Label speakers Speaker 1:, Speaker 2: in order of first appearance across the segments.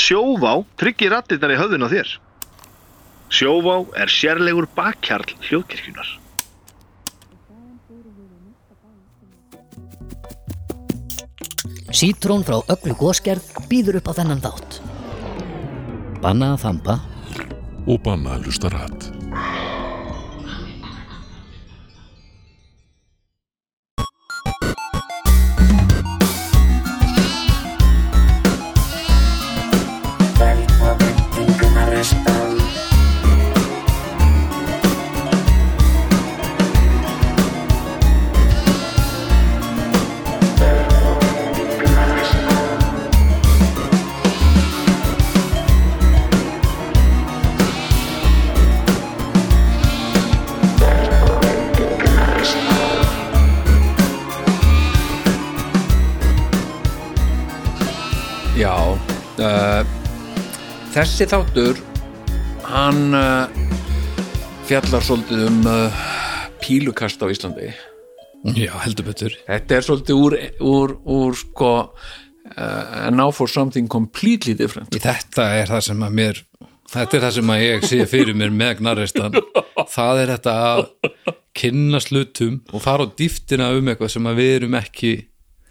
Speaker 1: Sjóvá tryggir rattirnar í höfðun á þér. Sjóvá er sérlegur bakkjarl hljóðkirkjunar.
Speaker 2: Sítrón frá öllu góskerð býður upp á þennan þátt. Banna að þamba,
Speaker 3: og banna að hlusta rætt.
Speaker 4: Já, uh, þessi þáttur, hann uh, fjallar svolítið um uh, pílukast á Íslandi.
Speaker 5: Mhm. Já, heldur betur.
Speaker 4: Þetta er svolítið úr, úr, úr sko, uh, now for something completely different.
Speaker 5: Þetta er það sem að mér, þetta er það sem að ég sé fyrir mér með gnarreistan. Það er þetta að kynna slutum og fara á dýftina um eitthvað sem að við erum ekki,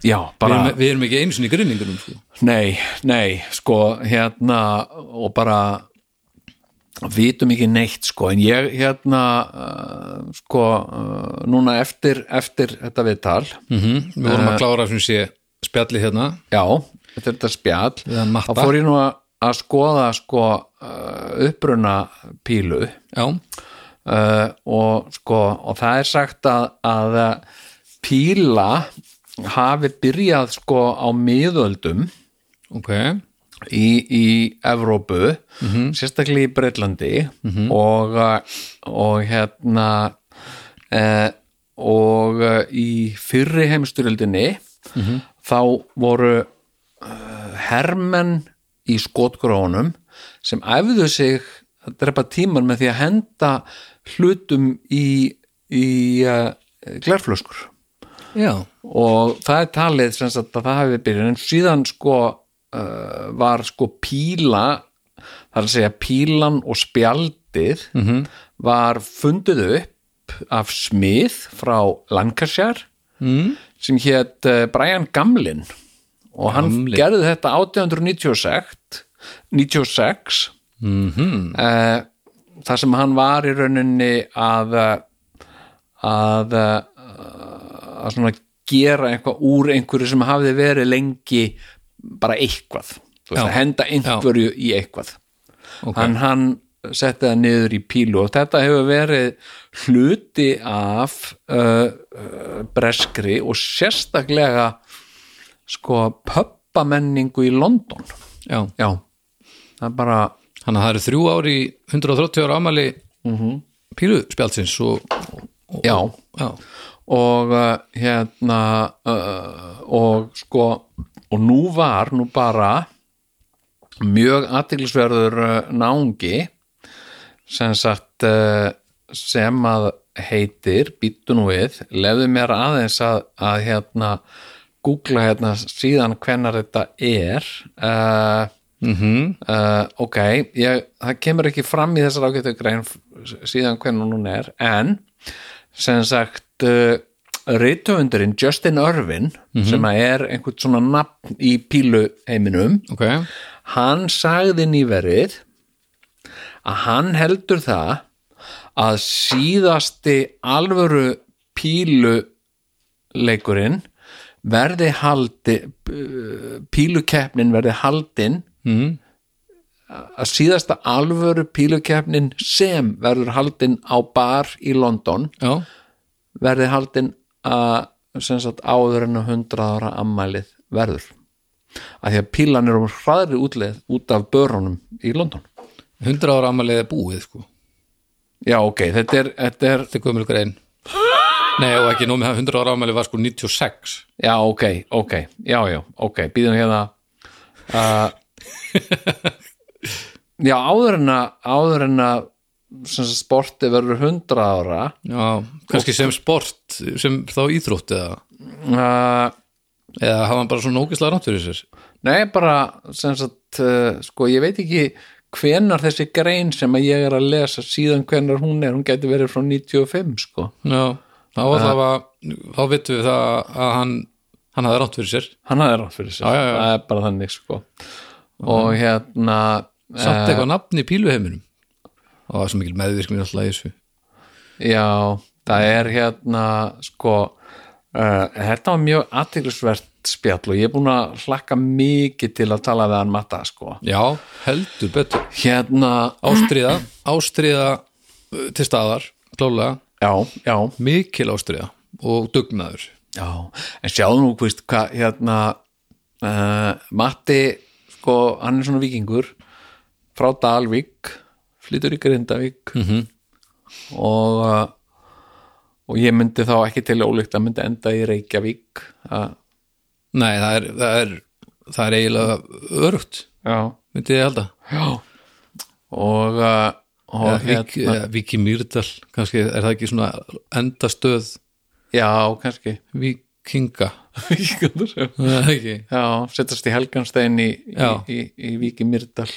Speaker 4: Já,
Speaker 5: við
Speaker 4: bara,
Speaker 5: erum, við erum ekki einu sinni í grinningunum. Sko.
Speaker 4: nei, nei, sko, hérna, og bara vitum ekki neitt, sko, en ég, hérna, uh, sko, uh, núna eftir, eftir þetta viðtal,
Speaker 5: Mm
Speaker 4: Mhm.
Speaker 5: Við vorum
Speaker 4: Eh.
Speaker 5: að klára sem sé spjalli hérna.
Speaker 4: Já, þetta er þetta spjall
Speaker 5: Eða mappa.
Speaker 4: Þá fór ég nú að, að skoða sko uh, uppruna pílu
Speaker 5: Já,
Speaker 4: uh, og sko og það er sagt að, að píla hafi byrjað sko á miðöldum
Speaker 5: ok.
Speaker 4: í, í Evrópu sérstaklega í Breitlandi og, uh, og hérna e, og uh, í fyrri heimsturöldinni þá voru uh, hermenn í skotgrónum sem æfðu sig að drepa tíman með því að henda hlutum í, í uh, glerflöskur
Speaker 5: Já,
Speaker 4: og það er talið sem sagt að það hafi byrjun en síðan sko uh, var sko píla það er að segja pílan og spjaldið -hmm. var fundið upp af smið frá Lancashire mm. sem hétt uh, Brian Gamlin og hann
Speaker 5: Gamlin.
Speaker 4: gerði þetta 1896 96 mm -hmm. þar sem hann var í rauninni að uh, að uh, að svona gera eitthvað úr einhverju sem hafði verið lengi bara eitthvað Þú veist,
Speaker 5: Já.
Speaker 4: að henda einhverju í eitthvað
Speaker 5: Ok.
Speaker 4: hann, hann setti það niður í pílu og þetta hefur verið hluti af uh, uh, breskri og sérstaklega sko pöppamenningu í London
Speaker 5: já.
Speaker 4: já, það er bara
Speaker 5: Þannig að það eru þrjú ári í 130 ára ámæli mm
Speaker 4: Mhm.
Speaker 5: -hmm. pílu spjaldsins og, og
Speaker 4: já,
Speaker 5: já,
Speaker 4: og uh, hérna uh, og sko og nú var nú bara mjög aðtiklisverður uh, náungi sem sagt uh, sem að heitir býttu nú við, lefðu mér aðeins að, að hérna googla hérna síðan hvenar þetta er uh,
Speaker 5: mhm,
Speaker 4: uh, ok, ég, það kemur ekki fram í þessar ágættu grein f- síðan hvernig hún er, en sem sagt uh, rithöfundurinn Justin Irvin sem að er einhvern svona nafn í pílu heiminum
Speaker 5: ok
Speaker 4: hann sagði nýverið að hann heldur það að síðasti alvöru píluleikurinn verði haldi pílukeppnin verði haldin
Speaker 5: Mhm.
Speaker 4: að síðasta alvöru pílukeppnin sem verður haldin á bar í London
Speaker 5: já,
Speaker 4: verði haldin að sem sagt áður en að 100 ára ammælið verður að því að pílan eru um hraðri útleið út af börunum í London
Speaker 5: 100 ára ámælið er búið sko
Speaker 4: já ok, þetta er, þetta er
Speaker 5: þetta er gömul grein nei og ekki nómið að 100 ára ámælið var sko 96
Speaker 4: já ok, ok, já já ok, býðum hérna uh, já áður en að áður en að sem sagt sporti verður 100 ára
Speaker 5: já, kannski sem sport sem þá íþrótt eða,
Speaker 4: uh,
Speaker 5: eða hafa hann bara svona ógislega rátt fyrir sér
Speaker 4: Nei, bara sem sagt, uh, sko, ég veit ekki hvenar þessi grein sem að ég er að lesa síðan hvenar hún er, hún gæti verið frá 95, sko.
Speaker 5: Já, þá var það að, þá vitum við það að hann, hann hafði rátt fyrir sér.
Speaker 4: Hann hafði rátt fyrir sér,
Speaker 5: Já, já, já.
Speaker 4: það er bara þannig, sko. Og hérna,
Speaker 5: Samt eitthvað nafn í píluheiminum. Og það var svo mikil meðvirkmið alltaf í þessu.
Speaker 4: já, það er hérna, sko, uh, þetta var mjög aðtiklisvert spjall og ég er búin að hlakka mikið til að tala við hann matta, sko.
Speaker 5: Já, heldur betur.
Speaker 4: Hérna,
Speaker 5: Ástriða, ástriða uh, til staðar, klálega,
Speaker 4: já, já,
Speaker 5: mikil ástriða og dugnaður.
Speaker 4: Já, en sjáðu nú hvist hvað hérna uh, Matti, sko, hann er svona vikingur frá Dalvík flytur í Grindavík -hmm. og uh, og ég myndi þá ekki til ólíkt að myndi enda í Reykjavík uh,
Speaker 5: Nei, það er, það er, það er eiginlega örugt,
Speaker 4: Já,
Speaker 5: myndi ég held að.
Speaker 4: já hérna. og, uh, og
Speaker 5: Eða Vík, eða hérna, Víki Mýrdal, kannski er það ekki svona endastöð
Speaker 4: já, kannski
Speaker 5: vikinga.
Speaker 4: Víkingur
Speaker 5: Það er ekki,
Speaker 4: Já, setjast í Helganstein í, í,
Speaker 5: Já.
Speaker 4: í, í Víki Myrdal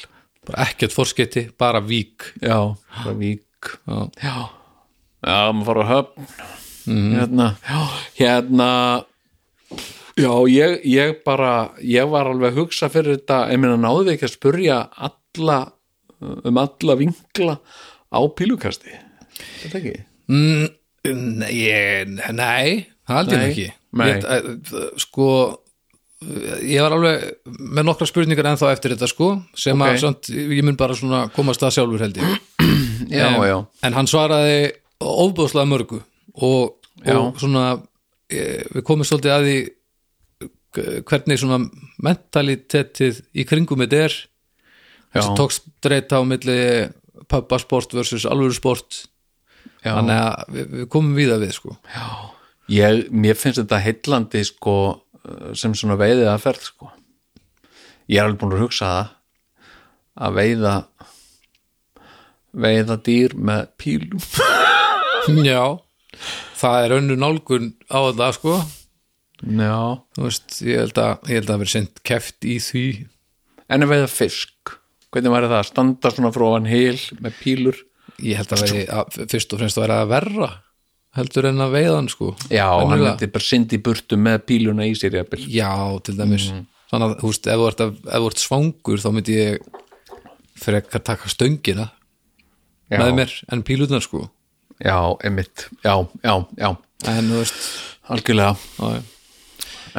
Speaker 5: bara ekkert fórskeiti, bara vík.
Speaker 4: Já, frá Vík
Speaker 5: Já.
Speaker 4: Já, já maður fór á höfn hérna, já, hérna Já, ég, ég bara ég var alveg að hugsa fyrir þetta ég meina náðu við ekki að spurja alla um alla vinkla á pílukasti Þetta ekki?
Speaker 5: Mm, nei, ég- nei, það held ég nú
Speaker 4: Nei,
Speaker 5: ekki.
Speaker 4: nei.
Speaker 5: Ég, eh, eh, sko, ég var alveg með nokkra spurningar ennþá eftir þetta sko, sem
Speaker 4: Ok.
Speaker 5: að samt, ég mun bara svona komast að sjálfur held ég.
Speaker 4: Já,
Speaker 5: en,
Speaker 4: já,
Speaker 5: en hann svaraði ofbúðslega mörgu og,
Speaker 4: Já.
Speaker 5: og svona eh, við komum svolítið að því eh, hvernig svona mentalitetið í kringum þetta er
Speaker 4: já,
Speaker 5: sem tókst dreita á milli pappasport versus alvöru sport
Speaker 4: já.
Speaker 5: þannig að við, við komum víða við sko
Speaker 4: Ég, mér finnst þetta heillandi sko, uh, sem svona veiðið að ferð sko. ég er alveg búin að hugsa það að veiða veiða dýr með pílum
Speaker 5: já, það er önnu nálgun á þetta sko
Speaker 4: já.
Speaker 5: þú veist, ég held að, ég held að vera sent keft í því
Speaker 4: en að veiða fisk hvernig væri það að standa svona frá hann heil með pílur
Speaker 5: ég held að veri að, fyrst og fremst að vera að verra heldur en að veiðan sko
Speaker 4: já, hann
Speaker 5: Venjulega.
Speaker 4: myndi bara syndi í burtu með píluna í sér jafnvel.
Speaker 5: Já, til dæmis Þannig að, þú veist, ef þú ert, að- ef þú ert svangur þá myndi ég frekar taka stöngina
Speaker 4: já,
Speaker 5: með mér en pílutnar sko
Speaker 4: já, emitt já, já, já,
Speaker 5: en, þú veist,
Speaker 4: algjörlega
Speaker 5: á, já.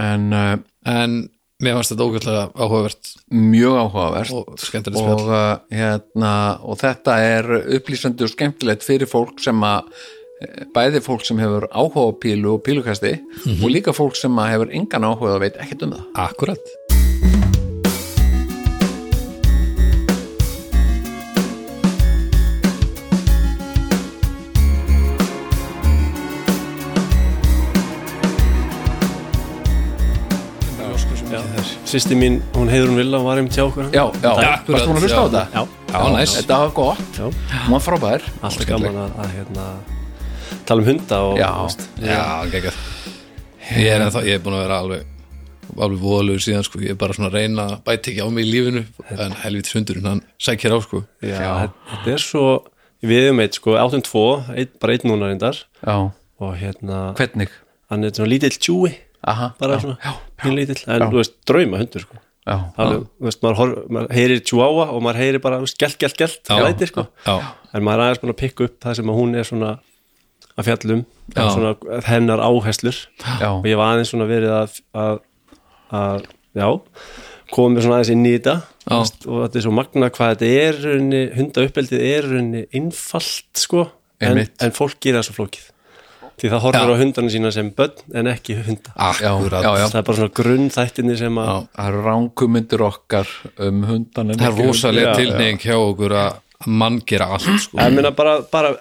Speaker 4: en uh,
Speaker 5: en mér fannst þetta ógætlega áhugavert
Speaker 4: mjög áhugavert
Speaker 5: og skemmtilegt
Speaker 4: og,
Speaker 5: spjall
Speaker 4: uh, hérna, og þetta er upplýsandi og skemmtilegt fyrir fólk sem að eh, bæði fólk sem hefur áhuga á pílu og pílukasti og líka fólk sem að hefur engan áhuga og veit ekkert um það
Speaker 5: Akkurat
Speaker 6: Sýsti mín, hún heiður hún Villa, hún var um hjá okkur
Speaker 4: Já, já,
Speaker 5: Já,
Speaker 4: varst
Speaker 5: akkurat,
Speaker 4: þú að hlusta á
Speaker 5: já.
Speaker 4: þetta?
Speaker 6: Já,
Speaker 5: Já, næs
Speaker 4: Þetta var gott,
Speaker 6: Já.
Speaker 4: hún var frábær
Speaker 6: alltaf gaman að, að hérna, tala um hunda og
Speaker 4: Já.
Speaker 6: veist,
Speaker 5: Já, geggjað Ég er, ennþá, ég er búin að vera alveg alveg voðalegur síðan sko, ég er bara svona að reyna að bæta ekki á mig í lífinu en helvitis hundurinn, hann sækir á sko
Speaker 6: já, þetta er svo við erum eitt sko, áttum tvo, eitt, bara einn núna reyndar
Speaker 4: Já,
Speaker 6: og hérna,
Speaker 4: hvernig?
Speaker 6: hann er svona lítill tjúi
Speaker 4: Aha,
Speaker 6: bara
Speaker 4: já,
Speaker 6: svona,
Speaker 4: já,
Speaker 6: pín lítill en þú veist, drauma hundur sko
Speaker 4: já,
Speaker 6: Alveg, þú veist, maður, horf, maður heyrir tjúáa og maður heyrir bara, þú veist, gelt, gelt, gelt
Speaker 5: Já.
Speaker 6: læti, sko.
Speaker 5: Já,
Speaker 6: en maður er aðeins búin að pikka upp það sem að hún er svona að fjallum
Speaker 5: Já.
Speaker 6: svona, hennar áherslur
Speaker 4: já,
Speaker 6: og ég var aðeins svona verið að, að, að já, komið mér svona aðeins inn í þetta
Speaker 5: Já.
Speaker 6: veist, og þetta er svo magna hvað þetta er runni, hundauppbeldið er runni innfalt sko, en,
Speaker 4: Einmitt.
Speaker 6: en fólk gera það svo flókið því það horfir
Speaker 5: Já.
Speaker 6: á hundana sína sem börn en ekki hunda
Speaker 5: akkurat
Speaker 4: já, já.
Speaker 6: það er bara svona grunn þættinni sem að
Speaker 5: Já.
Speaker 4: það eru ránkumindur okkar um hundan en
Speaker 5: Það er
Speaker 4: ekki um-
Speaker 5: rosalega
Speaker 6: Já,
Speaker 5: tilneying hjá okkur að mann gera allt sko.
Speaker 6: Ég meina bara, bara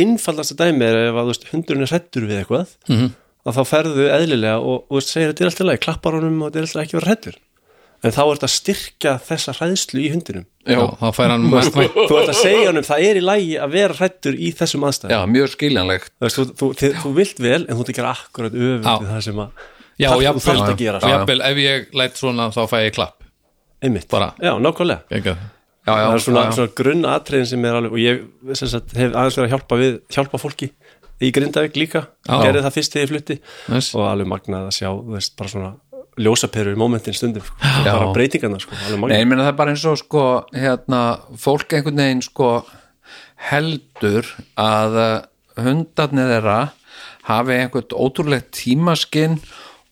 Speaker 6: innfallasta dæmi er ef að þú veist, hundurinn er hrættur við eitthvað
Speaker 5: Mm-hmm.
Speaker 6: -hmm. að þá ferðu eðlilega og, og þú veist, segir þetta er alltaf leið, klappar honum og þetta er alltaf ekki að vera hrættur en þá ert að styrka þessa hræðslu í hundinum
Speaker 5: Já, þá fær hann mest mætt
Speaker 6: þú ert að segja honum það er í lagi að vera hrættur í þessum aðstæðum
Speaker 4: Já, mjög skiljanlegt
Speaker 6: þú, veist, þú, þú, þið, þú vilt vel en þú ert að gera akkurat öfum
Speaker 5: Já.
Speaker 6: við það sem að
Speaker 5: Já,
Speaker 6: þarf- þú
Speaker 5: jafnvel,
Speaker 6: þarft að gera sko.
Speaker 5: jafnvel ef ég læt svona þá fæ ég klapp
Speaker 6: einmitt
Speaker 5: Bara.
Speaker 6: já, nákvæmlega
Speaker 5: Gekka.
Speaker 4: já, já,
Speaker 6: það er svona,
Speaker 4: já, já.
Speaker 6: svona grunnatriðin sem er alveg og ég sem sagt, hef aðeins verið að hjálpa, við, hjálpa fólki í Grindavík líka
Speaker 5: Já.
Speaker 6: gerði það fyrst þegar ég flutti
Speaker 5: Næs.
Speaker 6: og alveg magnað að sjá þú veist, bara svona ljósaperur í momentin stundum sko. bara breytingarna sko, alveg
Speaker 4: Nei,
Speaker 6: magnað
Speaker 4: ég meina það er bara eins og sko hérna, fólk einhvern veginn sko heldur að eh, hundarnir þeirra hafi einhvern ótrúlegt tímaskinn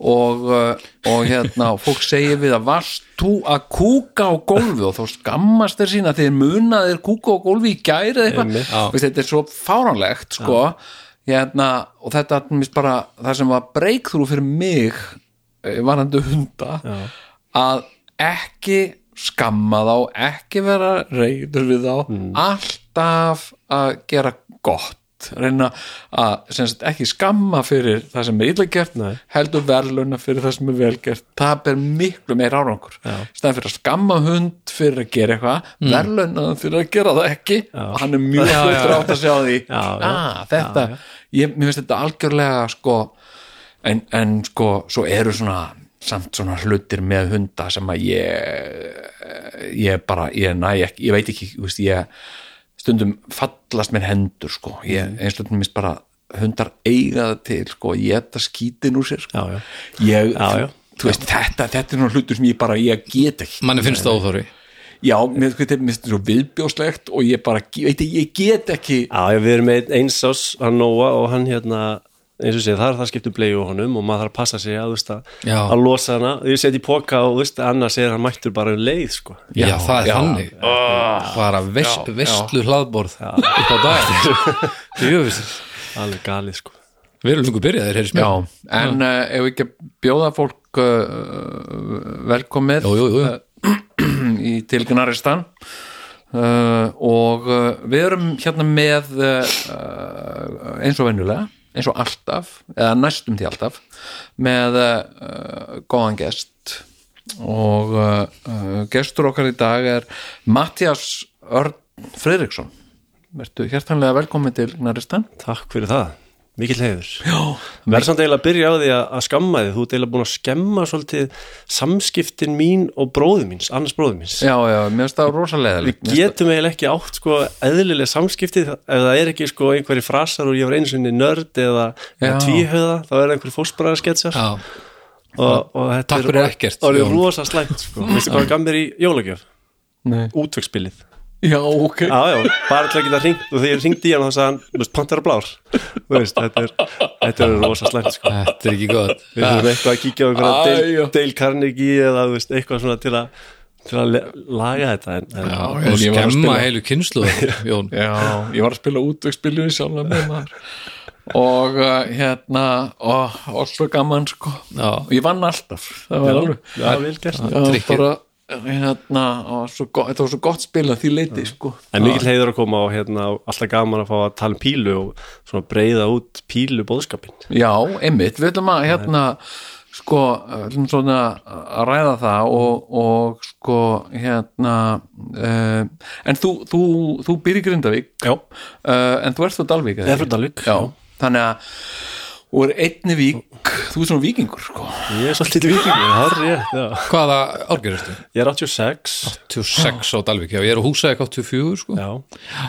Speaker 4: og, eh, og hérna og fólk segir við að varst þú að kúka á gólfi og þá skammast þeir sína þeir muna þeir kúka á gólfi í gæri eða
Speaker 6: Einmitt.
Speaker 4: eitthvað, Veist, þetta er svo fáránlegt sko hérna, og þetta er mér bara það sem var breakthrough fyrir mig eh, varandi hunda að ekki skamma þá, ekki vera reyður við þá, alltaf að gera gott reyna að sem sagt, ekki skamma fyrir það sem er illa gert
Speaker 6: Nei.
Speaker 4: heldur verðluna fyrir það sem er vel gert það ber miklu meira árangur stæðan fyrir að skamma hund fyrir að gera eitthvað mm. verðluna fyrir að gera það ekki og hann er mjög fljóttur átt að sjá því
Speaker 6: Já, já.
Speaker 4: ah, þetta, ég, mér finnst þetta algjörlega sko en, en sko, svo eru svona samt svona hlutir með hunda sem að ég ég bara, ég næ ekki, ég veit ekki þú veist, ég stundum fallast mér hendur sko, ég einstundum mist bara hundar eiga það til sko, ég þetta skítin úr sér sko
Speaker 6: Já, já.
Speaker 4: ég,
Speaker 6: Já, já.
Speaker 4: þú veist, þetta, þetta er nú hlutur sem ég bara, ég get ekki
Speaker 5: manni finnst það óþóri
Speaker 4: já, mér þetta er mist svo viðbjóslegt og ég bara, ge- veit, ég get ekki
Speaker 6: Já, já, við erum með einn sás, hann Nóa og hann hérna, eins og sé, það er það skiptu bleið og honum og maður þarf að passa sig að, þú veist, að,
Speaker 5: Já.
Speaker 6: að losa hana, ég seti í poka og þú veist, annars er hann mættur bara um leið, sko.
Speaker 5: já, það er þannig bara veis, veistlu hlaðborð upp á dag Jöfis.
Speaker 6: Alveg galið, sko.
Speaker 5: við erum lungu byrjaðir, heyrðis mér
Speaker 4: Já, en uh, ef við ekki að bjóða fólk uh, velkomið
Speaker 5: jú, jú, jú.
Speaker 4: í tilgnaristan uh, og uh, við erum hérna með uh, uh, eins og venjulega eins og alltaf, eða næstum því alltaf með uh, góðan gest og uh, uh, gestur okkar í dag er Mattias Örn Friðriksson Vertu hjertanlega velkomið til Gnaristan
Speaker 6: Takk fyrir það, mikill heiður.
Speaker 4: Já,
Speaker 6: Verður samt eiginlega að byrja á því að, að skamma þið, þú ert eiginlega búin að skemma svolítið samskiptin mín og bróðu míns, annars bróðu míns.
Speaker 4: já, mér finnst það rosalega
Speaker 6: Við getum eiginlega ekki átt sko eðlilega samskipti ef það er ekki sko einhverji frasar og ég var einu sinni nörd eða
Speaker 4: Já.
Speaker 6: tvíhauða, þá er einhverju fósbræðarsketsjar
Speaker 5: Já.
Speaker 6: og, og þetta
Speaker 5: Takk fyrir ekkert,
Speaker 6: og
Speaker 5: Jón.
Speaker 6: er rosa slæmt sko veistu hvað gaf mér í jólagjöf?
Speaker 4: Nei.
Speaker 6: útvöksbilið
Speaker 4: Já, ok
Speaker 6: já já bara til að geta ringt og þegar ég ringdi í hann þá sagði hann þú veist pantar að blár Þú veist, þetta, er, þetta er rosa slæmt sko
Speaker 5: þetta er ekki gott
Speaker 6: við þurfum eitthvað að kíkja á einhverja
Speaker 4: Æ, já.
Speaker 6: Dale, Dale Carnegie eða þú veist, eitthvað svona til að til að le- laga þetta en, en,
Speaker 5: Já,
Speaker 4: en ég
Speaker 5: og
Speaker 4: var að
Speaker 5: skemma
Speaker 4: spila.
Speaker 5: heilu kynslu Jón,
Speaker 4: Já, ég var að spila útvöksbylju sjálflega með maður og uh, hérna og, og svo gaman sko
Speaker 5: Já.
Speaker 4: og ég vann alltaf það var alveg
Speaker 6: já, vel gert
Speaker 4: já,
Speaker 5: Drykkir.
Speaker 4: bara, hérna, og svo, gott- þetta var svo gott spila því leiti sko
Speaker 6: En mikill heiður að koma og hérna, alltaf gaman að fá að tala um pílu og svona breyða út pílu bóðskapin.
Speaker 4: Já, einmitt, við ætlum að hérna sko, við ætlum svona að ræða það og, og sko hérna uh, en þú, þú, þú býr í Grindavík
Speaker 6: Já.
Speaker 4: uh, en þú ert frá Dalvík eða
Speaker 6: Ég er
Speaker 4: ekki?
Speaker 6: frá Dalvík,
Speaker 4: Já,
Speaker 6: já.
Speaker 4: þannig að og er einni vík, þú ert svona víkingur sko.
Speaker 6: Ég er svolítið vikingur, það er ég. Já.
Speaker 5: hvaða árgeristu?
Speaker 6: Ég er 86.
Speaker 5: 26 á Dalvik, já, ég er á húsa ekki 84 sko.
Speaker 6: Já.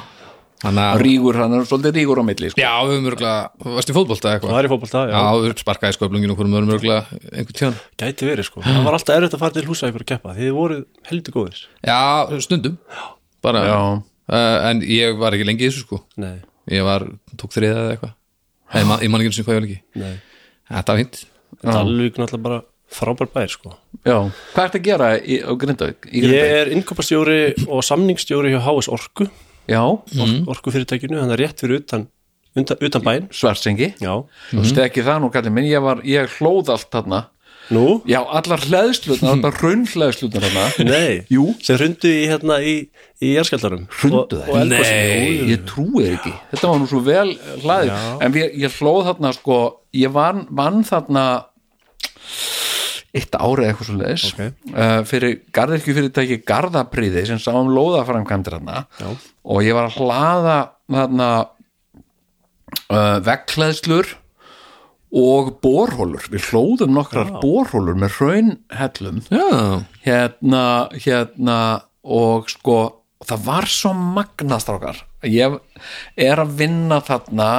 Speaker 5: þannig að
Speaker 4: rígur, hann er svolítið rígur á milli sko.
Speaker 5: já, við höfum örgulega, varst í fótbolta eða
Speaker 6: Það
Speaker 5: eitthvað
Speaker 6: er í fótbolta, já.
Speaker 5: já, við sparkaði sköflunginu hverjum öðrum örgulega einhvern tjón,
Speaker 6: Gæti verið, sko. Það var alltaf erfitt að fara til húsa ykkur að keppa. Þið voru heldur góðir.
Speaker 5: já, stundum bara,
Speaker 4: Já.
Speaker 5: Uh, en ég var ekki lengi í þessu sko
Speaker 6: Nei.
Speaker 5: ég var, tók þriða eða eitthvað Nei, ég man- ég man ekki einu sinni hvað ég var lengi
Speaker 6: Nei.
Speaker 5: þetta var hint,
Speaker 6: Dalvík náttúrulega bara frábær bær, sko.
Speaker 4: Já, hvað ertu að gera í, á Grindavík? Í
Speaker 6: Ég
Speaker 4: Grindavík?
Speaker 6: er innkopastjóri og samningstjóri hjá HS Orku,
Speaker 4: Já,
Speaker 6: mm. Orku fyrirtækinu, þannig að rétt fyrir utan, undan, utan bæn.
Speaker 4: svarsengi
Speaker 6: Já.
Speaker 4: þú veist ekki það nú kallið minn, ég, var, ég hlóð allt þarna
Speaker 6: Nú?
Speaker 4: Já, allar hleðslutnar, allar hérna. raunhleðslutnar þarna
Speaker 6: Nei,
Speaker 4: Jú.
Speaker 6: sem hrundu í, hérna, í, í jarskjaldarum
Speaker 4: Hrundu þær?
Speaker 5: Nei.
Speaker 6: Nei
Speaker 4: ég trúi þér ekki, þetta var nú svo vel hlaðið, en ég, ég hlóð þarna sko, ég vann, vann þarna eitt árið eitthvað svo leis
Speaker 6: Ok.
Speaker 4: fyrir garðirkju fyrirtæki garðapriði sem sá um lóðaframkvæmdir þarna
Speaker 6: Já.
Speaker 4: og ég var að hlaða þarna uh, vekkleðslur eh, og borhólur, við hlóðum nokkrar borhólur með raunhellum
Speaker 5: Já,
Speaker 4: hérna, hérna og sko það var svo magnastrákar ég er að vinna þarna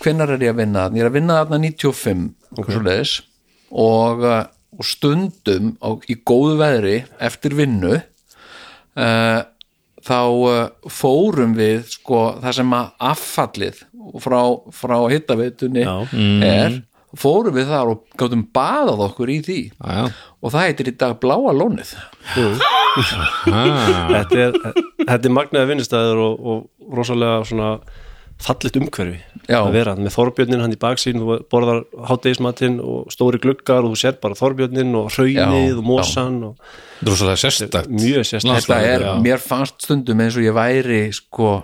Speaker 4: hvenær er ég að vinna þarna? Ég er að vinna þarna 95 okay. leis, og, eh, og stundum á, í góðu veðri eftir vinnu uh, þá uh, fórum við sko það sem að affallið frá, frá hittaveitunni
Speaker 6: Já.
Speaker 4: er fórum við þar og gáttum baðað okkur í því
Speaker 5: já,
Speaker 4: og það heitir í dag bláa lónið
Speaker 6: þetta er, þetta er magnaði vinnustæður og, og rosalega svona fallit umhverfi
Speaker 4: Já.
Speaker 6: að vera með Þorbjörnin hann í baksín þú borðar hátdeismatinn og stóri gluggar og þú sér bara Þorbjörnin og hraunið
Speaker 4: Já,
Speaker 6: og mosan og
Speaker 5: þetta er rosalega sérstakt
Speaker 6: mjög sérstæð
Speaker 4: þetta er, mér fannst stundum eins og ég væri sko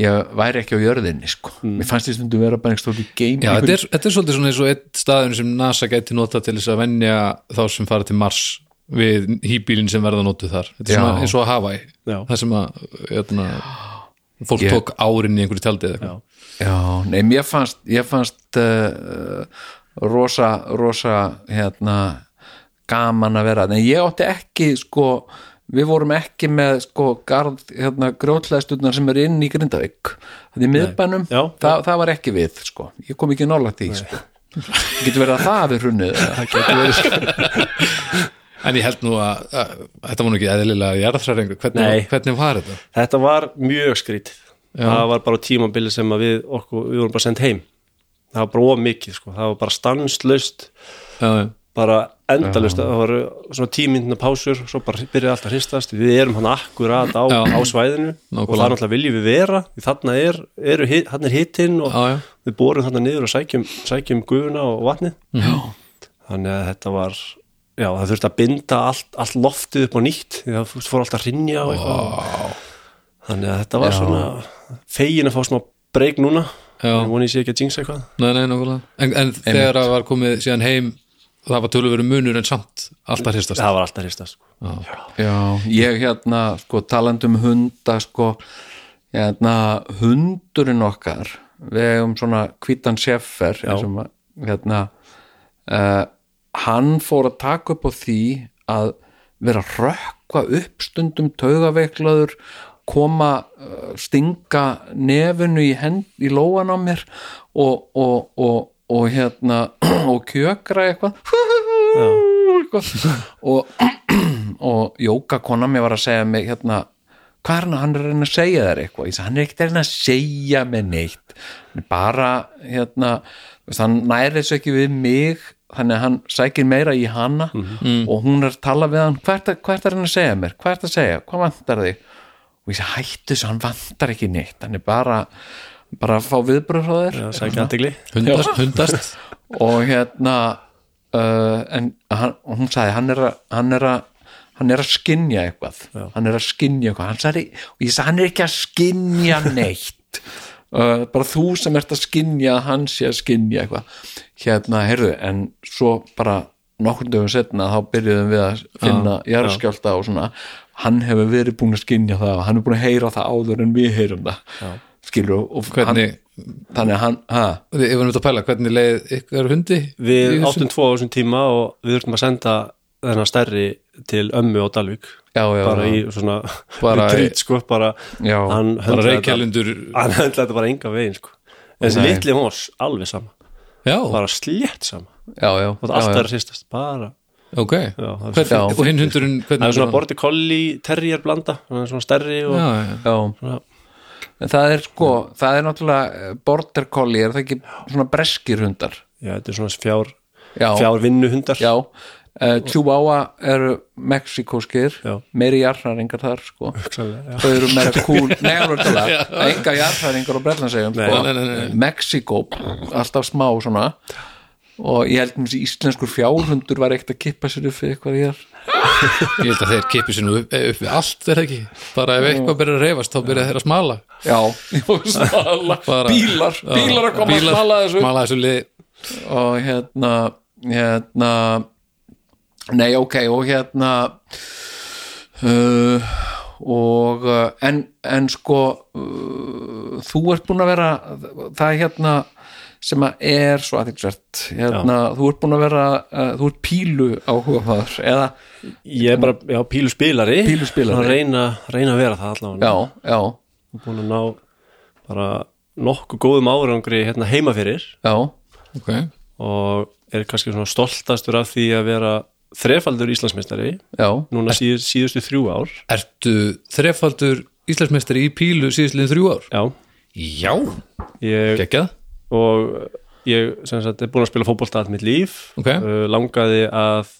Speaker 4: ég væri ekki á jörðinni sko mér fannst ég stundum vera bara einhvers stóð í game
Speaker 5: Mm. Já, þetta er, þetta er svolítið svona eins og einn staðun sem NASA gæti nota til þess að venja þá sem fara til Mars við hýbílinn sem verða notuð þar þetta er
Speaker 4: Já.
Speaker 5: svona eins og Hawaii
Speaker 6: Já.
Speaker 5: það sem að jötna, fólk
Speaker 4: Ég-
Speaker 5: tók árin í einhverju tjaldi eða eitthvað.
Speaker 4: já, nei, mér fannst, ég fannst uh, rosa rosa hérna gaman að vera, en ég átti ekki sko, við vorum ekki með sko garð, hérna grjótlæðsturnar sem eru inn í Grindavík þannig miðbænum,
Speaker 6: Já.
Speaker 4: það, það var ekki við sko, ég kom ekki nálægt því sko getur verið að það hafi hrunnið það getur verið
Speaker 5: en ég held nú að, að, að þetta var nú ekki eðlilega jarðræðingur,
Speaker 6: Nei.
Speaker 5: hvernig, hvernig var þetta?
Speaker 6: þetta var mjög skrítið það var bara tímabili sem að við okkur, við vorum bara sendt heim það var bara of mikið sko, það var bara stanslaust
Speaker 5: Já, já.
Speaker 6: bara endalaust, það var svona tímyndina pásur, svo bara byrjaði allt að hristast við erum hann akkurat á,
Speaker 5: Já.
Speaker 6: á svæðinu og það
Speaker 5: Nákvæmlega.
Speaker 6: er náttúrulega viljum við vera því þarna er, eru, hi- þarna er hitinn og
Speaker 5: Já, já.
Speaker 6: við borum þarna niður og sækjum, sækjum gufuna og vatnið já. þannig að þetta var já, það þurfti að binda allt, allt loftið upp á nýtt því það fór allt að rinja og eitthvað þannig að þetta var svona fegin að fá smá breyk núna
Speaker 5: Já.
Speaker 6: ég voni ég sé ekki að jinx eitthvað
Speaker 5: Nei, nei, nákvæmlega En, en þegar það var komið síðan heim það var tölvöru munur en samt alltaf hristast
Speaker 6: það var alltaf hristast sko.
Speaker 4: Já, ég hérna sko talandi um hunda sko hérna hundurinn okkar við um svona hvítan seffer sem, að, hérna uh, hann fór að taka upp á því að vera að rökkva upp stundum taugaveiklaður koma uh, stinga nefinu í, hend, í lóan á mér og, og, og, og hérna og kjökra eitthvað eitthvað. og og Jóka kona mér var að segja mig hérna, hvað er hann, hann er að reyna að segja þér eitthvað, ég sagði, hann er ekkert að reyna að segja mér neitt, hann er bara hérna, veist, hann næri þessu ekki við mig, þannig að hann sækir meira í hana og hún er að tala við hann, hvað er það að reyna að segja mér hvað er það að segja, hvað vantar þig og ég sagði, hættu þessu, hann vantar ekki neitt hann er bara, bara að fá viðbröð frá þér
Speaker 6: það sækja aðtegli
Speaker 5: Hundast, hundast
Speaker 4: og hérna uh, en hann, og hún sagði hann er að hann er að hann er að skinja eitthvað hann er að skinja eitthvað hann sagði, og ég sagði hann er ekki að skinja neitt uh, bara þú sem ert að skinja að hann sé að skinja eitthvað hérna, heyrðu, en svo bara nokkur dögum setna þá byrjuðum við að finna jarðskjálta og svona hann hefur verið búin að skinja það og hann er búin að heyra það áður en við heyrum það já. skilur og
Speaker 5: Hvernig-
Speaker 4: hann, þannig að hann, ha,
Speaker 5: Við við varum þetta að pæla, hvernig leið ykkar hundi?
Speaker 6: Við áttum tvo á þessum tíma og við þurftum að senda þennan stærri til ömmu á Dalvík
Speaker 4: Já, já,
Speaker 6: bara
Speaker 4: já.
Speaker 6: í svona
Speaker 5: Bara
Speaker 6: bara
Speaker 5: í-
Speaker 6: trýt sko bara,
Speaker 4: Já,
Speaker 6: hann
Speaker 5: bara
Speaker 6: höndlaði
Speaker 5: reykjalundur
Speaker 6: þetta- hann höndlaði þetta bara enga veginn sko en þessi
Speaker 4: Nei.
Speaker 6: litli hún var s- alveg sama
Speaker 5: Já,
Speaker 6: bara slétt sama
Speaker 4: já, já,
Speaker 6: og
Speaker 4: já,
Speaker 6: allt
Speaker 4: já.
Speaker 6: er að sýstast bara
Speaker 5: ok
Speaker 6: það er
Speaker 5: Hvernig-
Speaker 4: svo-
Speaker 5: Og hinn hundurinn
Speaker 6: það
Speaker 5: hvernig
Speaker 6: er svona borti kolli terrier blanda hann er svona stærri og
Speaker 5: Já, já.
Speaker 4: já.
Speaker 6: Svona-
Speaker 4: En það er sko, það er náttúrulega eh, border collie, er það ekki svona breskir hundar
Speaker 6: já, þetta er svona fjár,
Speaker 4: Já.
Speaker 6: fjár vinnuhundar
Speaker 4: já, uh, Chihuahua eru mexikóskir,
Speaker 6: Já.
Speaker 4: meiri jarðhæringar þar sko,
Speaker 6: Hugsanlega, já.
Speaker 4: þau eru meira kúl nei, alveg tala, enga jarðhæringar á Bretlandsegjum
Speaker 6: Nei,
Speaker 4: sko,
Speaker 5: nei, nei, nei.
Speaker 4: Mexíkó pff, alltaf smá svona og ég held mér þessi íslenskur fjárhundur var ekkert að kippa sér upp fyrir eitthvað hér
Speaker 5: Ég held að þeir kipi sinni upp, eh, upp við allt er það ekki bara ef eitthvað byrjar að reyfast þá byrjar þeir að smala
Speaker 4: já, smala,
Speaker 5: bara,
Speaker 4: bílar,
Speaker 5: Já,
Speaker 4: bílar að koma að smala þessu
Speaker 5: smala þessu lið
Speaker 4: og hérna hérna nei ok og hérna uh, og uh, en, en sko uh, þú ert búin að vera það er hérna sem að er svo aðeinsvert hérna, þú ert búin að vera uh, þú ert pílu áhugafaður eða,
Speaker 6: Ég er bara, já, píluspilari
Speaker 4: Píluspilari.
Speaker 6: Svona reyna, reyna að vera það allavega
Speaker 4: já, já,
Speaker 6: Búin að ná bara nokkuð góðum árangri hérna heima fyrir
Speaker 4: já
Speaker 5: ok,
Speaker 6: og er kannski svona stoltastur af því að vera þrefaldur Íslandsmeistari
Speaker 4: já,
Speaker 6: núna síð, síðustu þrjú ár
Speaker 5: ertu þrefaldur Íslandsmeistari í pílu síðsliðin þrjú ár
Speaker 6: Já,
Speaker 5: já,
Speaker 6: ég
Speaker 5: geggjað
Speaker 6: og ég sem sagt er búin að spila fótbolta allt mitt líf
Speaker 5: Ok.
Speaker 6: uh, langaði að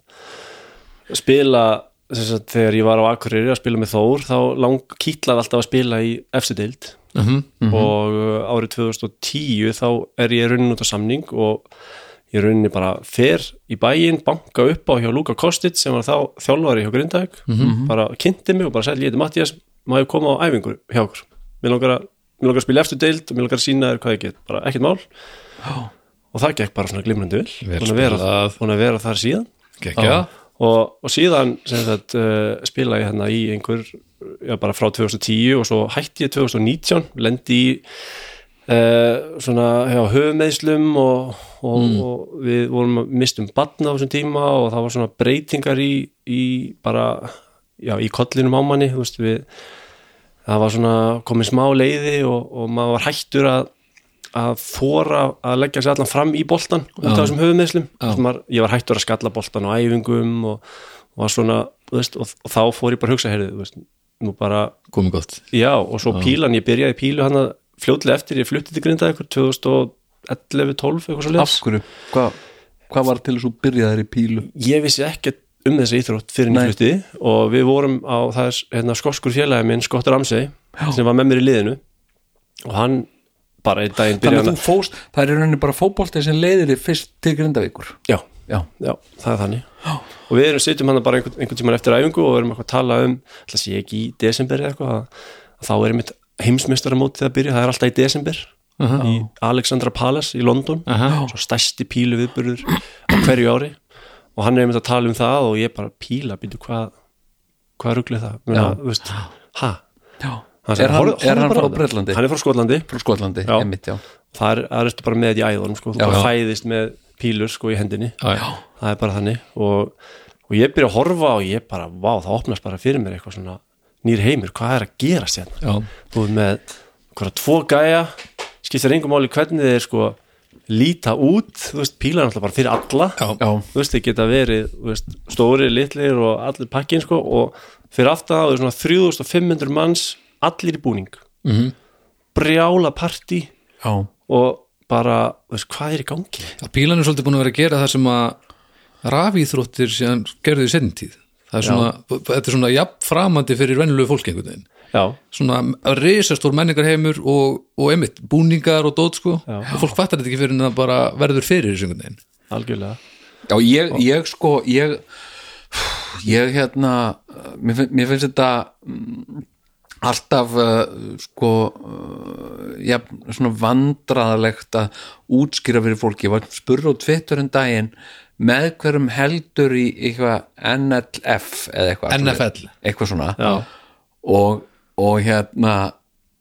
Speaker 6: spila sem sagt þegar ég var á Akureyri að spila með Þór þá lang kýtlaði alltaf að spila í efstu deild og uh, árið 2010 þá er ég runnin út á samning og ég runni bara fer í bæinn, banka upp á hjá Luka Kostic sem var þá þjálfari hjá Grindag bara kynnti mig og bara sætti lítið Mattias maður koma á æfingur hjá okkur mér langar að, mér langar að spila í efstu deild og mér langar að sína þér hvað ég get, bara ekkert mál og það gekk bara svona glimrandi
Speaker 5: Vel
Speaker 6: vel búin að vera,
Speaker 5: spilað.
Speaker 6: búin að vera þar síðan
Speaker 5: geggjað,
Speaker 6: og, og síðan sem sagt, uh, spila ég hérna í einhver já, bara frá 2010 og svo hætti ég 2019 lendi í uh, svona já, höfumeðslum og, og, og við vorum að mistum batna á þessum tíma og það var svona breytingar í, í bara já, í kollinum á manni þú veist, við, það var svona komin smá leiði og, og maður var hættur að að þóra að leggja sér allan fram í boltan út af þessum höfumeðslum maður, ég var hættur að skalla boltan á æfingum og, og var svona þú veist, og, og þá fór ég bara að hugsa heyrðu, þú veist, nú bara,
Speaker 5: komið gott
Speaker 6: já og svo pílan, ég byrjaði í pílu hann að fljótlega eftir ég fluttið til grinda ykkur 2011-12 eitthvað svo
Speaker 4: af hverju hvað hva var til þess að þú byrjaðir í pílu
Speaker 6: ég vissi ekkert um þessi íþrótt fyrir
Speaker 4: Nei.
Speaker 6: nýflutti og við vorum á það er hérna, skoskur félagi minn Scott Ramsey sem var með mér í liðinu og hann bara einn daginn
Speaker 4: þannig að
Speaker 6: byrjaði
Speaker 4: þú fóst, það er í rauninni bara fótbolti sem leiðir þig fyrst til grindavíkur
Speaker 6: já,
Speaker 4: já,
Speaker 6: já, það er þannig og við erum sittum hann bara einhvern, einhvern tíman eftir æfingu og erum eitthvað að tala um ætla sé ekki í desember eða eitthvað að, að þá er mitt heimsmeistaramót þegar byrja, það er alltaf í desember í Alexandra Palace í London svo stærsti pílu viðburður á hverju ári og hann er einmitt að tala um það og ég bara píla, býtu hvað hvað ruglið það, Muna, þú veist hæ,
Speaker 4: já er hann, er hann frá Breitlandi?
Speaker 6: hann er frá Skotlandi
Speaker 4: frá Skotlandi,
Speaker 6: Já.
Speaker 4: emitt, já
Speaker 6: þar er þetta bara með í æðunum sko. þú bara
Speaker 4: já.
Speaker 6: fæðist með pílur sko, í hendinni
Speaker 5: já, já,
Speaker 6: það er bara þannig og, og ég byrja að horfa og ég bara, vá, það opnast bara fyrir mér eitthvað svona nýr heimur, hvað er að gera sér
Speaker 5: já,
Speaker 6: þú er með hverja tvo gæja skiptir engum máli hvernig þeir sko líta út, þú veist, pílar er alltaf bara fyrir alla
Speaker 4: já,
Speaker 6: þú veist, þeir geta verið þú veist, stóri, litlir og allir pakkin sko, og fyrir aftan það eru svona 3500 manns, allir í búning mm -hmm. brjála partí
Speaker 4: já,
Speaker 6: og bara, þú veist, hvað er í gangi
Speaker 5: já pílan er svolítið búin að vera að gera það sem að rafíþróttir síðan gerðu í sentíð það er svona, þetta er svona jafn framandi fyrir vennilegu fólk einhvern veginn
Speaker 6: já,
Speaker 5: svona risastór menningarheimur og, og einmitt, búningar og dót sko
Speaker 6: Já.
Speaker 5: og fólk fattar þetta ekki fyrir en það bara verður fyrir þessu einhvern veginn
Speaker 6: algjörlega
Speaker 4: já ég, ég sko ég, ég hérna mér, finn- mér finnst þetta mm, alltaf uh, sko uh, já, svona vandraðalegt að útskýra fyrir fólki, ég var spurði á Twitter en daginn með hverjum heldur í eitthvað NLF eða eitthvað
Speaker 5: NFL.
Speaker 4: eitthvað svona
Speaker 6: Já.
Speaker 4: og, og hérna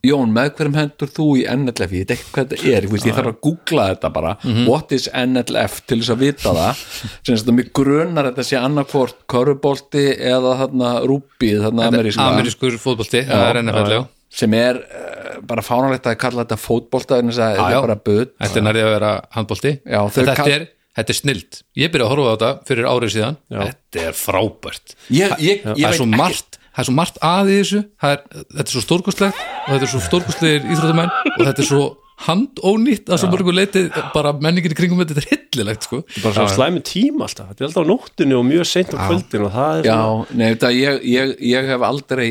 Speaker 4: Jón, með hverjum hendur þú í NLF ég veit ekki hvað þetta er, ég, veist, ég þarf að googla þetta bara
Speaker 5: Mhm.
Speaker 4: what is NLF til þess að vita það sem þess að mig grunar að þetta sé annarkvort körfubolti eða þarna rúbið, þarna ameríska
Speaker 5: amerískur fótbolti, það er NFL já.
Speaker 4: sem er uh, bara fánalegt að kalla þetta fótbolta þannig að þetta
Speaker 5: já.
Speaker 4: er bara böt
Speaker 5: þetta er nærðið að vera handbolti
Speaker 4: Já,
Speaker 5: En
Speaker 4: þau
Speaker 5: þetta,
Speaker 4: kall-
Speaker 5: er, þetta er snilt, ég byrja að horfa á þetta fyrir árið síðan, þetta er frábært
Speaker 4: Ég- ég- ég
Speaker 5: Það- það
Speaker 4: veit
Speaker 5: er svo
Speaker 4: ekkert.
Speaker 5: margt það er svo margt að í þessu það er, þetta er svo stórkostlegt og þetta er svo stórkostlegir íþróttamenn og þetta er svo handónýtt að svo mörgu leiti bara menningin í kringum þetta þetta er hillilegt sko
Speaker 6: bara svona slæmi tíma alltaf, þetta er alltaf á nóttinu og mjög seint á kvöldinu og það er svona
Speaker 4: Já, nei, þetta, ég, ég, ég hef aldrei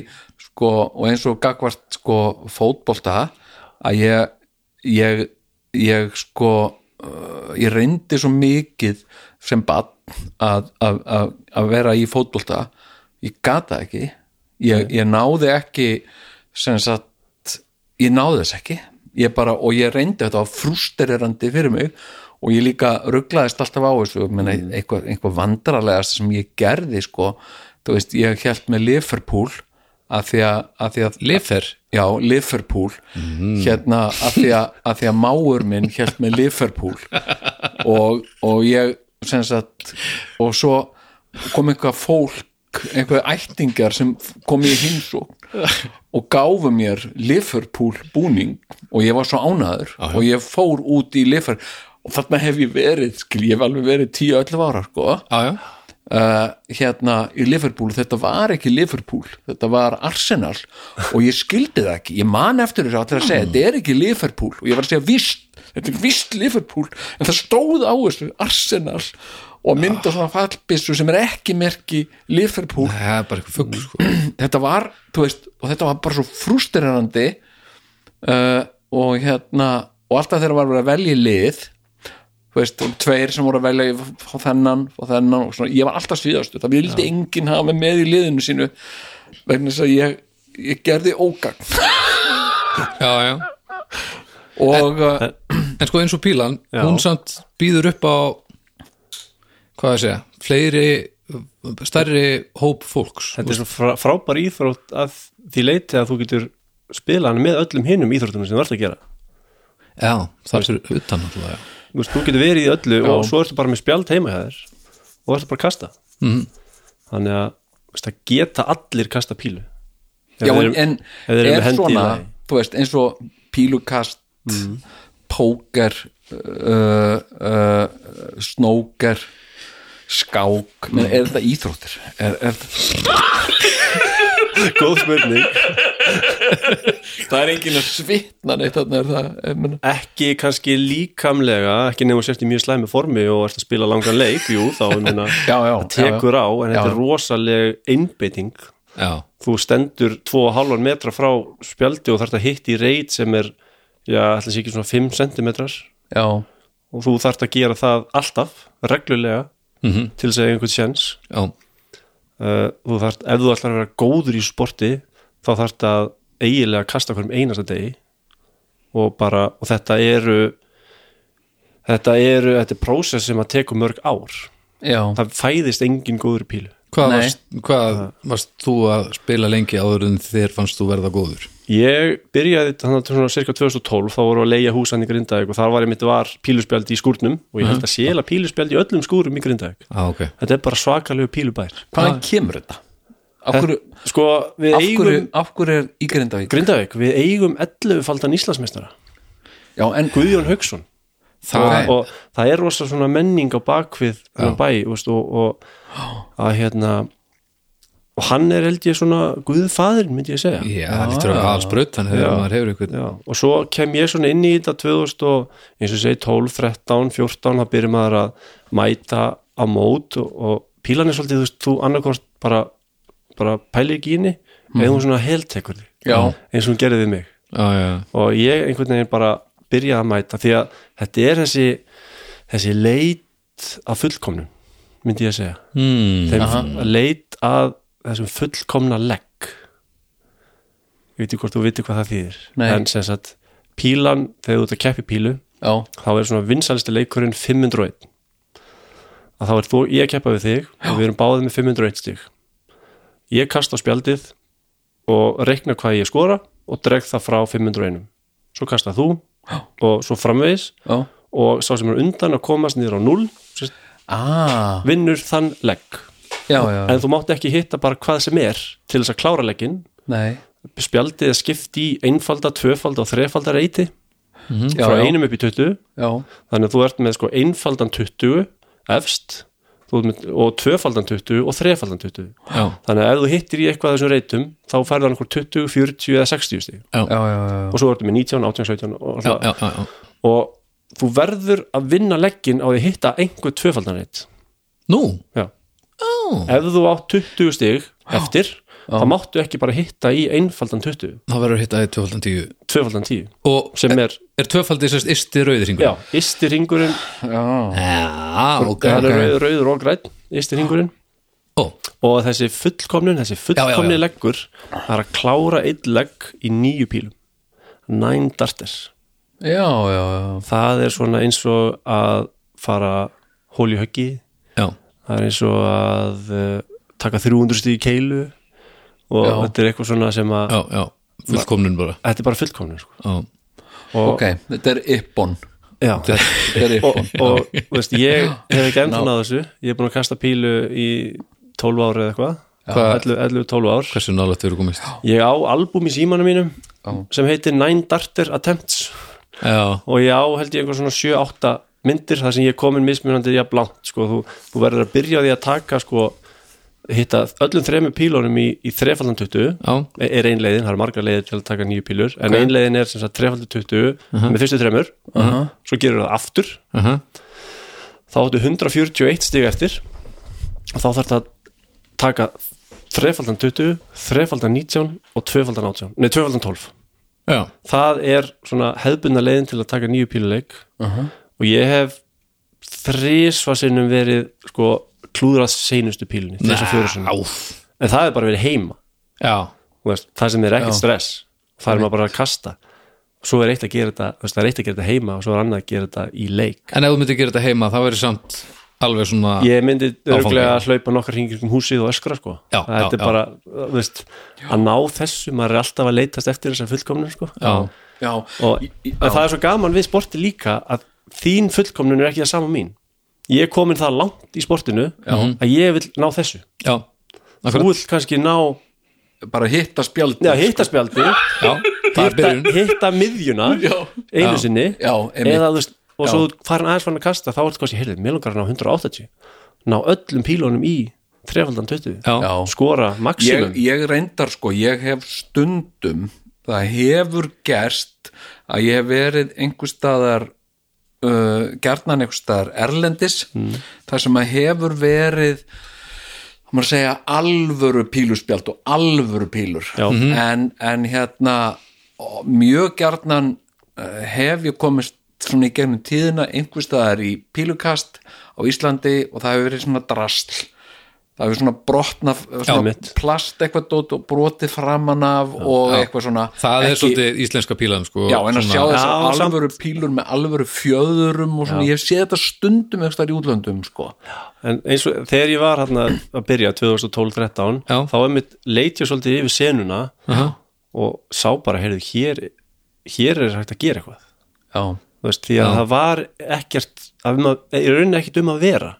Speaker 4: sko, og eins og gagvart sko, fótbolta að ég, ég, ég sko uh, ég reyndi svo mikið sem bann að, að, að, að vera í fótbolta ég gata ekki ég, ég náði ekki sem sagt ég náði þess ekki ég bara, og ég reyndi þetta á frústererandi fyrir mig og ég líka rugglaðist alltaf á þessu menn eitthvað, eitthvað vandrarlegast sem ég gerði sko, þú veist, ég held með Liverpool að því að, að, því að Lifer já, Liverpool hérna að því að, að því að máur minn hélt með Liverpool og, og ég sem sagt og svo kom einhvað fólk einhver ættingar sem kom í hinsó og gáfu mér Liverpool búning og ég var svo ánaður og ég fór út í Liverpool og þarna hef ég verið, skil, ég hef alveg verið 10-11 ára sko
Speaker 5: já, já,
Speaker 4: uh, hérna í Liverpool þetta var ekki Liverpool, þetta var Arsenal og ég skildi það ekki ég man eftir þessu allir að segja, þetta er ekki Liverpool og ég var að segja vist þetta er vist Liverpool, en það stóð á þessu Arsenal og mynda svona fallbissu sem er ekki merki Liverpool
Speaker 5: það er bara eitthvað fugl sko.
Speaker 4: þetta var, þú veist, og þetta var bara svo frústerandi uh, og hérna og alltaf þegar var verið að velja lið þú veist, og tveir sem voru að velja í- frá þennan og þennan og svona, ég var alltaf síðastu það vildi enginn hafa mig með í liðinu sínu vegna þess að ég, ég gerði ógagn
Speaker 5: já, já.
Speaker 4: og uh,
Speaker 5: en sko eins og pílan, hún samt býður upp á hvað að segja, fleiri stærri hóp fólks
Speaker 6: Þetta er svo frá, frábær íþrótt að því leiti að þú getur spila hann með öllum hinum íþróttunum sem þú ert að gera
Speaker 5: já, það er utan alltaf, já.
Speaker 6: Þú, veist, þú getur verið í öllu og svo ertu bara með spjald heima hjá þér og ertu bara að kasta mm.
Speaker 4: Mhm.
Speaker 6: þannig að þú veist, það geta allir kasta pílu Ef
Speaker 4: já,
Speaker 6: þeir-
Speaker 4: en, en
Speaker 6: ef þeir eru með
Speaker 4: er
Speaker 6: hendi í
Speaker 4: svona
Speaker 6: lagi. Mm.
Speaker 4: þú veist, eins og pílukast póker uh, uh, snóker skák,
Speaker 6: Mm.
Speaker 4: menn er þetta íþróttir er, er,
Speaker 6: góð spurning
Speaker 4: það er enginn að svitna neitt þarna er það, er, menn,
Speaker 6: ekki kannski líkamlega ekki nefnum sérst í mjög slæmi formi og ert að spila langan leik jú, þá ég meina,
Speaker 4: já, já,
Speaker 6: það tekur á en þetta
Speaker 4: Já,
Speaker 6: er
Speaker 4: já.
Speaker 6: rosaleg einbeiting
Speaker 5: já,
Speaker 6: þú stendur 2,5 metra frá spjaldi og þarft að hitta í reit sem er, já, ætla sé ekki svona 5 centimetrar
Speaker 4: já, já
Speaker 6: og þú þarft að gera það alltaf, reglulega til þess að eiga einhvern sjens
Speaker 5: já,
Speaker 6: uh, þú þarft, ef þú ætlar að vera góður í sporti þá þarft að eiginlega kasta hverjum einasta degi og bara, og þetta eru þetta eru þetta er prósess sem að tekur mörg ár
Speaker 4: já.
Speaker 6: það fæðist engin góður í pílu
Speaker 5: hvað
Speaker 4: Nei.
Speaker 5: varst, hvað varst þú að spila lengi áður en þér fannst þú verða góður
Speaker 6: Ég byrjaði þannig að svona cirka 2012 þá voru að leigja húsan í Grindavík og þar var ég mitt var píluspjald í skúrnum og ég held að séla píluspjald í öllum skúrum í Grindavík
Speaker 5: ah, ok,
Speaker 6: Þetta er bara svakalegu pílubær
Speaker 4: Hvaðan kemur þetta? Af hverju,
Speaker 6: Sko, við
Speaker 4: af
Speaker 6: eigum
Speaker 4: hverju, af hverju er í Grindavík?
Speaker 6: Grindavík, við eigum 11 faldan Íslandsmeistara
Speaker 4: Já, en
Speaker 6: Guðjón Hauksson
Speaker 5: það
Speaker 6: og, og það er rosa svona menning á bakvið þennan bæ þú veist, og, og að hérna og hann er held ég svona guðfadrin myndi ég segja
Speaker 5: já, það lítur að aðsbraut þannig
Speaker 6: Já.
Speaker 5: að maður hefur eitthvað
Speaker 6: Já, og svo kem ég svona inn í þetta 2000 og eins og ég segi 12, 13, 14 þá byrjum maður að mæta á mót og, og pílan er svolítið þú, veist, þú annarkort bara, bara pælir ekki í inni eða hún svona heltekur þig
Speaker 4: Já.
Speaker 6: eins og hún gerði við mig
Speaker 5: já, já,
Speaker 6: og ég einhvern veginn bara byrja að mæta því að þetta er þessi þessi leit að fullkomnum myndi ég að segja
Speaker 5: mm,
Speaker 6: þeim leit að þessum fullkomna legg ég veit ekki hvort þú veitir hvað það þýðir
Speaker 4: Nei.
Speaker 6: en sem sagt pílan, þegar þú ert að keppi pílu
Speaker 4: já,
Speaker 6: þá er svona vinsalisti leikurinn 501 að þá er þú, ég að keppa við þig og við erum báðið með 501 stig ég kasta á spjaldið og reikna hvað ég skora og dreg það frá 501 svo kasta þú og svo framvegis
Speaker 4: já
Speaker 6: og sá sem er undan að komast niður á 0
Speaker 4: Ah,
Speaker 6: vinnur þann legg
Speaker 4: já, já,
Speaker 6: en þú mátt ekki hitta bara hvað sem er til þess að klára legginn
Speaker 4: nei
Speaker 6: spjaldið er skipt í einfalda, tvöfalda og þrefalda reyti
Speaker 4: Mm. já,
Speaker 6: Mm, frá
Speaker 4: já,
Speaker 6: einum upp í 20
Speaker 4: já,
Speaker 6: þannig að þú ert með sko einfaldan 20 efst þú ert með, og tvöfaldan 20 og þrefaldan 20
Speaker 5: já,
Speaker 6: þannig að ef þú hittir í eitthvað af þessum reytum þá færðu hann okkur 20, 40 eða 60 stig
Speaker 4: já, já, já,
Speaker 6: og svo ertu með 19, 18, 17 og,
Speaker 5: já,
Speaker 6: alltaf.
Speaker 5: já, já, já.
Speaker 6: og þú verður að vinna legginn á því að hitta einhver tvöfaldan reyt
Speaker 5: nú,
Speaker 6: Já. ef þú átt 20 stig eftir þá máttu ekki bara hitta í einfaldan 20
Speaker 5: þá verður að hitta því 2010
Speaker 6: tvöfaldan 10
Speaker 5: og
Speaker 6: sem er,
Speaker 5: er tvöfaldið sérst ysti rauðringur
Speaker 6: já, ysti ringurinn Eh.
Speaker 5: já, ok,
Speaker 6: það er
Speaker 5: ok
Speaker 6: rauð, rauður og græn, ysti ringurinn
Speaker 5: Ó,
Speaker 6: og þessi fullkomnun, þessi
Speaker 5: Já, já,
Speaker 6: fullkomni
Speaker 5: já.
Speaker 6: leggur það er að klára einn legg í nýju pílum nine darters
Speaker 4: já, já, já.
Speaker 6: það er svona eins og að fara hól í höggi
Speaker 5: já,
Speaker 6: eh, það er eins og að uh, taka 300 stíð í keilu og
Speaker 5: Já.
Speaker 6: þetta er eitthvað svona sem að
Speaker 5: já, já, fullkomnun bara
Speaker 6: þetta er bara fullkomnun sko.
Speaker 5: já,
Speaker 6: og,
Speaker 4: ok, þetta er yppon
Speaker 6: já,
Speaker 4: þetta er
Speaker 6: og,
Speaker 4: yppon
Speaker 6: og þú veist, ég hef ekki ennþá náð þessu ég er búin að kasta pílu í 12 ár eða eitthvað
Speaker 5: Hvað-
Speaker 6: 11 11-12 ár
Speaker 5: hversu nálægt þau eru komist
Speaker 6: ég á album í símanum mínum sem heitir Nine Darter Attempts
Speaker 5: já,
Speaker 6: og ég á held ég einhver svona 7-8 myndir þar sem ég er komin mismunandi jafn langt sko, þú, þú verður að byrja á því að taka sko, hitta öllum þremur pílunum í, í þrefaldan 20
Speaker 5: já,
Speaker 6: er er ein leiðin, það eru margar leiðir til að taka nýju pílur en ein leiðin er sem sagt þrefaldan 20 með fyrstu þremur, svo gerur það aftur
Speaker 5: uh -huh.
Speaker 6: þá áttu 141 stig eftir og þá þarf það að taka þrefaldan 20, þrefaldan 19 og tvöfaldan 18, nei tvöfaldan 12
Speaker 5: já,
Speaker 6: það er svona hefbundna leiðin til að taka nýju píluleik og ég hef þrísva sinnum verið sko klúðrað seinustu pílunni þess að fjóra sinnum,
Speaker 5: áf
Speaker 6: en það er bara verið heima
Speaker 5: já,
Speaker 6: þú veist, það sem er ekkert stress það er maður bara að kasta svo er eitt að gera þetta, þú veist, það er eitt að gera þetta heima og svo er annað að gera þetta í leik
Speaker 5: en ef þú myndir gera þetta heima þá er það samt alveg svona
Speaker 6: ég myndi
Speaker 5: Áfangi.
Speaker 6: örglega að hlaupa nokkar hringir um húsið og öskra sko
Speaker 5: Já,
Speaker 6: það
Speaker 5: já,
Speaker 6: er bara, þú veist, að ná þessu maður er alltaf að leitast eftir þessar fullkomnum sko
Speaker 5: já,
Speaker 4: já,
Speaker 6: og en það er svo gaman við sporti líka að þín fullkomnun er ekki það sama og mín ég er komin það langt í sportinu Já. að ég vil ná þessu
Speaker 5: já,
Speaker 6: þú vill kannski ná
Speaker 4: bara hitta spjaldi
Speaker 6: neða, hitta spjaldi
Speaker 5: já það er
Speaker 6: hitta,
Speaker 5: byrjun
Speaker 6: hitta miðjuna einu sinni
Speaker 4: Já, einmitt.
Speaker 6: eða, þú veist, og svo þú farin aðeins farin að kasta þá er þetta kannski, heyrðu, mér langar að ná 180 ná öllum pílunum í þrefaldan 20
Speaker 5: já, já,
Speaker 4: Já.
Speaker 6: skora
Speaker 4: ég,
Speaker 6: maximum
Speaker 4: ég reyndar sko, ég hef stundum það hefur gerst að ég hef verið einhver staðar uh, gerðnan einhver staðar erlendis þar sem að hefur verið þá maður að segja alvöru píluspjald og alvöru pílur
Speaker 6: Já.
Speaker 4: en, en hérna ó, mjög gerðnan hef ég komist svona í gegnum tíðina einhver staðar í pílukast á Íslandi og það hefur verið svona drastl það hefur svona brotna svona
Speaker 6: mitt.
Speaker 4: plast eitthvað dót og brotið framan af og eitthvað svona
Speaker 5: það er
Speaker 4: ekki-
Speaker 5: svolítið íslenska pílan sko,
Speaker 4: Já, en að sjá þess
Speaker 6: Já, samt-
Speaker 4: alvöru pílur með alvöru fjöðurum og svona, ég hef séð þetta stundum eitthvað í útlöndum, sko
Speaker 6: En eins og þegar ég var hérna að byrja 2012-13
Speaker 5: Já.
Speaker 6: þá er mitt leit ég svolítið yfir senuna
Speaker 5: Aha.
Speaker 6: og sá bara, heyrðu, hér, hér er hægt að gera eitthvað
Speaker 4: Já,
Speaker 6: Þú veist, því að það var ekkert að um að, í rauninni ekkert um að vera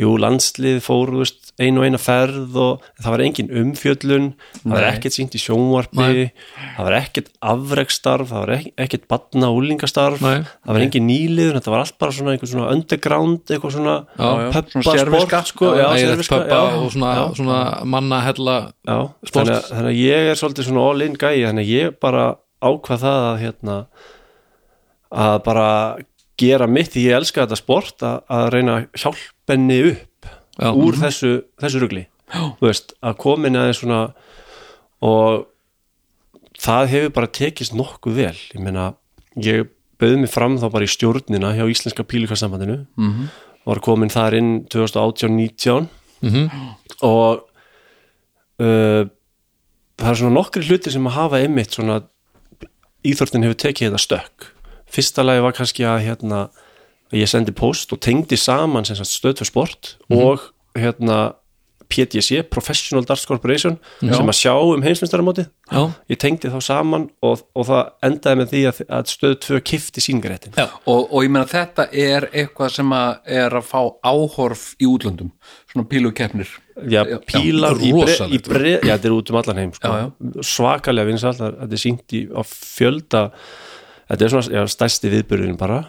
Speaker 6: Jú, landslið fór þú veist, einu og eina ferð og það var engin umfjöllun það var ekkert sínt í sjónvarpi það var ekkert afrekstarf það var ekk- ekkert batna og úlingastarf
Speaker 5: Nei.
Speaker 6: það var engin nýliður, þetta var allt bara svona einhver svona underground, eitthvað svona
Speaker 5: já.
Speaker 4: Svona
Speaker 6: pöppa
Speaker 4: sérviska.
Speaker 6: sport sko, já,
Speaker 5: ægilegt
Speaker 6: sérviska,
Speaker 5: pöppa
Speaker 6: já.
Speaker 5: og svona,
Speaker 6: Já.
Speaker 5: svona manna hella
Speaker 6: Já, þannig, að, þannig að ég er svolítið svona all in gæi þannig að ég bara ákvað það að hérna að bara gera mitt því ég elska þetta sport að, að reyna að hjálpa henni upp
Speaker 5: Já.
Speaker 6: úr þessu, þessu rugli þú veist, að komin aðeins svona og það hefur bara tekist nokkuð vel ég meina, ég bauð mig fram þá bara í stjórnina hjá Íslenska pílukarsambandinu mm -hmm. var komin þar inn 2018-19 og uh, það er svona nokkri hluti sem að hafa einmitt svona íþórtin hefur tekið þetta stökk fyrsta lagi var kannski að hérna að ég sendi post og tengdi saman sem sagt stöð fyrir sport og hérna PDC, E, Professional Darts Corporation sem að sjá um heimsmyndstarumótið
Speaker 5: já,
Speaker 6: ég tengdi þá saman og, og það endaði með því að, að stöð 2 kifti síngaréttin
Speaker 5: Já.
Speaker 4: og, og ég meina þetta er eitthvað sem að er að fá áhorf í útlöndum svona pílukeppnir
Speaker 6: já, pílar í, bre, í
Speaker 5: rosalegt.
Speaker 6: bre,
Speaker 4: sko.
Speaker 6: já, þetta er út um allan heim sko. svakalega vinsall þetta er sínt í, á fjölda þetta er svona já, stærsti viðbyrðin bara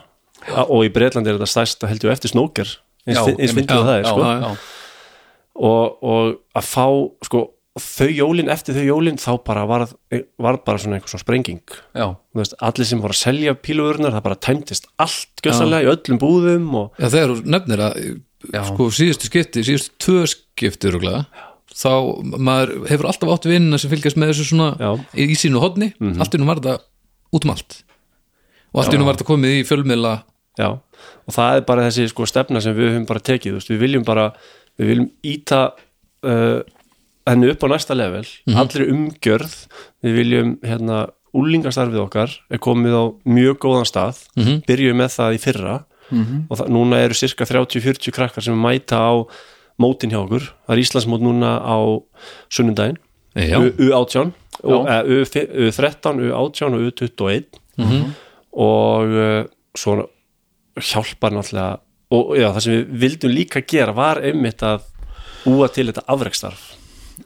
Speaker 6: A, og í Breitlandi er þetta stærsta heldur eftir snóker eins
Speaker 4: Já,
Speaker 6: eins
Speaker 4: einmitt.
Speaker 6: fyndið og það
Speaker 4: Já,
Speaker 6: er sko.
Speaker 4: já, já.
Speaker 6: og, og að fá sko, þau jólin eftir þau jólin þá bara var, var bara svona einhver svona sprenging
Speaker 4: Já.
Speaker 6: Þú veist, allir sem voru að selja pílugurinnar það bara tæmtist allt gjössalega í öllum búðum og
Speaker 5: já þegar þú nefnir að sko síðustu skipti, síðustu tvö skipti rúglega, þá maður hefur alltaf átt vinna sem fylgjast með þessu svona
Speaker 6: Já.
Speaker 5: í, í sínu hodni,
Speaker 4: Mhm.
Speaker 5: allt innum var þetta út um allt og allt innum var þetta komið í fjölmiðla
Speaker 6: Já, og það er bara þessi sko stefna sem við höfum bara tekið, þú veist, við viljum bara við viljum íta uh, henni upp á næsta level allri umgjörð, við viljum hérna, úlingastarfið okkar er komið á mjög góðan stað byrjuðum með það í fyrra og það, núna eru cirka 30-40 krakkar sem mæta á mótin hjá okkur, það er Íslandsmót núna á sunnundaginn
Speaker 5: Já.
Speaker 6: U18 og, eh, U- U13, U18 og U21 og uh, svona hjálpar náttúrulega og já, það sem við vildum líka gera var einmitt að búa til þetta afrekstarf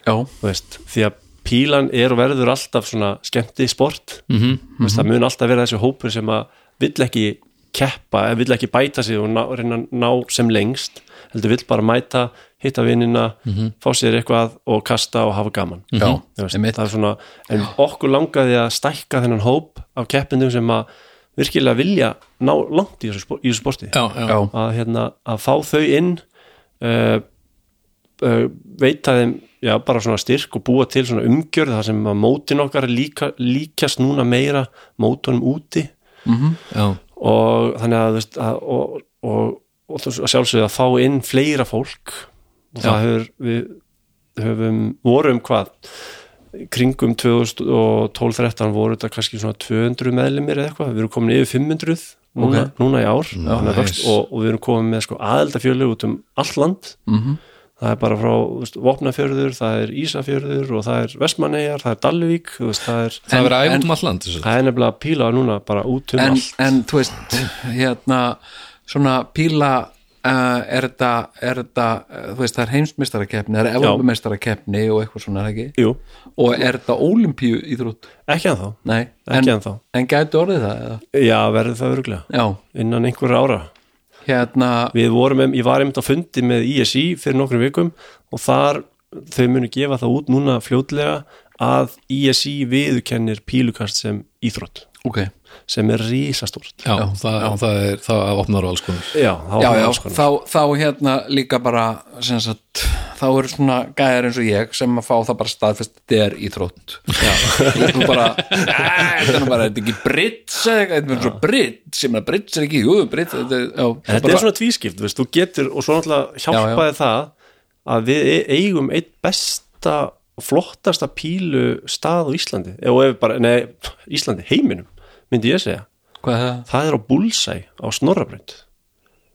Speaker 4: já,
Speaker 6: þú veist, því að pílan er og verður alltaf svona skemmti sport mm
Speaker 4: Mhm,
Speaker 6: veist, það mun alltaf vera þessi hópur sem að vill ekki keppa eða vill ekki bæta sig og ná, reyna að ná sem lengst heldur vill bara mæta, hitta vinnina fá sér eitthvað og kasta og hafa gaman
Speaker 4: Mhm. já,
Speaker 6: Þú veist,
Speaker 4: einmitt
Speaker 6: það er svona, en okkur langaði að stækka þennan hóp af keppindum sem að virkilega vilja ná langt í þessu, spo- í þessu sporti
Speaker 5: já, já,
Speaker 4: já,
Speaker 6: að, hérna, að fá þau inn uh, uh, veita þeim já, bara svona styrk og búa til svona umgjörð þar sem að mótin okkar líka, líkast núna meira mótunum úti
Speaker 5: já,
Speaker 6: og þannig að, þú veist, að og, og, og, og sjálfsögðu að fá inn fleira fólk og það hefur við höfum, vorum hvað kringum 2012-13 voru þetta kannski svona 200 meðlumir eða eitthvað, við erum komin yfir 500 núna, núna í ár Þannig að vöxt-
Speaker 5: nice.
Speaker 6: og, og við erum komin með sko aðeldafjörlug út um allt land -hmm. það er bara frá þú veist, Vopnafjörður, það er Ísafjörður og það er Vestmannegar, það er Dalvík þú veist, það, er,
Speaker 5: það verður
Speaker 4: en-
Speaker 5: æfum alland um þessu.
Speaker 6: það er nefnilega píla núna bara út um
Speaker 4: en,
Speaker 6: allt
Speaker 4: en þú veist hérna, svona píla uh, er þetta, er þetta uh, þú veist, það er heimsmestarakeppni það er evrópumestarakeppni og eitthvað svona er það ekki?
Speaker 6: Jú,
Speaker 4: og er þetta ólimpíu íþrótt?
Speaker 6: ekki að þá
Speaker 4: Nei,
Speaker 6: Ekki
Speaker 4: en,
Speaker 6: ennþá.
Speaker 4: en gæti orðið það? Eða?
Speaker 6: Já, verður það öruglega
Speaker 4: Já,
Speaker 6: innan einhverja ára
Speaker 4: hérna
Speaker 6: Við vorum, em- ég var einmitt á fundi með ISI fyrir nokkrum vikum og þar þau munu gefa það út núna fljótlega að ISI viðurkennir pílukast sem íþrótt
Speaker 4: ok,
Speaker 6: sem er risastórt
Speaker 5: Já, það, það er, það opnar á alls konar.
Speaker 6: Já, þá
Speaker 4: já,
Speaker 6: er
Speaker 4: já,
Speaker 6: alls konar.
Speaker 4: þá, þá hérna líka bara sem sagt, þá eru svona gæðar eins og ég sem að fá það bara staðfest þetta er íþrótt þú bara, "Æ, þetta er nú bara þetta er ekki brits, eða eitthvað, þetta er svo brits sem að brits er ekki, jú, brits þetta er, já,
Speaker 6: En Þetta er svona tvískipt, veist, þú getur og svo náttúrulega hjálpaði það að við e- eigum eitt besta flottasta pílu stað á Íslandi, og ef bara, nei Íslandi, heiminum, myndi ég segja
Speaker 4: hvað er það?
Speaker 6: það er á Bullseye á Snorrabrönd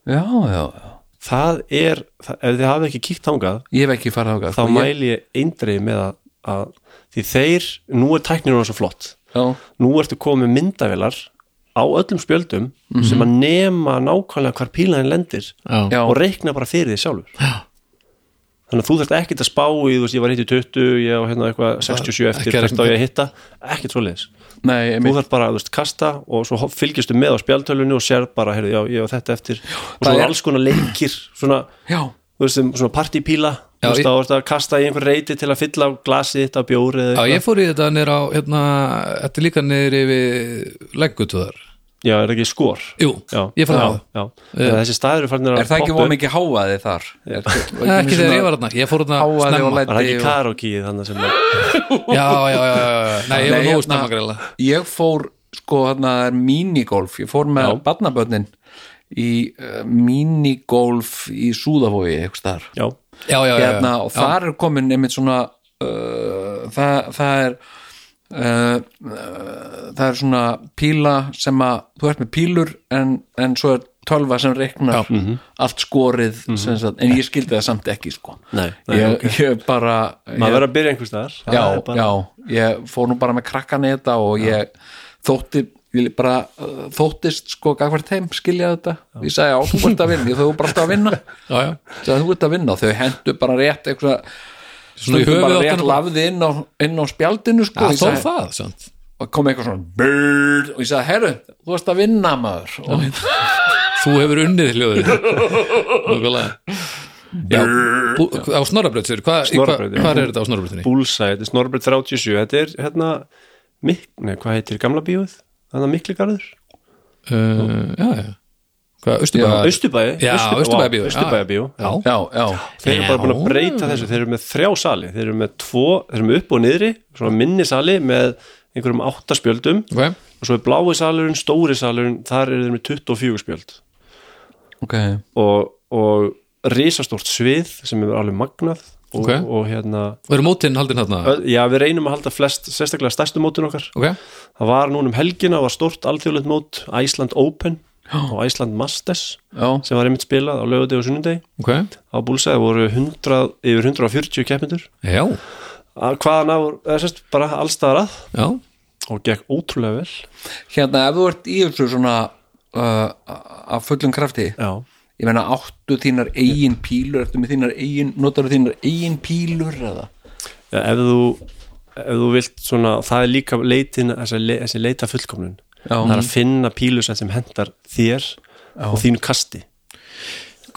Speaker 4: Já, já, já,
Speaker 6: það er, það, ef þið hafi ekki kíkt þangað
Speaker 4: ég hef ekki farið á gæð
Speaker 6: þá mæli ég eindreið með að, að því þeir, nú er tæknir hún svo flott
Speaker 4: já,
Speaker 6: nú ertu komið með myndavélar á öllum spjöldum sem að nema nákvæmlega hvar pílaðin lendir
Speaker 5: Já,
Speaker 4: já,
Speaker 6: og reikna bara fyrir því sjálfur þannig að þú þarft ekkert að spá í þú veist, ég var hitt í 20, ég á hérna eitthvað 67 eftir,
Speaker 5: ekki að
Speaker 6: hvert á ég að hitta ekkert svoleiðis,
Speaker 4: nei,
Speaker 6: þú
Speaker 4: einmitt
Speaker 6: þarft bara þú veist, kasta og svo ho- fylgistu með á spjaldtölunni og sér bara, heyrðu, já, ég á þetta eftir og svo
Speaker 4: það
Speaker 6: er
Speaker 4: er-
Speaker 6: alls konar leikir svona,
Speaker 4: já,
Speaker 6: þú veist, sem svona partypíla þú veist,
Speaker 5: ég-
Speaker 6: þá er að kasta í einhver reyti til að fylla á glasið þitt á bjóri eða
Speaker 5: já,
Speaker 6: eitthvað.
Speaker 5: ég fór í þetta nýr á, hérna, þetta er líka nýr yfir lengutuðar.
Speaker 6: já, er það ekki skor?
Speaker 5: Jú,
Speaker 6: Já,
Speaker 5: ég fór
Speaker 6: já,
Speaker 5: það.
Speaker 6: já. Þannig að þessi staður er farin að
Speaker 4: er það ekki voð
Speaker 6: poppa upp.
Speaker 4: mikið háaði þar? Er,
Speaker 5: Ekki þegar ég var þarna, ég fór þarna
Speaker 4: háaði og
Speaker 5: snemma.
Speaker 6: var það ekki
Speaker 4: læti og
Speaker 6: karaoke þannig sem er,
Speaker 5: Já, já, já, já, já, nei, ég var
Speaker 4: Nei,
Speaker 5: nógu
Speaker 4: hérna,
Speaker 5: snemma greiðlega.
Speaker 4: ég fór sko þarna það er minigolf ég fór með barnabönnin í uh, minigolf í Súðavogi eitthvað þar
Speaker 6: já,
Speaker 5: Já, já, já, já.
Speaker 4: hérna, og þar er komin einmitt svona uh, það, það er Uh, uh, það er svona píla sem að þú ert með pílur en, en svo er tölva sem reiknar
Speaker 6: Mhm.
Speaker 4: allt skorið sem
Speaker 5: Mhm.
Speaker 4: sagt, en ég skildi það samt ekki sko
Speaker 6: Nei, nei,
Speaker 4: ég, ég bara ég-
Speaker 6: maður verður að byrja einhvers staðar Það
Speaker 4: já,
Speaker 6: er bara-
Speaker 4: já, ég fór nú bara með krakkan í þetta og ég þótti ég bara uh, þóttist sko gagvart heim skilja þetta, ég sagði já, þú ert að vinna ég þau bara alltaf að vinna
Speaker 5: Já, já.
Speaker 4: sagði, þú ert að vinna, þau hendu bara rétt eitthvað,
Speaker 5: Svona í
Speaker 4: stundum bara
Speaker 5: höfuðáttina
Speaker 4: rétt
Speaker 5: bara.
Speaker 4: lafði inn á, inn á spjaldinu sko,
Speaker 5: Já,
Speaker 4: Ég
Speaker 5: þó
Speaker 4: sagði-
Speaker 5: það, sant.
Speaker 4: og kom eitthvað svona bird, og ég sagði, herru, þú ert að vinna maður og
Speaker 5: Þú hefur unnið hljóðið. Nókulega. Já, bú- á Snorrabraut, sér, hvað hva,
Speaker 6: Snorrabraut, já.
Speaker 5: hva er þetta á Snorrabrautinni?
Speaker 6: Bullseye, þetta er Snorbert 37 þetta er hérna, mik, nei, hvað heitir gamla bíóið? Þannig að mikli garður?
Speaker 5: Uh, já, já. Hvað, Östurbæ?
Speaker 6: Östubæði?
Speaker 5: Já, Austurbæjarbíó, já.
Speaker 6: Östubæði
Speaker 5: Já,
Speaker 4: já, já,
Speaker 6: þeir eru bara búin að
Speaker 5: Já.
Speaker 6: breyta þessu þeir eru með þrjá sali, þeir eru með tvo þeir eru með upp og niðri, svona minni sali með einhverjum átta spjöldum
Speaker 5: ok.
Speaker 6: og svo er blái salurinn, stóri salurinn þar eru þeir með 24 spjöld
Speaker 4: ok
Speaker 6: og, og risastórt svið sem er alveg magnað og,
Speaker 5: Ok.
Speaker 6: og hérna
Speaker 5: Og eru mótin haldin hérna?
Speaker 6: ö- já, við reynum að halda flest, sérstaklega stærstu mótin okkar
Speaker 5: Ok,
Speaker 6: það var núna um helgina, var stórt alþjóðlegt mót Iceland Open og Iceland Masters
Speaker 4: já,
Speaker 6: sem var einmitt spilað á laugardegi og sunnundegi
Speaker 5: ok
Speaker 6: á búlsæði voru 100, yfir 140 keppindur
Speaker 5: Já,
Speaker 6: Á- að hvaðan á, eða sérst, bara allstaðar að
Speaker 4: já,
Speaker 6: og gekk ótrúlega vel
Speaker 4: hérna ef þú ert í þessu svona uh, af fullum krafti
Speaker 6: já,
Speaker 4: ég meina áttu þínar eigin pílur ertu með þínar eigin, notarðu þínar eigin pílur eða
Speaker 6: Já, ef þú ef þú vilt svona, það er líka leitin, þessi, le- þessi leita fullkomnun
Speaker 4: Já.
Speaker 6: það er að finna pílusett sem hendar þér og þínu kasti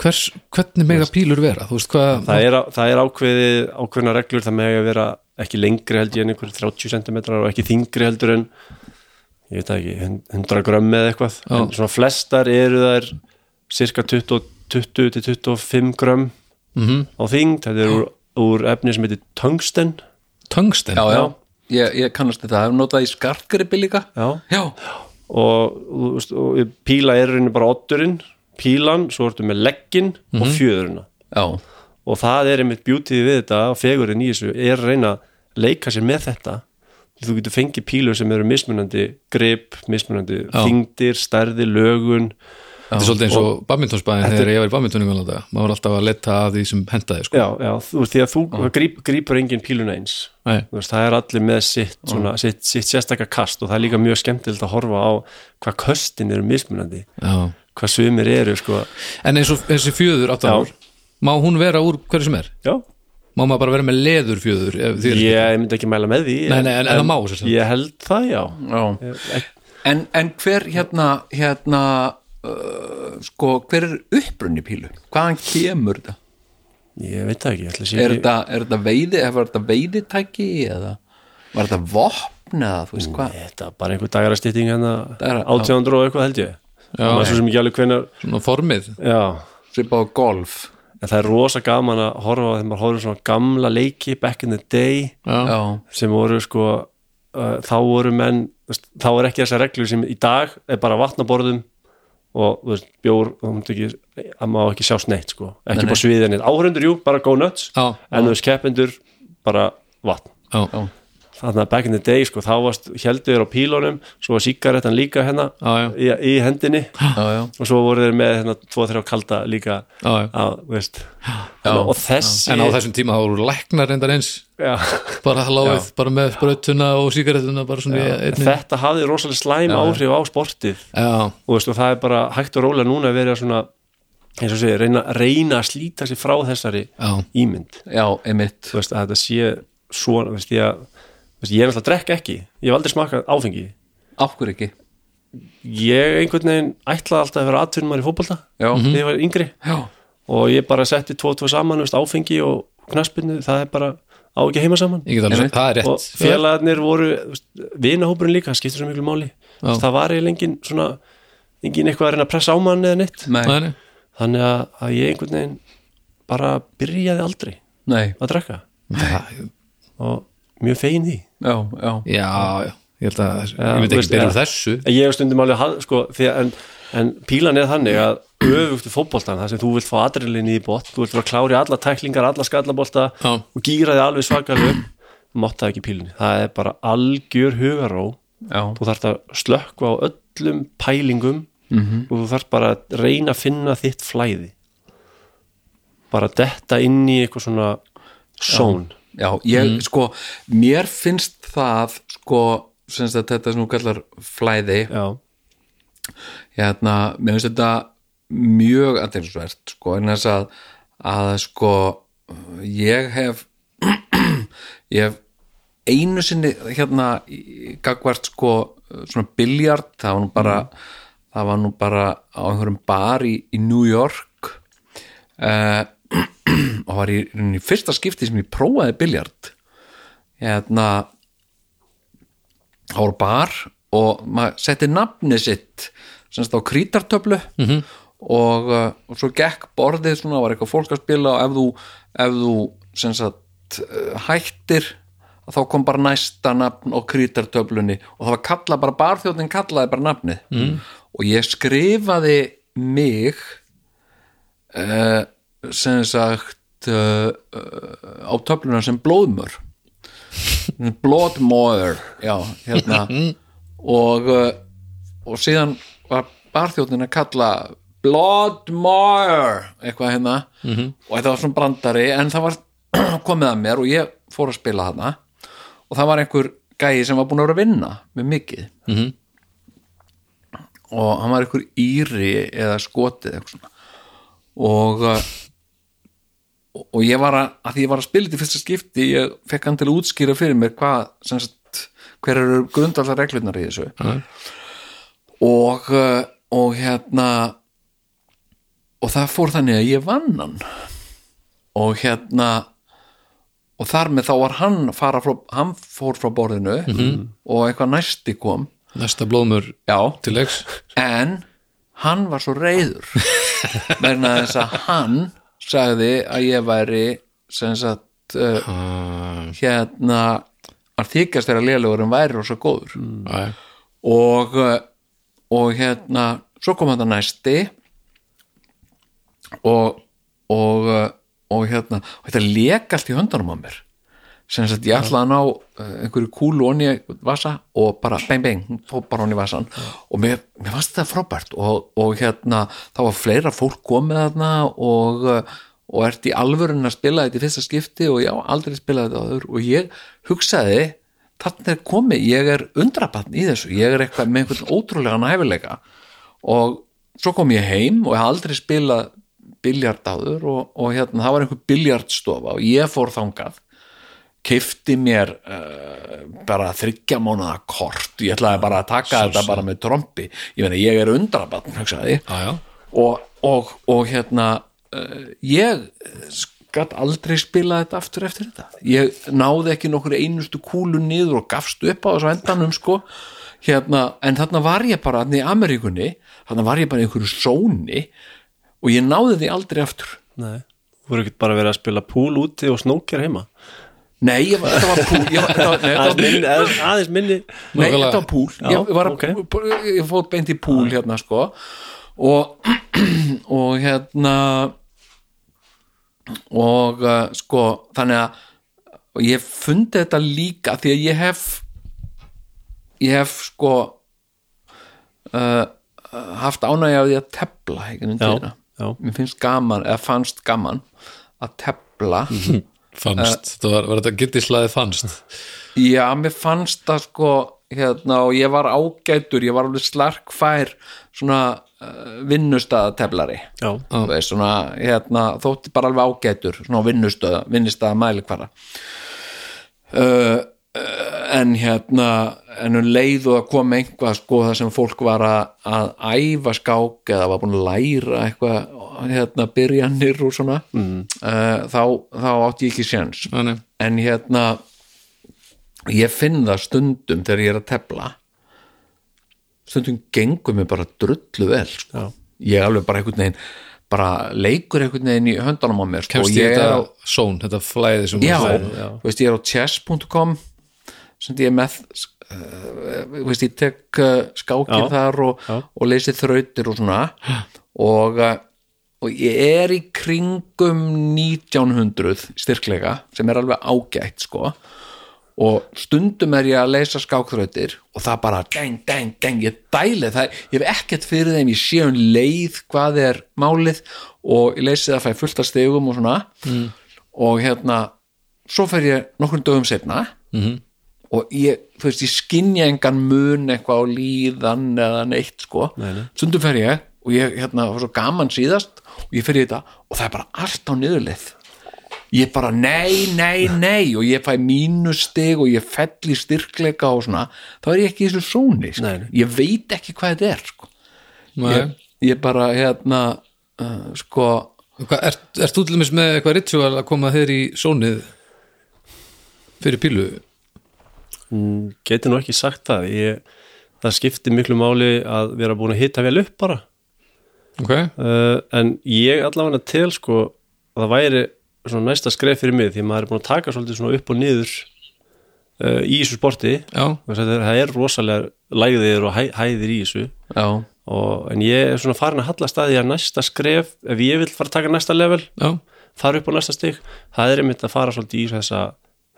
Speaker 5: Hvers, hvernig mega pílur vera þú veist hvað,
Speaker 6: það er, á- það er ákveðið ákveðna reglur það með að vera ekki lengri heldur en einhver 30 cm og ekki þingri heldur en ég veit það ekki, hun- 100 grömm eða eitthvað
Speaker 5: Já.
Speaker 6: en svona flestar eru þær cirka 20-25 grömm -hmm. á þingd, þetta er úr, úr efni sem heitir tungsten
Speaker 5: tungsten
Speaker 4: já, já, Ég, ég kannast þetta, hef notað í skartgripi líka
Speaker 6: Já.
Speaker 4: já,
Speaker 6: og, þú veist, og píla er í rauninni bara oddurinn, pílan, svo ertu með legginn og fjöðurina
Speaker 4: já,
Speaker 6: og það er einmitt bjútið við þetta og fegurinn í þessu er að reyna að leika sér með þetta þú getur fengið pílur sem eru mismunandi grip, mismunandi þyngdir, stærði, lögun
Speaker 5: þetta er svolítið eins og badmintonspæðin þegar ég var í badmintonum í gamla daga. maður var alltaf að leta að því sem hendaði sko.
Speaker 6: já, já, þú veist, því að þú gríp, grípur engin píluna eins
Speaker 5: Nei.
Speaker 6: Þú veist, það er allir með sitt, svona, sitt, sitt sérstakka kast og það er líka mjög skemmtilegt að horfa á hvað köstin eru mismunandi
Speaker 5: Já.
Speaker 6: hvað sumir eru, sko
Speaker 5: en eins og þessi fjöður
Speaker 6: Já.
Speaker 5: áttan má hún vera úr hverju sem er
Speaker 6: já,
Speaker 5: má maður bara vera með leður fjöður ef því er
Speaker 6: Ég myndi ekki mæla með því
Speaker 5: Nei, nei, en- en það má, sem sagt.
Speaker 6: Ég held það, já
Speaker 4: já. En, en hver hérna hérna uh, sko, hver er upprunni pílu hvaðan kemur þetta
Speaker 6: Ég veit það ekki, ég ætla að sé
Speaker 4: er
Speaker 6: ekki
Speaker 4: þetta, er þetta veiði, hefur þetta veiðitæki eða var þetta vopn eða þú veist hvað
Speaker 6: Þetta er bara einhver dagarastýtting hérna
Speaker 4: Dagar-
Speaker 6: 1800 og eitthvað held ég Já, maður svo sem ekki alveg hvenar
Speaker 5: svona formið
Speaker 6: Já,
Speaker 4: svipað á golf
Speaker 6: en það er rosa gaman að horfa á þegar maður horfir á svona gamla leiki back in the day
Speaker 5: já.
Speaker 4: já,
Speaker 6: sem voru sko uh, þá voru menn, þú veist, þá er ekki þessar reglur sem í dag er bara vatnaborðum og þú veist, bjór þú mátt ekki, að maður ekki sjást neitt sko ekki bara sviðið neitt, áhörundur jú, bara go nuts
Speaker 5: Já.
Speaker 6: en þú veist, keppendur, bara vatn
Speaker 5: Já.
Speaker 6: þannig að back in the day sko, þá varst heldur þér á pílunum svo var síkaretan líka hérna
Speaker 5: Já,
Speaker 6: í, í hendinni
Speaker 4: já, já,
Speaker 6: og svo voru þeir með hérna tvo þrjá kalda líka
Speaker 5: Já, já.
Speaker 6: Að, þú veist, og þessi
Speaker 5: en á þessum tíma þá voru læknar reyndar eins
Speaker 6: já,
Speaker 5: bara láfið, bara með sprautuna og sígarettuna bara svona í einni
Speaker 6: þetta hafði rosalega slæm áhrif á sportið
Speaker 5: já,
Speaker 6: og, veist, og það er bara hægt og rólega núna að vera svona eins og segja, reyna, reyna að slíta sig frá þessari
Speaker 5: Já.
Speaker 6: ímynd
Speaker 4: já, einmitt
Speaker 6: þú veist, að þetta sé svona þú veist, ég, að- þú veist, ég er náttúrulega að drekka ekki ég hef aldrei smakað áfengi
Speaker 4: af hverju ekki
Speaker 6: ég einhvern veginn ætlaði alltaf að vera aðtunum maður í fótbolta
Speaker 4: Já.
Speaker 6: þegar ég var yngri
Speaker 4: já,
Speaker 6: og ég bara setti tvo og tvo saman þú veist, áfengi og knaspinu, það er bara á ekki heima saman
Speaker 5: ég get alveg, sagt, það er
Speaker 6: og
Speaker 5: rétt
Speaker 6: félagarnir voru þú veist, vinahópurinn líka, það skiptir svo miklu máli Þú veist, það var eiginlega engin svona engin eitthvað að reyna að pressa á mann eða neitt
Speaker 4: nei,
Speaker 5: Nei, nei.
Speaker 6: þannig að, að ég einhvern veginn bara byrjaði aldrei
Speaker 4: nei
Speaker 6: að drekka
Speaker 5: Það-
Speaker 6: og mjög fegin því
Speaker 4: já, já,
Speaker 5: já, já, ég held að
Speaker 6: Já,
Speaker 5: ég myndi
Speaker 6: þú
Speaker 5: ekki
Speaker 6: veist,
Speaker 5: byrja úr
Speaker 6: já.
Speaker 5: þessu
Speaker 6: En ég hef stundum alveg haf, sko, því, að- en, en pílan er þannig að öfugt við fótboltan, þar sem þú vilt fá adrenalinni í bótt, þú vilt vera klári alla tæklingar alla skallabolta
Speaker 5: Já.
Speaker 6: og gýra þig alveg svakalug mátta ekki pílinni, það er bara algjör hugaró,
Speaker 4: já,
Speaker 6: þú þarft að slökka á öllum pælingum -hmm. og þú þarft bara að reyna að finna þitt flæði bara detta inn í eitthvað svona són
Speaker 4: já ég, sko, mér finnst það sko, sem sagt þetta sem þú kallar flæði,
Speaker 6: Já,
Speaker 4: hérna mér finnst þetta mjög aðeinsvert, sko, en þess að að sko ég hef ég hef einu sinni hérna í- gagvart sko svona biljart, það var nú bara það var nú bara á einhverjum bar í, í New York uh, og var í, í fyrsta skipti sem ég prófaði biljart hérna það voru bar og maður setti nafnið sitt semst á krítartöflu -hmm. og, uh, og svo gekk borðið svona var eitthvað fólk að spila og ef þú, ef þú semst að hættir að þá kom bara næsta nafn og krítartöflunni og það var kallað bara barþjóðin kallaði bara nafnið mm. og ég skrifaði mig uh, sem sagt uh, uh, á töfluna sem blóðmör Bloodmother já, hérna og, uh, og síðan var barþjóttin að kalla Bloodmother eitthvað hérna og þetta var svona brandari en það var komið að mér og ég fór að spila þarna og það var einhver gæi sem var búin að vera að vinna með mikið mm -hmm. og hann var einhver íri eða skotið eitthvað svona og uh, og- og ég var að, að því ég var að spila þetta í fyrsta skipti, ég fekk hann til að útskýra fyrir mér hvað, sem sagt hver eru grundallar reglurnar í þessu
Speaker 5: Já.
Speaker 4: og uh, og hérna og það fór þannig að ég vann hann og hérna og þar með þá var hann fara frá, hann fór frá borðinu og eitthvað næsti kom
Speaker 5: Næsta blóðmur
Speaker 4: já,
Speaker 5: til leiks
Speaker 4: en hann var svo reyður vegna þess að hann sagði að ég væri sem sagt uh, hérna að þykast þeirra lélegur en væri og svo góður
Speaker 5: Æ,
Speaker 4: og uh, og hérna, svo kom þetta næsti og og, uh, og hérna og þetta leka allt í höndunum á mér sem sagt ég ætlaði að ná uh, einhverju kúlu onni í vasa og bara beng beng, hún fór bara onni í vasan og mér, mér fannst þetta frábært og, og hérna, það var fleira fólk komið þarna og uh, og ert í alvörun að spila þetta í fyrsta skipti og já, aldrei spilaði þetta áður og ég hugsaði, þarna er komið ég er undrabatn í þessu ég er eitthvað með einhvern ótrúlega næfileika og svo kom ég heim og ég hafði aldrei spilað biljart áður og, og hérna, það var einhver biljartstofa og ég fór þangað keifti mér uh, bara þryggja mánuða kort ég ætlaði bara að taka þetta bara með trompi ég meina ég er undrabatn hugsaði
Speaker 5: já, já,
Speaker 4: og, og, og hérna uh, ég skatt aldrei spila þetta aftur eftir þetta ég náði ekki nokkur einustu kúlu niður og gafst upp á þessu endanum sko hérna, en þarna var ég bara þarna í Ameríkunni, þarna var ég bara í einhverju sóni og ég náði því aldrei aftur
Speaker 6: Nei, þú voru ekkert bara verið að spila púl úti og snókjar heima
Speaker 4: nei, ég var, þetta var púl ég, var- þetta var, nei, þetta
Speaker 6: aðeins
Speaker 4: var,
Speaker 6: minni, aðeins, aðeins minni.
Speaker 4: nei,
Speaker 5: Nákvæmlega.
Speaker 4: þetta var púl
Speaker 6: Já,
Speaker 4: ég, var,
Speaker 6: ok.
Speaker 4: okay. ég fór beint í púl hérna sko og, og hérna og uh, sko þannig að og ég hef fundið þetta líka því að ég hef ég hef sko uh, haft ánægja af því að tepla einhvern
Speaker 6: Já,
Speaker 4: tíðina
Speaker 6: já.
Speaker 4: mér finnst gaman, eða fannst gaman að tepla
Speaker 6: Mhm.
Speaker 5: fannst Uh, Þetta var, var þetta gildislæði fannst
Speaker 4: Sko, Já, mér fannst það sko hérna og ég var ágætur ég var alveg slarkfær svona uh, vinnustæðateblari
Speaker 6: Já,
Speaker 4: Þú veist, svona, hérna, þótti bara alveg ágætur svona á vinnustöða, vinnustæða mælikvara uh, uh, en hérna en um leið og að koma einhvað sko það sem fólk var að, að æfa skák eða var búin að læra eitthvað hérna byrjanir og svona mm. þá, þá átti ég ekki séns
Speaker 5: Þannig,
Speaker 4: en hérna ég finn það stundum þegar ég er að tefla stundum gengur mér bara drullu vel sko. ég er alveg bara einhvern veginn bara leikur einhvern veginn í höndanum á mér sko.
Speaker 5: kemst
Speaker 4: ég
Speaker 5: ég
Speaker 4: er á
Speaker 5: þetta són, þetta flæði sem
Speaker 4: já,
Speaker 5: þú sagðir,
Speaker 4: þú veist, ég er á chess.com sem ég er með uh, þú veist, ég tek uh, skákir
Speaker 6: Já,
Speaker 4: þar og, og leysi þrautir og svona og, uh, og ég er í kringum 1900 styrklega sem er alveg ágætt sko og stundum er ég að leysa skákþrautir og það bara deng, deng, deng, ég dæli það, ég hef ekkert fyrir þeim ég sé um leið hvað er málið og ég leysi það að fæ fullt af stegum og svona mm. og hérna, svo fer ég nokkrum dögum setna mm. og ég, þú veist, ég skinja engan mun eitthvað á líðan eða neitt sko, nei, nei. stundum fer ég og ég, hérna, var svo gaman síðast og ég fer í þetta og það er bara allt á niðurlið ég bara nei, nei, nei og ég fæ mínustig og ég fell í styrkleika og svona þá er ég ekki í þessu sóni sko.
Speaker 6: Nei, nei.
Speaker 4: ég veit ekki hvað þetta er sko.
Speaker 5: Nei.
Speaker 4: ég, ég bara hérna uh, sko
Speaker 5: Hvað, ert, ert þú til dæmis með eitthvað ritual að koma þér í sónið fyrir pílu?
Speaker 6: geti nú ekki sagt það ég, það skipti miklu máli að vera búin að hita vel upp bara
Speaker 5: Ok,
Speaker 6: uh, en ég allavega til sko að það væri svona næsta skref fyrir mig því maður er búin að taka svolítið svona upp og niður uh, í þessu sporti
Speaker 5: já,
Speaker 6: Þú veist, þetta er- það er rosalega lægðir og hæ, hæðir í þessu
Speaker 4: já,
Speaker 6: og, en ég er svona farin að hallast að því að næsta skref ef ég vil fara að taka næsta level
Speaker 5: já,
Speaker 6: fara upp á næsta stig það er einmitt að fara svolítið í þessa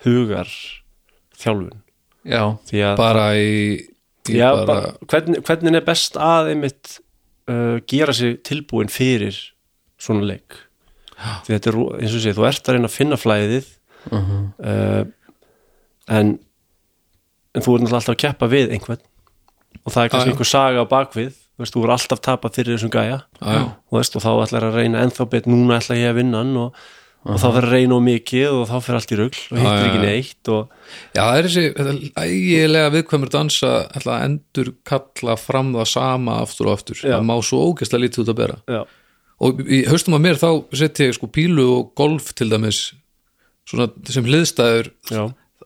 Speaker 6: hugar þjálfun
Speaker 4: já,
Speaker 6: því að
Speaker 5: bara í, í
Speaker 6: já,
Speaker 5: bara,
Speaker 6: bara, hvernig, hvernig er best að einmitt uh, gera sig tilbúin fyrir svona leik því þetta er ro- eins og sé, þú ert að reyna að finna flæðið
Speaker 5: Mhm.
Speaker 6: uh, en, en þú er náttúrulega alltaf að keppa við einhvern og það er kannski
Speaker 5: já.
Speaker 6: einhver saga á bakvið þú veist, þú er alltaf tapað fyrir þessum gæja
Speaker 5: já.
Speaker 6: og, veist, og þá ætlar að reyna ennþá bet núna ætla ég að vinna hann og, og þá fyrir að reyna og mikið og þá fyrir allt í rugl og hittir
Speaker 5: Mhm. já,
Speaker 6: ekki
Speaker 5: já.
Speaker 6: neitt og
Speaker 5: Já, það er þessi þetta ægilega viðkvæmur dansa ætla að endur kalla fram það sama aftur og aftur, það má svo ógeðslega lítið út að bera
Speaker 6: já,
Speaker 5: og í haustum að mér þá setja ég sko pílu og golf til dæmis svona sem hliðstæður
Speaker 6: já,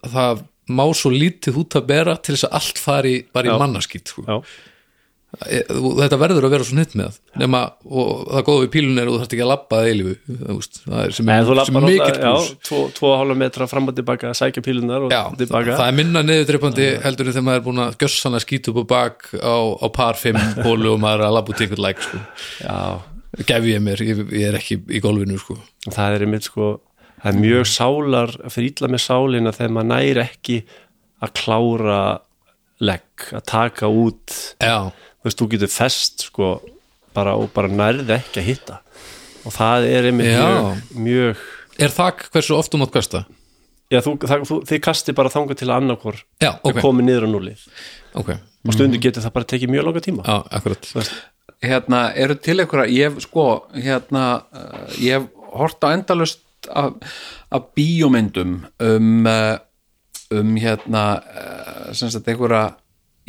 Speaker 5: það má svo lítið út að bera til þess að allt fari bara í mannaskýtt sko.
Speaker 6: já,
Speaker 5: E- þú- þetta verður að vera svo nýtt með það nema, og það góða við pílun er og þú þarft ekki að labba að eilifu það veist, það er sem,
Speaker 6: en þú
Speaker 5: sem
Speaker 6: lappar
Speaker 5: mikill
Speaker 6: já,
Speaker 5: plús
Speaker 6: tvo, tvo hálfa metra fram og tilbaka sækja pílunar og
Speaker 5: Já,
Speaker 6: tilbaka
Speaker 5: það er minna niðurdreipandi heldur en þegar maður er búin að gjössan að skýta upp á bak á, á par 5 bólu og maður er að labba út ykkur læk sko.
Speaker 6: já,
Speaker 5: gef ég mér, ég, ég er ekki í golfinu sko.
Speaker 6: og það er einmitt sko það er mjög sálar, fyrir illa með sálina þegar maður næri ekki að klára legg að taka út,
Speaker 5: Já,
Speaker 6: þú veist, þú getur fest sko, bara, og bara nærði ekki að hitta og það er einmitt
Speaker 5: Já.
Speaker 6: mjög, mjög
Speaker 5: er þak hversu oft um átt kasta?
Speaker 6: já, þú, það, þú, þið kasti bara þangað til að annarkor
Speaker 5: Já, ok, Mhm.
Speaker 6: komið niður á núli
Speaker 5: ok
Speaker 6: og stundu getur það bara tekið mjög langa tíma
Speaker 5: Já, akkurat
Speaker 4: hérna, eru til einhverja ég hef, sko, hérna eh, ég hef hort á endalust af, af bíómyndum um eh, um hérna eh, sem sagt einhverja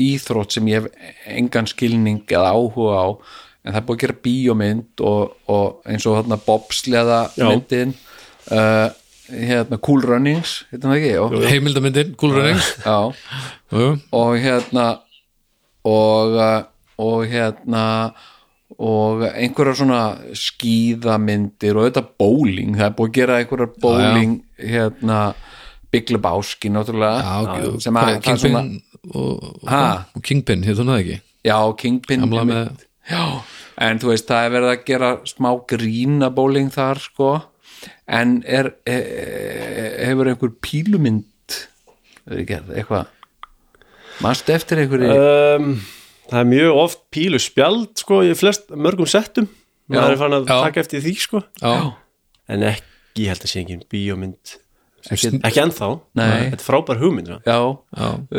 Speaker 4: íþrótt sem ég hef engan skilning eða áhuga á en það er búið að gera bíómynd og, og eins og hérna bobsleða myndin uh, hérna Cool Runnings hérna ekki, og,
Speaker 5: Heimildamyndin, gulröning
Speaker 4: já og hérna og, uh, og hérna og einhverja svona skíðamyndir og þetta bowling, það er búið að gera einhverja bowling hérna Big Lebowski náttúrulega sem að það er svona,
Speaker 5: Kingpin og,
Speaker 4: Ha?
Speaker 5: og Kingpin, hétt hún það ekki
Speaker 4: já, Kingpin
Speaker 5: Gamla
Speaker 4: einmitt.
Speaker 5: með-
Speaker 4: já, en þú veist, það er verið að gera smá grína bowling þar sko, en er e, e- hefur einhver pílumynd verið gerð, eitthvað manstu eftir einhverju
Speaker 5: Eh,
Speaker 6: um, það er mjög oft pílu spjald sko, í flest, mörgum settum maður er farin að
Speaker 5: já.
Speaker 6: taka eftir því sko.
Speaker 5: Já,
Speaker 6: en ekki, ég held að sé engin bíómynd
Speaker 4: Ekki-
Speaker 6: ekki, ekki ennþá,
Speaker 4: Nei.
Speaker 6: þetta er frábær hugmynd sko.
Speaker 4: já,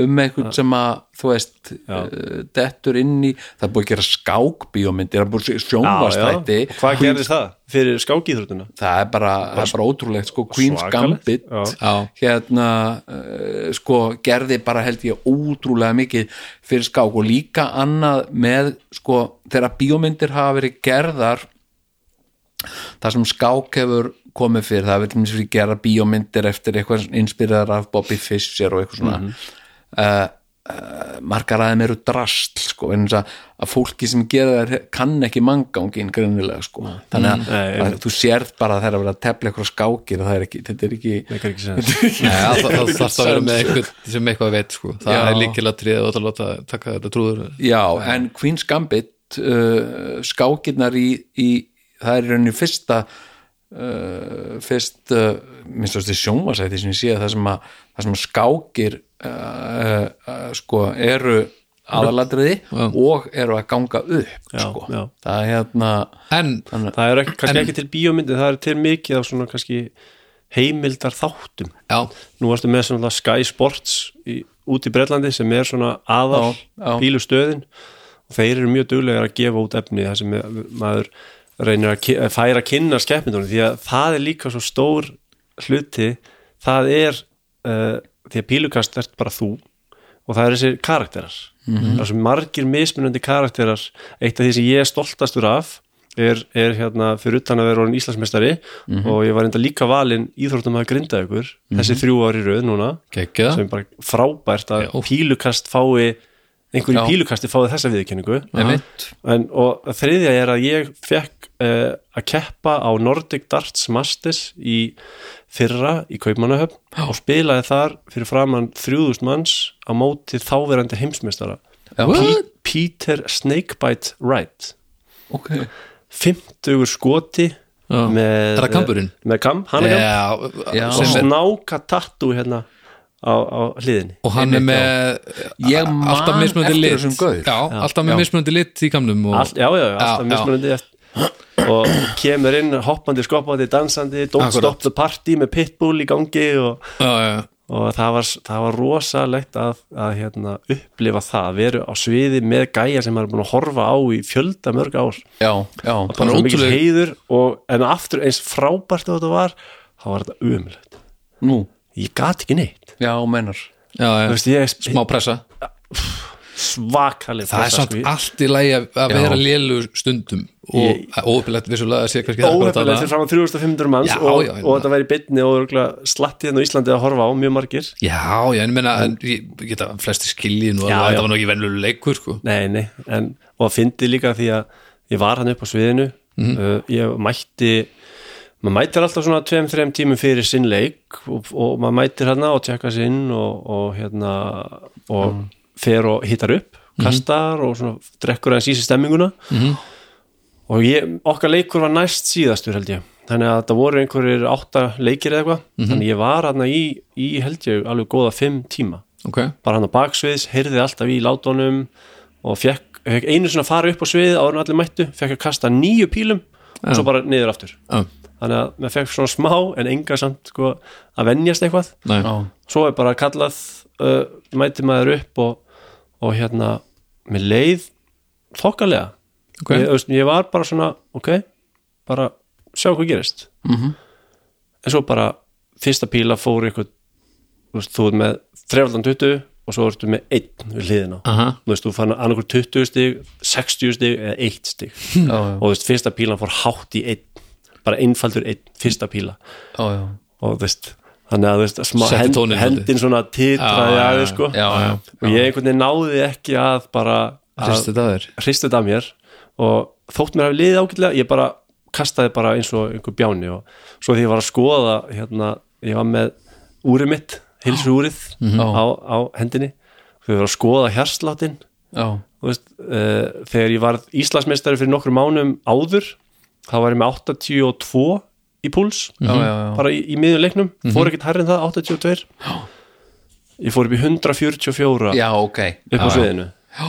Speaker 4: um einhvern sem að þú veist, uh, dettur inn í það er búið að gera skákbíómynd það er búið að se- sjónvastætti
Speaker 6: Og hvað gerðist það fyrir skákíþrútuna
Speaker 4: það er bara, það er bara ótrúlegt sko, Queen's
Speaker 6: svakalegt.
Speaker 4: Gambit
Speaker 5: Já.
Speaker 4: hérna uh, sko, gerði bara held ég ótrúlega mikið fyrir skák og líka annað með sko, þegar bíómyndir hafa verið gerðar það sem skák hefur komið fyrir það vil minnst fyrir gera bíómyndir eftir eitthvað inspiraðar af Bobby Fischer og eitthvað svona
Speaker 6: Mhm.
Speaker 4: mm margar aðeim eru drast sko, en þess að, að fólki sem gera þær kann ekki manngangin greinilega sko. þannig að,
Speaker 6: Nei,
Speaker 4: að þú sérð bara að það er að vera að tefla eitthvað skákir það er ekki, þetta er ekki
Speaker 6: það er ekki sens
Speaker 5: Já, það þarf það að vera með einhvern sem eitthvað veit sko. það
Speaker 4: sko. Já.
Speaker 5: er líkilega tríð og að láta taka þetta trúður
Speaker 4: Já, en Queen's Gambit uh, skákinnar í, í það er í rauninni fyrsta uh, fyrst uh, minnst ástu sjónvarsætti sem ég sé það sem að, það sem að skákir uh, uh, sko eru aðaladriði og eru að ganga upp
Speaker 6: Já,
Speaker 4: sko.
Speaker 6: já.
Speaker 4: það er hérna
Speaker 5: En,
Speaker 6: það er ekki, kannski ekki til bíómyndi, það er til mikið af svona kannski heimildar þáttum
Speaker 5: já,
Speaker 6: nú varstu með svona Sky Sports í, út í Bretlandi sem er svona aðal
Speaker 4: Já, já.
Speaker 6: pílustöðin og þeir eru mjög duglegar að gefa út efni þar sem maður reynir að ki- að færa að kynna skeppindunum því að það er líka svo stór hluti það er uh, því að pílukast ert bara þú og það er þessir karakterar það er svo margir mismunandi karakterar eitt af því sem ég er stoltastur af er, er hérna fyrir utan að vera orðin Íslandsmeistari og ég var enda líka valinn íþróttum að grinda ykkur þessi þrjú ári röð núna
Speaker 5: geggja
Speaker 6: sem er bara frábært að
Speaker 5: Já.
Speaker 6: pílukast fái einhverju
Speaker 4: Já.
Speaker 6: pílukasti fái þessa viðurkenningu
Speaker 4: Einmitt.
Speaker 6: en, og þriðja er að ég fekk uh, að keppa á Nordic Darts Masters í fyrra í Kaupmannahöfn og spilaði þar fyrir framann 3000 manns á móti þáverandi heimsmeistara P- Peter Snakebite Wright
Speaker 4: okay.
Speaker 6: 50 skoti
Speaker 5: Já.
Speaker 6: með,
Speaker 5: Er það kamburinn?
Speaker 6: með kam, hann er kamp
Speaker 5: Já,
Speaker 4: Já.
Speaker 6: og
Speaker 5: sem er
Speaker 6: snáka tattu hérna á, á hliðinni
Speaker 5: og hann er
Speaker 4: Einmitt,
Speaker 5: með
Speaker 4: Ég man
Speaker 5: alltaf mismunandi
Speaker 4: eftir
Speaker 5: lit
Speaker 4: þessum gaur.
Speaker 5: já, alltaf með mismunandi lit í kamnum og,
Speaker 6: Allt, já, já, já, alltaf
Speaker 5: já.
Speaker 6: mismunandi eftir og kemur inn hoppandi, skoppandi, dansandi Don't
Speaker 4: Akkurat.
Speaker 6: Stop the Party með Pitbull í gangi og,
Speaker 4: já, já,
Speaker 6: og það, var, það var rosalegt að, að hérna, upplifa það að vera á sviði með gæja sem maður er búin að horfa á í fjölda mörg ár
Speaker 4: já, já
Speaker 6: bara
Speaker 4: bara
Speaker 6: svo mikil
Speaker 4: ótrúlega,
Speaker 6: heiður og, en aftur eins frábært og þetta var þá var þetta umlegt
Speaker 4: nú,
Speaker 6: ég gat ekki neitt
Speaker 4: já, meinar
Speaker 5: já,
Speaker 6: Þú
Speaker 5: já.
Speaker 6: veist, ég,
Speaker 5: smá pressa
Speaker 6: svakaleg
Speaker 5: það er samt allt í lægi að að
Speaker 4: Já.
Speaker 5: vera lélugur stundum og
Speaker 6: Ég-
Speaker 5: óöfilegt vissulega að sé kannski akkúrat
Speaker 6: óhefnilega
Speaker 5: þarna.
Speaker 6: til fram á 3500 manns
Speaker 5: Já,
Speaker 6: og,
Speaker 5: já, já.
Speaker 6: og þetta væri bytni og örugglega slatti hérna á Íslandi að horfa á mjög margir
Speaker 5: Já, já, en menna, en ég geta flesti skiljið nú
Speaker 6: Já,
Speaker 5: alveg,
Speaker 6: já.
Speaker 5: þetta var nú ekki venlulegu leikur, sko.
Speaker 6: nei, nei, en, og að fyndi líka því að ég var hann upp á sviðinu uh, ég mætti maður mætir alltaf svona 2-3 tímum fyrir sinn leik og, og maður mætir hann og tjekka sinn og, og hérna og fer og hittar upp kastar og svona drekkur aðeins í sig stemminguna og ég, okkar leikur var næst síðastur held ég þannig að það voru einhverjir átta leikir eða eitthvað þannig ég var hann í, í held ég alveg góða 5 tíma
Speaker 5: Ok,
Speaker 6: bara hann á baksviðs, heyrði alltaf í látunum og fekk, fekk einu svona fara upp á sviðið áður en allir mættu, fekk að kasta nýju pílum og svo bara niður aftur
Speaker 5: Já.
Speaker 6: þannig að maður fekk svona smá en enga samt sko, að venjast eitthvað
Speaker 5: nei,
Speaker 6: svo er bara kallað uh, mæti maður upp og, og hérna, mér leið þokkalega
Speaker 5: ok,
Speaker 6: ég, þú veist, ég var bara svona, ok bara sjá hvað gerist en svo bara fyrsta píla fór eitthvað þú, veist, þú ert með 320 og svo ertu með einn við hliðina
Speaker 5: aha,
Speaker 6: þú veist, þú fann annarkur 20 stig 60 stig eða 1 stig
Speaker 4: já, já,
Speaker 6: og þú veist, fyrsta pílan fór hátt í einn bara einfaldur einn, fyrsta píla
Speaker 4: já, já.
Speaker 6: og þú veist þannig að þú veist, smá
Speaker 5: Setti
Speaker 6: hend,
Speaker 5: tóninn svolítið.
Speaker 6: hendin svona titraði
Speaker 5: Já, já,
Speaker 6: aðeins sko
Speaker 4: já, já,
Speaker 6: og ég einhvern veginn náði ekki að bara að
Speaker 5: hristi þetta að þér.
Speaker 6: hristið þetta af mér og þótt mér hafi liðið ágætlega ég bara kastaði bara eins og einhver bjáni og svo því ég var að skoða hérna, ég var með úrið mitt hilsu úrið
Speaker 5: Mhm.
Speaker 6: á, á hendinni þau var að skoða hjarsláttin
Speaker 4: já,
Speaker 6: þú veist, uh, þegar ég var Íslandsmeistari fyrir nokkrum mánum áður þá var ég með 82 í púls
Speaker 4: já, já, já.
Speaker 6: bara í, í miðjum leiknum, fór ekkert hærri en það 82 ég fór upp í 144
Speaker 4: já, ok
Speaker 6: upp á sviðinu
Speaker 4: já,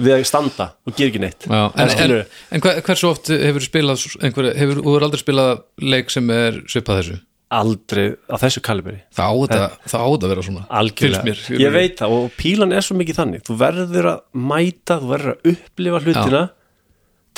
Speaker 6: við að standa og gera ekki neitt
Speaker 5: Já, en, en,
Speaker 6: Skilurðu?
Speaker 5: en hver, hversu oft hefur spilað einhver, hefur, þú hefur aldrei spilað leik sem er svipað þessu
Speaker 6: aldrei á þessu kalibri
Speaker 5: þá á þetta það á þetta að vera svona
Speaker 6: Eh. algjörlega,
Speaker 5: finnst mér,
Speaker 6: ég veit það og pílan er svo mikið þannig, þú verður að mæta, þú verður að upplifa hlutina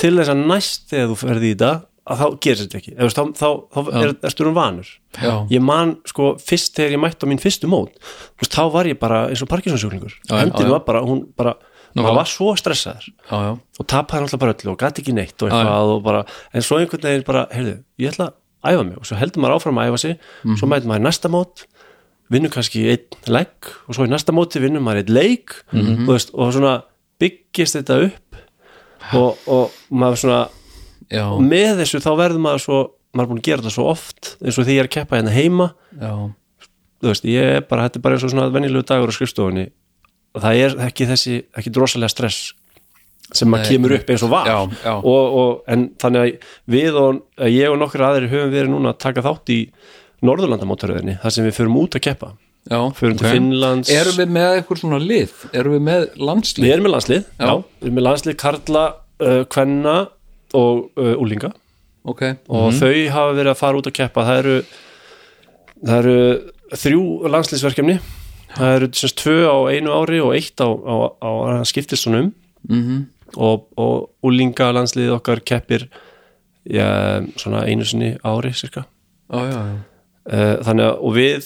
Speaker 6: til þess að næst þegar þú ferði í þetta, að þá gerir þetta ekki Eða, þú veist, þá, þá, þá er, erstu um vanur
Speaker 4: já,
Speaker 6: ég man, sko, fyrst þegar ég mætti á mín fyrstu mót, þú veist, þá var ég bara eins og parkinsonsjúklingur,
Speaker 4: já.
Speaker 6: hendin var bara hún bara,
Speaker 5: já.
Speaker 6: maður var svo stressaður
Speaker 4: já, já.
Speaker 6: og tapaði alltaf bara öllu og gæti ekki neitt og eitthvað og bara, en svo einhvern veginn bara, heyrðu, ég ætla að æfa mig og svo heldur maður áfram að æfa sig, svo mætum maður í næsta mót, vinnur kannski einn legg og svo í næsta móti vinnur maður einn leik og, veist, og svona byggist þetta upp og, og maður svona
Speaker 4: já,
Speaker 6: og með þessu þá verður maður svo maður er búin að gera þetta svo oft eins og því ég er að keppa hérna heima
Speaker 4: já.
Speaker 6: þú veist, ég er bara, þetta er bara eins og svona venjulegu dagur á skrifstofunni og það er ekki þessi, ekki drosalega stress sem maður kemur upp eins og var
Speaker 4: Já, já.
Speaker 6: Og, og, en þannig að við og að ég og nokkur aðri höfum verið núna að taka þátt í Norðurlandamótaröðinni, þar sem við förum út að keppa
Speaker 4: já.
Speaker 6: förum til
Speaker 4: ok.
Speaker 6: Finnlands
Speaker 4: erum við með eitthvað svona lið erum við með landslið
Speaker 6: erum með landslið, já. við erum með landslið Karla, uh, Kvenna og uh, Úlinga
Speaker 4: ok,
Speaker 6: og þau hafa verið að fara út að keppa það eru, það eru þrjú landslýsverkefni það eru semst tvö á einu ári og eitt á, á, á það skiptist svona um -hmm. og, og úlinga landslið okkar keppir já, svona einu sinni ári cirka
Speaker 4: já, já, já
Speaker 6: Eh, þannig að og við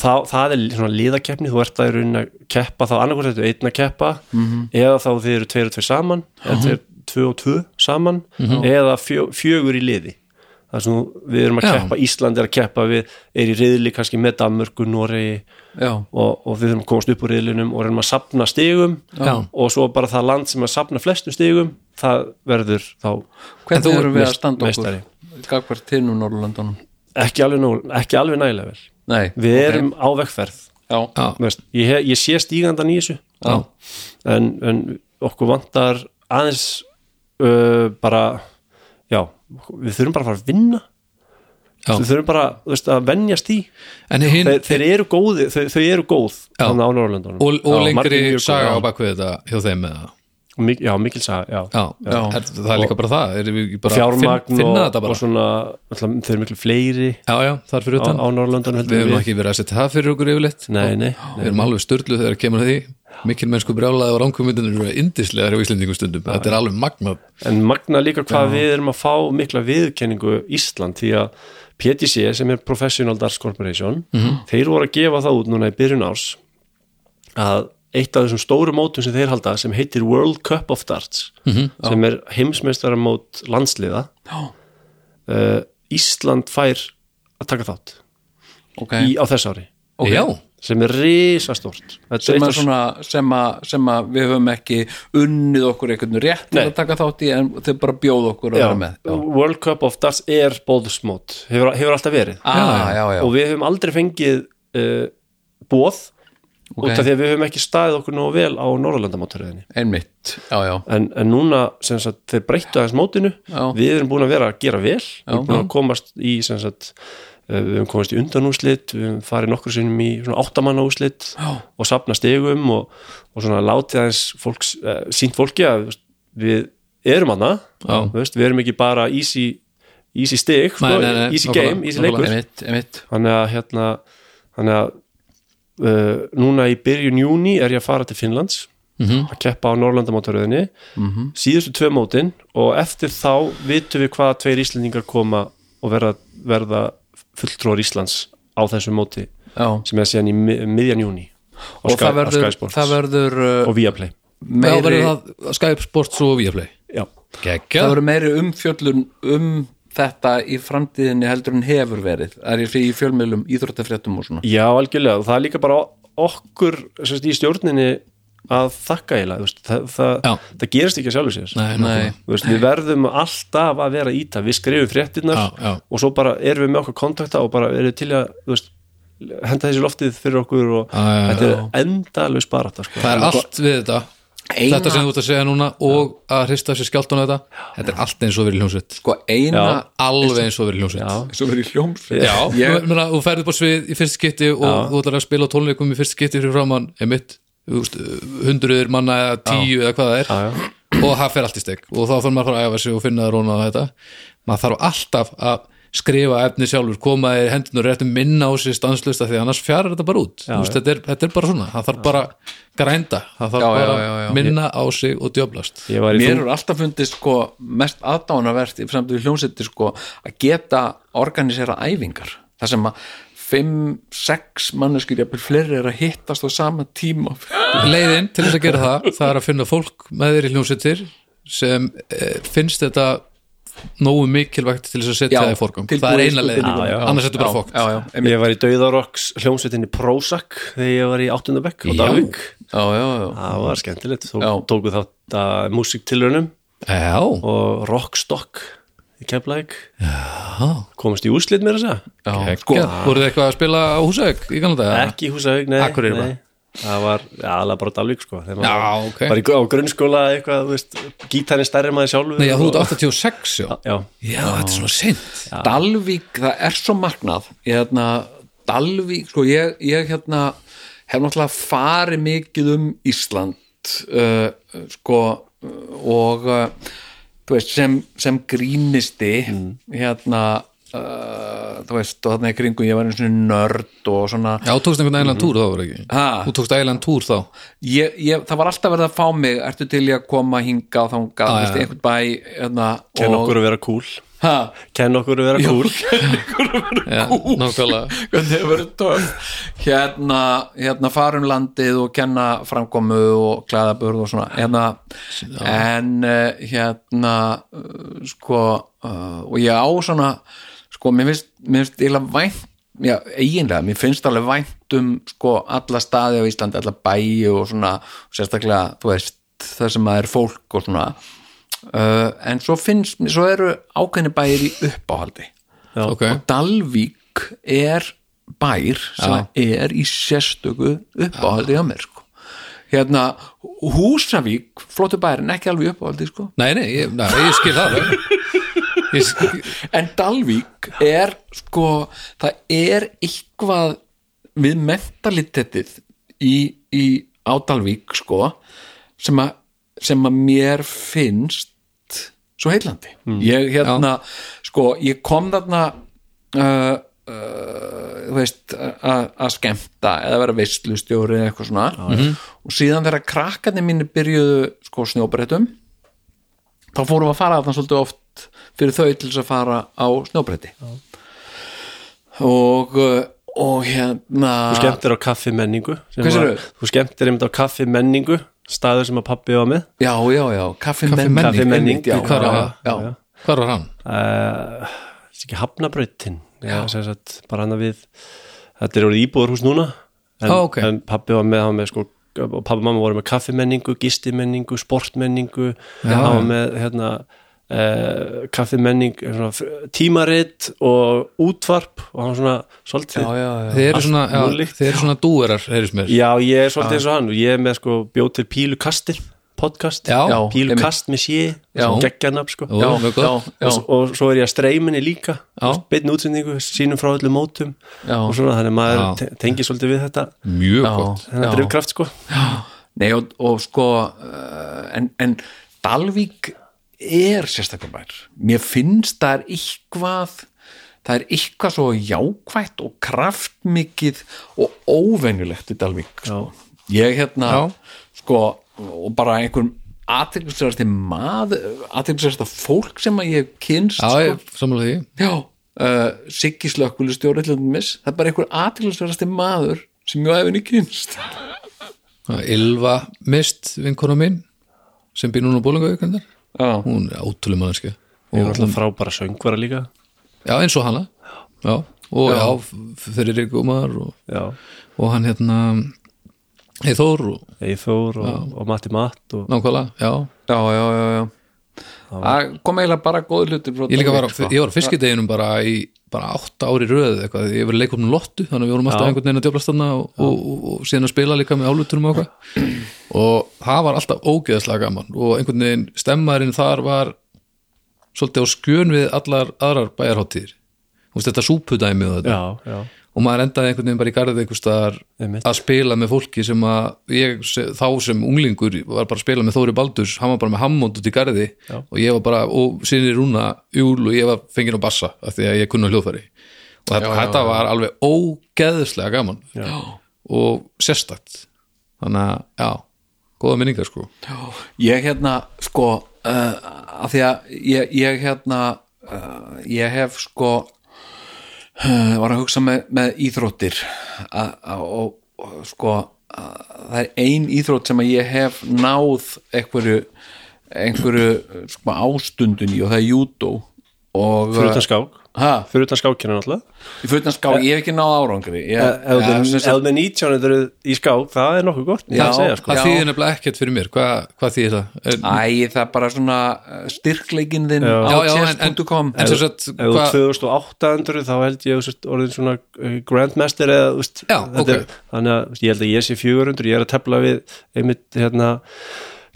Speaker 6: það, það er svona liðakeppni þú ert að í rauninni að keppa þá annarkvært þetta einn að keppa
Speaker 5: Mhm.
Speaker 6: eða þá þið eru tveir og tveir saman eða tveir, tvö og tvö saman
Speaker 5: Mhm.
Speaker 6: eða fjö, fjögur í liði það er svona, við erum að
Speaker 5: Já.
Speaker 6: keppa Ísland er að keppa, við er í riðli kannski með Danmörku, Noregi
Speaker 4: já,
Speaker 6: og, og við þurfum að komast upp úr riðlinum og reynum að sapna stigum
Speaker 5: Já.
Speaker 6: og svo bara það land sem að sapna flestum stigum það verður þá
Speaker 4: hvernig
Speaker 5: þú-
Speaker 4: erum við að
Speaker 6: meist-
Speaker 4: standa okkur
Speaker 6: meistari.
Speaker 4: gagvart hinn um Norrlandunum
Speaker 6: ekki alveg, nóg- ekki alveg nægilega vel
Speaker 4: nei,
Speaker 6: við
Speaker 4: ok.
Speaker 6: erum á vegferð
Speaker 4: já,
Speaker 5: já,
Speaker 6: Þú veist, ég, hef- ég sé stígandan í þessu
Speaker 4: Já.
Speaker 6: en, en okkur vantar aðeins uh, bara já, við þurfum bara að fara að vinna
Speaker 5: Já.
Speaker 6: við þurfum bara þú veist, að venjast í
Speaker 5: en hinn
Speaker 6: þeir, þeir eru góði, þau, þau eru góð
Speaker 5: Já.
Speaker 6: þannig á Norrlöndunum
Speaker 5: og, og
Speaker 6: margir
Speaker 5: lengri
Speaker 6: mjög góðir,
Speaker 5: saga á
Speaker 6: já.
Speaker 5: bakvið þetta hjá þeim með það
Speaker 6: Mik já, mikil saga, já,
Speaker 5: já, já. Er, það er líka bara það er við ekki bara
Speaker 6: fjármagn
Speaker 5: finn, finna
Speaker 6: og,
Speaker 5: þetta
Speaker 6: og
Speaker 5: bara
Speaker 6: svona alltaf, þeir eru miklu fleiri
Speaker 5: já, já, það er fyrir
Speaker 6: á,
Speaker 5: utan
Speaker 6: á
Speaker 5: við
Speaker 6: Norrlöndunum heldur en
Speaker 5: hefum ekki verið að setja það fyrir okkur yfirleitt
Speaker 6: Nei, nei,
Speaker 5: við erum alveg störlu þegar kemur að því mikil mennsku brjálaði og ránkvömyndin eru indislegar á Íslendingum stundum, þetta er alveg magnað
Speaker 6: en magna líka hvað við erum að fá mikla viðkenningu Ísland því að PTC sem er Professional Darts Corporation
Speaker 4: Mhm.
Speaker 6: þeir voru að gefa það út núna í byrjun árs að eitt af þessum stóru mótum sem þeir halda sem heitir World Cup of Darts
Speaker 4: Mhm.
Speaker 6: sem er heimsmeistaramót landsliða uh, Ísland fær að taka þátt
Speaker 4: okay.
Speaker 6: í, á þess ári
Speaker 4: Ok.
Speaker 5: já,
Speaker 6: sem er risastórt Þetta er
Speaker 4: sem,
Speaker 6: eitt
Speaker 4: að
Speaker 6: af-
Speaker 4: svona, sem, að, sem að við höfum ekki unnið okkur einhvern rétt til
Speaker 6: Nei.
Speaker 4: að taka þátt í en þau bara bjóð okkur að
Speaker 6: Já,
Speaker 4: vera með já,
Speaker 6: World Cup of Darts er bóðsmót hefur, hefur alltaf verið
Speaker 4: Ah, já, já.
Speaker 6: og við höfum aldrei fengið uh, bóð út af því að við höfum ekki staðið okkur nógu vel á Norðurlandamótaröðinni
Speaker 4: einmitt já, já,
Speaker 6: en, en núna sem sagt, þeir breyttu aðeins mótinu
Speaker 4: Já.
Speaker 6: við erum búin að vera að gera vel við erum búin að komast í sem sagt, eh, við erum komast í undanúslit við erum farið nokkur sinnum í svona áttamannaúslit
Speaker 4: Já.
Speaker 6: og safna stegum og, og svona látið aðeins fólks, uh, sínt fólki að þú veist, við erum hana
Speaker 5: Já.
Speaker 6: veist, við erum ekki bara easy, easy stig
Speaker 5: Nei,
Speaker 6: sko,
Speaker 5: nei, nei,
Speaker 6: easy
Speaker 5: nákvæmlega,
Speaker 6: game, easy
Speaker 5: nákvæmlega.
Speaker 6: leikur
Speaker 4: einmitt, einmitt.
Speaker 6: þannig að hérna þannig að uh, núna í byrjun júni er ég að fara til Finnlands
Speaker 4: Mhm.
Speaker 6: að keppa á Norrlandamótaröðinni síðustu tvö mótin og eftir þá vitum við hvaða tveir Íslendingar koma og verða, verða fulltrúar Íslands á þessu móti
Speaker 4: Já.
Speaker 6: sem er síðan í mi- miðjan júni
Speaker 4: og það verður, það verður uh,
Speaker 6: og Viaplay
Speaker 5: meiri...
Speaker 4: meiri,
Speaker 5: verður það Skype Sports og Viaplay
Speaker 6: já,
Speaker 5: Gekka.
Speaker 4: það verður meiri umfjöllun um þetta í framtíðinni heldur en hefur verið það er ég því í fjölmiðlum, íþróttafréttum og svona
Speaker 6: já algjörlega og það er líka bara okkur sérst, í stjórninni að þakka eiginlega þú veist, það, það,
Speaker 5: Já.
Speaker 6: það gerist ekki að sjálfu sér
Speaker 5: Nei,
Speaker 4: Nei.
Speaker 5: nei.
Speaker 6: Þú veist, við verðum alltaf að vera í það við skrifum fréttirnar
Speaker 5: Já, já.
Speaker 6: og svo bara erum við með okkur kontakta og bara erum til að þú veist, henda þessi loftið fyrir okkur og
Speaker 5: Já, já,
Speaker 6: þetta er endalaus barata sko.
Speaker 5: það er allt við þetta þetta sem þú ert að segja núna og að hrista sér skjáltun þetta, þetta er allt eins og verið hljómsveit
Speaker 4: sko eina
Speaker 6: Já.
Speaker 5: alveg eins og verið hljómsveit já,
Speaker 4: sem verður í hljómsveit
Speaker 5: ég... þú, meina, þú ferði bara svið í fyrst skipti og þú ætlar að spila á tónleikum í fyrst skipti fyrir framann emitt, hundruður manna eða tíu eða hvað það er
Speaker 6: já.
Speaker 5: og það fer allt í steg og þá þarf maður að fara að æfa sig og finna það róna á þetta maður þarf alltaf að skrifa efni sjálfur, koma í hendunar réttum minna á sér stanslust af því að annars fjarar þetta bara út já, veist, þetta, er, þetta er bara svona, það þarf bara grænda, það þarf
Speaker 4: Já, já,
Speaker 5: bara
Speaker 4: já, já.
Speaker 5: minna á sig og djöblast
Speaker 6: ég var í
Speaker 4: mér
Speaker 6: þung,
Speaker 4: eru alltaf fundið sko mest aðdánavert í samt við hljómsveitir sko að geta organisera æfingar þar sem að 5-6 manneskir jafnvel fleiri er að hittast á sama tíma
Speaker 5: leiðin til þess að gera það það er að finna fólk með þér í hljómsveitir sem e, finnst þetta nógu mikilvægt til þess að setja
Speaker 4: Já,
Speaker 5: það í forgang
Speaker 4: tilbúið
Speaker 5: það er eina leiðin,
Speaker 4: skuldbindingum. Já, já.
Speaker 5: annars þetta er bara fókt
Speaker 4: já, já, einmitt.
Speaker 6: ég var í Dauðarokks hljómsveitinni Prozac þegar ég var í áttundabekk og
Speaker 5: Já.
Speaker 6: Davík
Speaker 4: já, já, já.
Speaker 6: það var skemmtilegt, þó
Speaker 4: Já.
Speaker 6: tóku þátt að músiktilraunum
Speaker 5: já,
Speaker 6: og Rockstock í Keflæk komast í úrslit mér að segja
Speaker 5: já. Sko, voruð þið eitthvað að spila á Húsavík í kannan dag?
Speaker 6: ekki í Húsavík, nei,
Speaker 5: Akureyri bara.
Speaker 6: nei. það var aðalega bara Dalvík sko þegar
Speaker 5: Já,
Speaker 6: maður var-
Speaker 5: ok.
Speaker 6: var í, á grunnskóla eitthvað, þú veist, gítarinn stærri en maður sjálfur
Speaker 5: Nei, já, þú ert
Speaker 6: og-
Speaker 5: 86 já.
Speaker 6: já,
Speaker 5: já, þetta er svona sent
Speaker 4: Dalvík, það er svo magnað ég hérna, Dalvík sko ég, ég hérna hef náttúrulega farið mikið um Ísland uh, sko uh, og uh, þú veist, sem, sem grínisti
Speaker 5: Mm.
Speaker 4: hérna uh, þú veist, og þarna í kringum ég var einu svona nörd og svona
Speaker 5: Já, þú tókst einhvern ægilegan túr þá var ekki
Speaker 4: Ha?
Speaker 5: Þú tókst ægilegan túr þá
Speaker 4: ég, ég, það var alltaf verið að fá mig ertu til ég að koma hinga og þanga ah,
Speaker 5: já,
Speaker 4: veist,
Speaker 5: já.
Speaker 4: einhvern bæ hérna,
Speaker 6: kenn
Speaker 4: og,
Speaker 6: okkur að vera cool
Speaker 4: ha,
Speaker 6: kenn okkur að vera cool
Speaker 5: Já, nákvæmlega
Speaker 4: hvernig hefur verið töf hérna, hérna farum landið og kenna framkomu og klæðaburð og svona hérna, en eh, hérna eh, sko eh, og ég á svona sko, mér finnst, mér finnst eiginlega vænt já, eiginlega, mér finnst alveg vænt um sko alla staði á Íslandi alla bæi og svona sérstaklega, þú veist, það sem að er fólk og svona uh, en svo finnst, mér- svo eru ákveðni bæir í uppáhaldi
Speaker 5: Ok,
Speaker 4: og Dalvík er bær sem
Speaker 5: Já.
Speaker 4: er í sérstöku uppáhaldi á mér sko. hérna Húsavík, flottu bærin ekki alveg í uppáhaldi sko.
Speaker 5: nei, nei, ég, nei, ég skil það alveg. ég skil,
Speaker 4: en Dalvík er sko, það er eitthvað við mentalitetið í, í á Dalvík sko, sem að sem að mér finnst svo heillandi ég, hérna, sko, ég kom þarna uh, uh, þú veist að að skemmta eða vera veislustjóri eða eitthvað svona og síðan þegar krakkarnir mínir byrjuðu sko snjóbreytum þá fórum við að fara þarna svolítið oft fyrir þau til þess að fara á snjóbreyti og uh, og hérna
Speaker 6: Þú skemmtir á kaffi menningu
Speaker 4: Hvað sérðu?
Speaker 6: Þú skemmtir einmitt á kaffi menningu staður sem að pappi var með
Speaker 4: já, já, já, kaffi menning
Speaker 6: Kaffi Menning,
Speaker 4: já,
Speaker 6: í
Speaker 4: já,
Speaker 5: hvar var-
Speaker 4: já, já.
Speaker 5: hvar var hann?
Speaker 6: uh, sé ekki hafnabrautin já, sem sagt, bara hann að við þetta er orðið íbúðurhús núna en,
Speaker 5: Ó, ok.
Speaker 6: en pappi var með, hann með sko og pappi og mamma voru með kaffimenningu, gistimenningu sportmenningu hann var með hérna Uh, kaffimenning svona, fr- tímarit og útvarp og hann svona svolítið
Speaker 4: já, já, já.
Speaker 5: Þeir eru
Speaker 6: Allt
Speaker 5: svona, já,
Speaker 6: mögulegt.
Speaker 5: þeir eru svona dúerar heyrðist mér,
Speaker 6: Já, ég er svolítið eins og hann og ég er með sko bjóð til pílukastil podcast,
Speaker 5: Já,
Speaker 4: já,
Speaker 6: pílukast með sé
Speaker 4: Já.
Speaker 6: geggjanab sko
Speaker 5: Jú, mjög gott.
Speaker 4: já, já,
Speaker 6: Og, s- og svo er ég að streyminni líka
Speaker 5: Já.
Speaker 6: beinn útsendingu, sínum frá öllum mótum
Speaker 4: Já.
Speaker 6: og svona þannig að maður
Speaker 5: Já. Mm.
Speaker 6: te- tengir svolítið við þetta
Speaker 5: mjög gott
Speaker 6: þennan
Speaker 4: já.
Speaker 6: drifkraft sko
Speaker 4: Nei, og, og sko uh, en, en Dalvík er sérstakur bær mér finnst það er eitthvað það er eitthvað svo jákvætt og kraftmikið og óvenjulegt í Dalvík sko. ég hérna
Speaker 5: Já.
Speaker 4: sko og bara einhver aðtilsverðasti maður aðtilsverðasta fólk sem að ég hef kynst
Speaker 5: já,
Speaker 4: sko.
Speaker 5: ég sammála því
Speaker 4: Já, uh, Siggi Slökkvili stjóri mis, það er bara einhver aðtilsverðasti maður sem ég hefði henni kynst
Speaker 5: Ylva Mist, vinkona mín sem býr núna á Bólingavíkandar
Speaker 4: Já,
Speaker 5: hún er ótrúlega mannskja
Speaker 6: og alltaf frábæra söngvara líka
Speaker 5: já, eins og hana já, og já, fyrir ykkur maður og,
Speaker 6: já,
Speaker 5: og hann hérna Eithór og
Speaker 6: Eithór og, og Matti Matt og
Speaker 5: nákvæmlega, já
Speaker 4: já, já, já, já. Það kom eiginlega bara góð hlutir frá
Speaker 5: ég líka var,
Speaker 4: Dalvík, sko.
Speaker 5: ég var á fiskideginum bara í bara átta ári röð eitthvað, ég var leikum lottu þannig að við vorum alltaf einhvern veginn að djöflast þarna og, og, og, og síðan að spila líka með álutunum og eitthvað og það var alltaf ógeðslega gaman og einhvern veginn stemmarinn þar var svolítið á skjön við allar aðrar bæjarháttir veist, þetta súpudæmi og þetta
Speaker 6: já, já,
Speaker 5: og maður endaði einhvern veginn bara í garðið einhvers staðar
Speaker 6: Einmitt.
Speaker 5: að spila með fólki sem að ég, se- þá sem unglingur var bara að spila með Þóri Baldurs, hann var bara með Hammond út í garði Já. og ég var bara, og sinni Rúna Júl og ég var fenginn á bassa af því að ég kunna hljóðfæri og þetta, þetta var alveg ógeðslega gaman Já. og sérstakt þannig að, já, góða minningar sko
Speaker 4: Ég hérna, sko uh, að því að ég, ég hérna uh, ég hef sko uh, var að hugsa með, með íþróttir að, að, og, og sko að, það er ein íþrótt sem að ég hef náð einhverju einhverju sko, ástundun í og það er júdó og uh,
Speaker 6: fyrir utan skák
Speaker 4: ha,
Speaker 6: fyrir utan skákina náttúrulega
Speaker 4: fyrir utan ská, ég hef ekki náð árangri ég,
Speaker 5: Eh,
Speaker 6: ef
Speaker 4: ég-
Speaker 6: þið- ef þið 19 eru í skák það er nokkuð gott,
Speaker 4: Já.
Speaker 6: það segja sko
Speaker 5: það
Speaker 4: Já.
Speaker 5: þýðir nefnilega ekkert fyrir mér, Hva, hvað þýðir það? Er,
Speaker 4: Æ, það er bara svona uh, styrkleikinn þinn á
Speaker 5: já, já, en, en,
Speaker 4: chess.com
Speaker 5: en sem sagt,
Speaker 6: ef þú
Speaker 5: hvað-
Speaker 6: 2800 þá held ég þú sért, orðin svona eh, grandmaster eða, þú veist,
Speaker 5: Já,
Speaker 6: þetta
Speaker 5: ok.
Speaker 6: er, þannig að þú veist, ég held að ég sé 400 ég er að tefla við einmitt hérna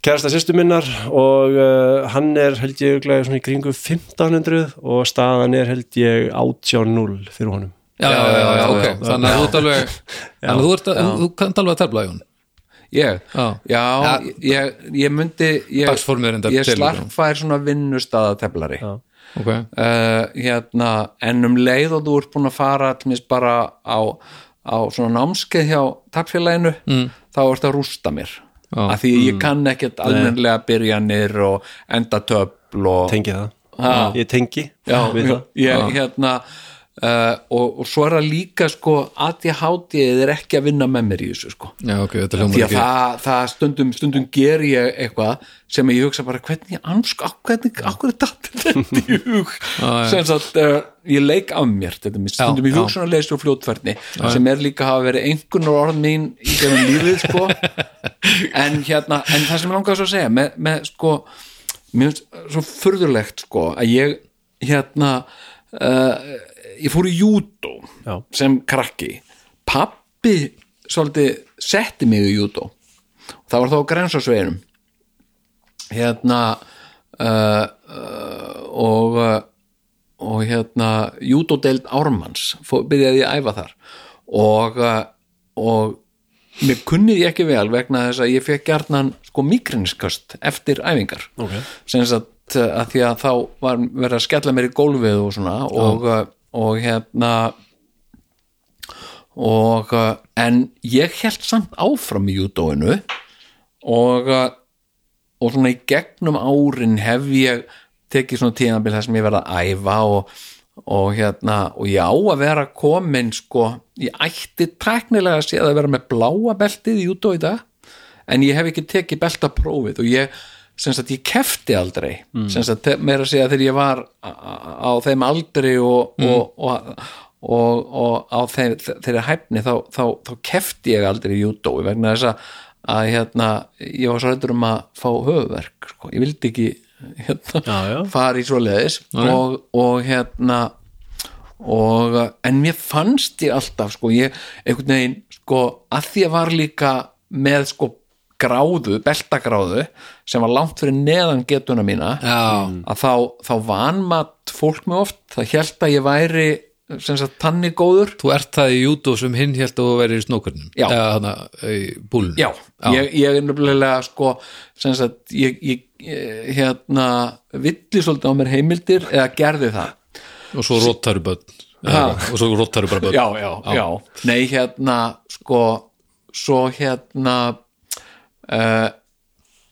Speaker 6: kærasta sýstu minnar og uh, hann er held ég örugglega svona í kringu 1500 og staðan er held ég 18-0 fyrir honum
Speaker 5: já, já, já, já, ok
Speaker 4: já.
Speaker 5: þannig að þú ert alveg þannig að þú, ert að, þú kannt alveg að tefla Jón
Speaker 4: Ég,
Speaker 5: Já.
Speaker 4: já, ég, ég myndi ég,
Speaker 5: Dagsformið er reyndar
Speaker 4: ég
Speaker 5: til,
Speaker 4: slarfær svona vinnustadateflari
Speaker 5: ok,
Speaker 4: uh, hérna, en um leið og þú ert búin að fara allmest bara á, á svona námskeið hjá tappfélaginu, mm. þá ert að rústa mér
Speaker 5: Já. Mm.
Speaker 4: af því ég kann ekkert almennlega byrjanir og endatöfl og
Speaker 6: tengi það,
Speaker 4: Ha.
Speaker 6: ég tengi
Speaker 4: já,
Speaker 6: við
Speaker 4: já,
Speaker 6: það
Speaker 4: ég, hérna uh, og, og svo er það líka sko ADHD er ekki að vinna með mér í þessu sko
Speaker 5: já, ok, þetta
Speaker 4: því
Speaker 5: hljómar
Speaker 4: að
Speaker 5: ekki
Speaker 4: það, það stundum, stundum ger ég eitthvað sem ég hugsa bara hvernig ansk, á hvernig, á hverju datt þetta í hug sem sagt, uh, ég leik af mér þetta mér stundum í
Speaker 5: já.
Speaker 4: hugsunarleis og fljótferðni sem er líka að hafa verið einhvern orð mín í gerum lífið sko en hérna, en það sem ég langaði svo að segja með, með sko mér finnst svo furðulegt sko að ég hérna uh, ég fór í júdó
Speaker 6: Já.
Speaker 4: sem krakki pappi svolítið setti mig í júdó það var þá grensasveginum hérna uh, uh, og uh, og hérna júdódeild Ármanns fó- byrjaði ég að æfa þar og uh, og mér kunnið ég ekki vel vegna þess að ég fekk gjarnan sko mikrinskast eftir æfingar
Speaker 6: Ok.
Speaker 4: sem sagt eh, að því að þá var verið að skella mér í gólfið og svona og, eh, og hérna og eh, en ég held samt áfram í júdóinu og eh, og svona í gegnum árin hef ég tekið svona tíðanbíl þar sem ég verið að æfa og, og hérna og ég á að vera komin sko ég ætti tæknilega að sé að vera með bláa beltið í júdó í dag en ég hef ekki tekið beltaprófið og ég sem sagt ég kefti aldrei
Speaker 6: Mm.
Speaker 4: sem sagt te- meira að segja þegar ég var á á þeim aldri og,
Speaker 6: Mm.
Speaker 4: og, og, og, og á þeir, þeirri hæfni þá, þá, þá kefti ég aldrei í júdói vegna þess að, að hérna, ég var svo hættur um að fá höfuverk sko. ég vildi ekki hérna,
Speaker 6: Já, já.
Speaker 4: fara í svoleiðis og, og hérna og eh, en mér fannst ég alltaf sko, ég einhvern veginn sko, að því að var líka með sko gráðu, beltagráðu sem var langt fyrir neðan getuna mína
Speaker 5: Já.
Speaker 4: að þá, þá vanmatt fólk mig oft, það held að ég væri sem sagt tannig góður
Speaker 5: Þú ert það í júdó sem hinn hélt að þú verið í snókarnum
Speaker 4: Já.
Speaker 5: Eða þannig í búlun
Speaker 4: já, Ég, ég er nefnilega sko sem sagt, ég, ég eh, hérna villi svolítið á mér heimildir eða gerði það
Speaker 5: Og svo róttaru börn
Speaker 4: Ha.
Speaker 5: Eða, Og svo róttaru bara börn
Speaker 4: já, já, já, nei hérna sko svo hérna uh,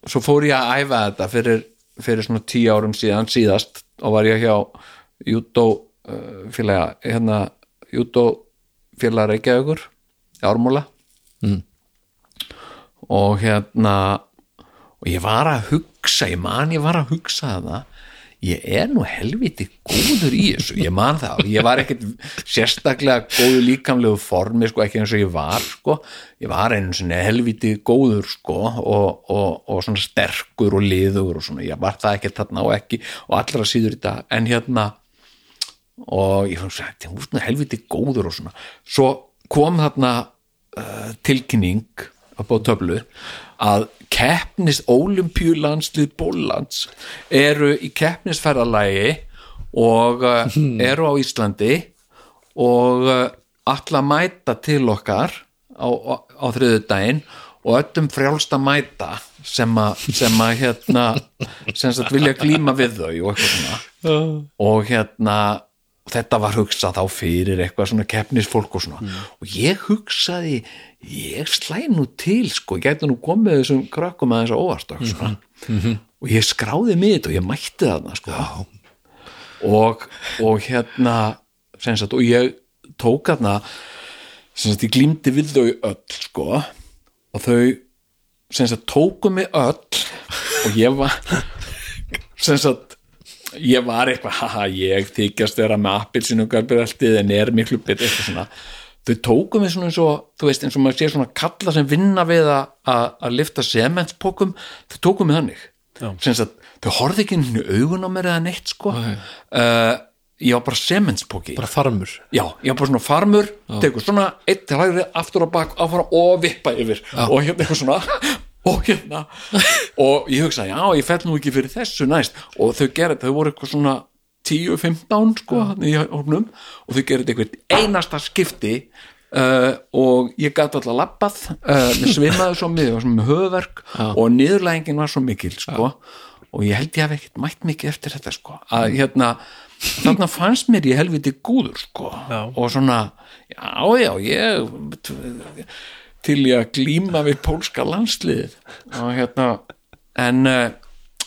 Speaker 4: svo fór ég að æfa þetta fyrir, fyrir svona tíu árum síðan síðast og var ég hjá júdó uh, félaga hérna júdó félaga Reykjavíkur í Ármúla og hérna og ég var að hugsa, ég man ég var að hugsa það ég er nú helviti góður í þessu ég man það, ég var ekkit sérstaklega góður líkamlegu formi sko, ekki eins og ég var sko. ég var einu sinni helviti góður sko, og, og, og svona sterkur og liður og svona, ég var það ekkit þarna og ekki og allra síður í dag en hérna og ég fann sagt, hún er helviti góður og svona svo kom þarna uh, tilkynning upp á töflu að keppnis olimpíulandslið Bóllands eru í keppnisferðalagi og uh, eru á Íslandi og uh, alla mæta til okkar á, á, á þriðudaginn og öllum frjálsta mæta sem að, sem að hérna sem sagt vilja glíma við þau og eitthvað svona og hérna þetta var hugsað þá fyrir eitthvað svona keppnisfólk og svona og ég hugsaði, ég slæ nú til sko, ég gæti nú komið þessum krökkum aðeins á óvart og, mm og ég skráði mig í þetta og ég mætti þarna sko og, og hérna sem sagt, og ég tók þarna sem sagt, ég glímdi við þau öll sko og þau sem sagt, tóku mig öll og ég var sem sagt ég var eitthvað, haha, ég þykjast vera með appilsinungarbreltið en er miklu betur eitthvað svona þau tóku mig svona eins og, þú veist, eins og maður sé svona kalla sem vinna við að- að að lifta sementspokum, þau tóku mig þannig sem sagt, þau horfði ekki einu sinni í augun á mér eða neitt sko uh, ég var bara sementspoki
Speaker 5: Bara farmur
Speaker 4: Já, ég var bara svona farmur, tekur svona eitt til hægri, aftur á bak, áfara og vippa yfir og hérna eitthvað svona og hérna og ég hugsaði, já, ég fell nú ekki fyrir þessu næst og þau gerði, þau voru eitthvað svona 10-15 sko, hann í hópnum og þau gerði eitthvað einasta skipti uh, og ég gat alltaf labbað uh, mér svimaði svo mjög, ég var svona með höfverk og niðurlægingin var svo mikil sko og ég held ég hafi ekkert mætt mikið eftir þetta sko að hérna, þarna fannst mér ég helviti gúður sko já. og svona, já já ég t- til ég að glíma við pólska landsliðið og hérna en, eh,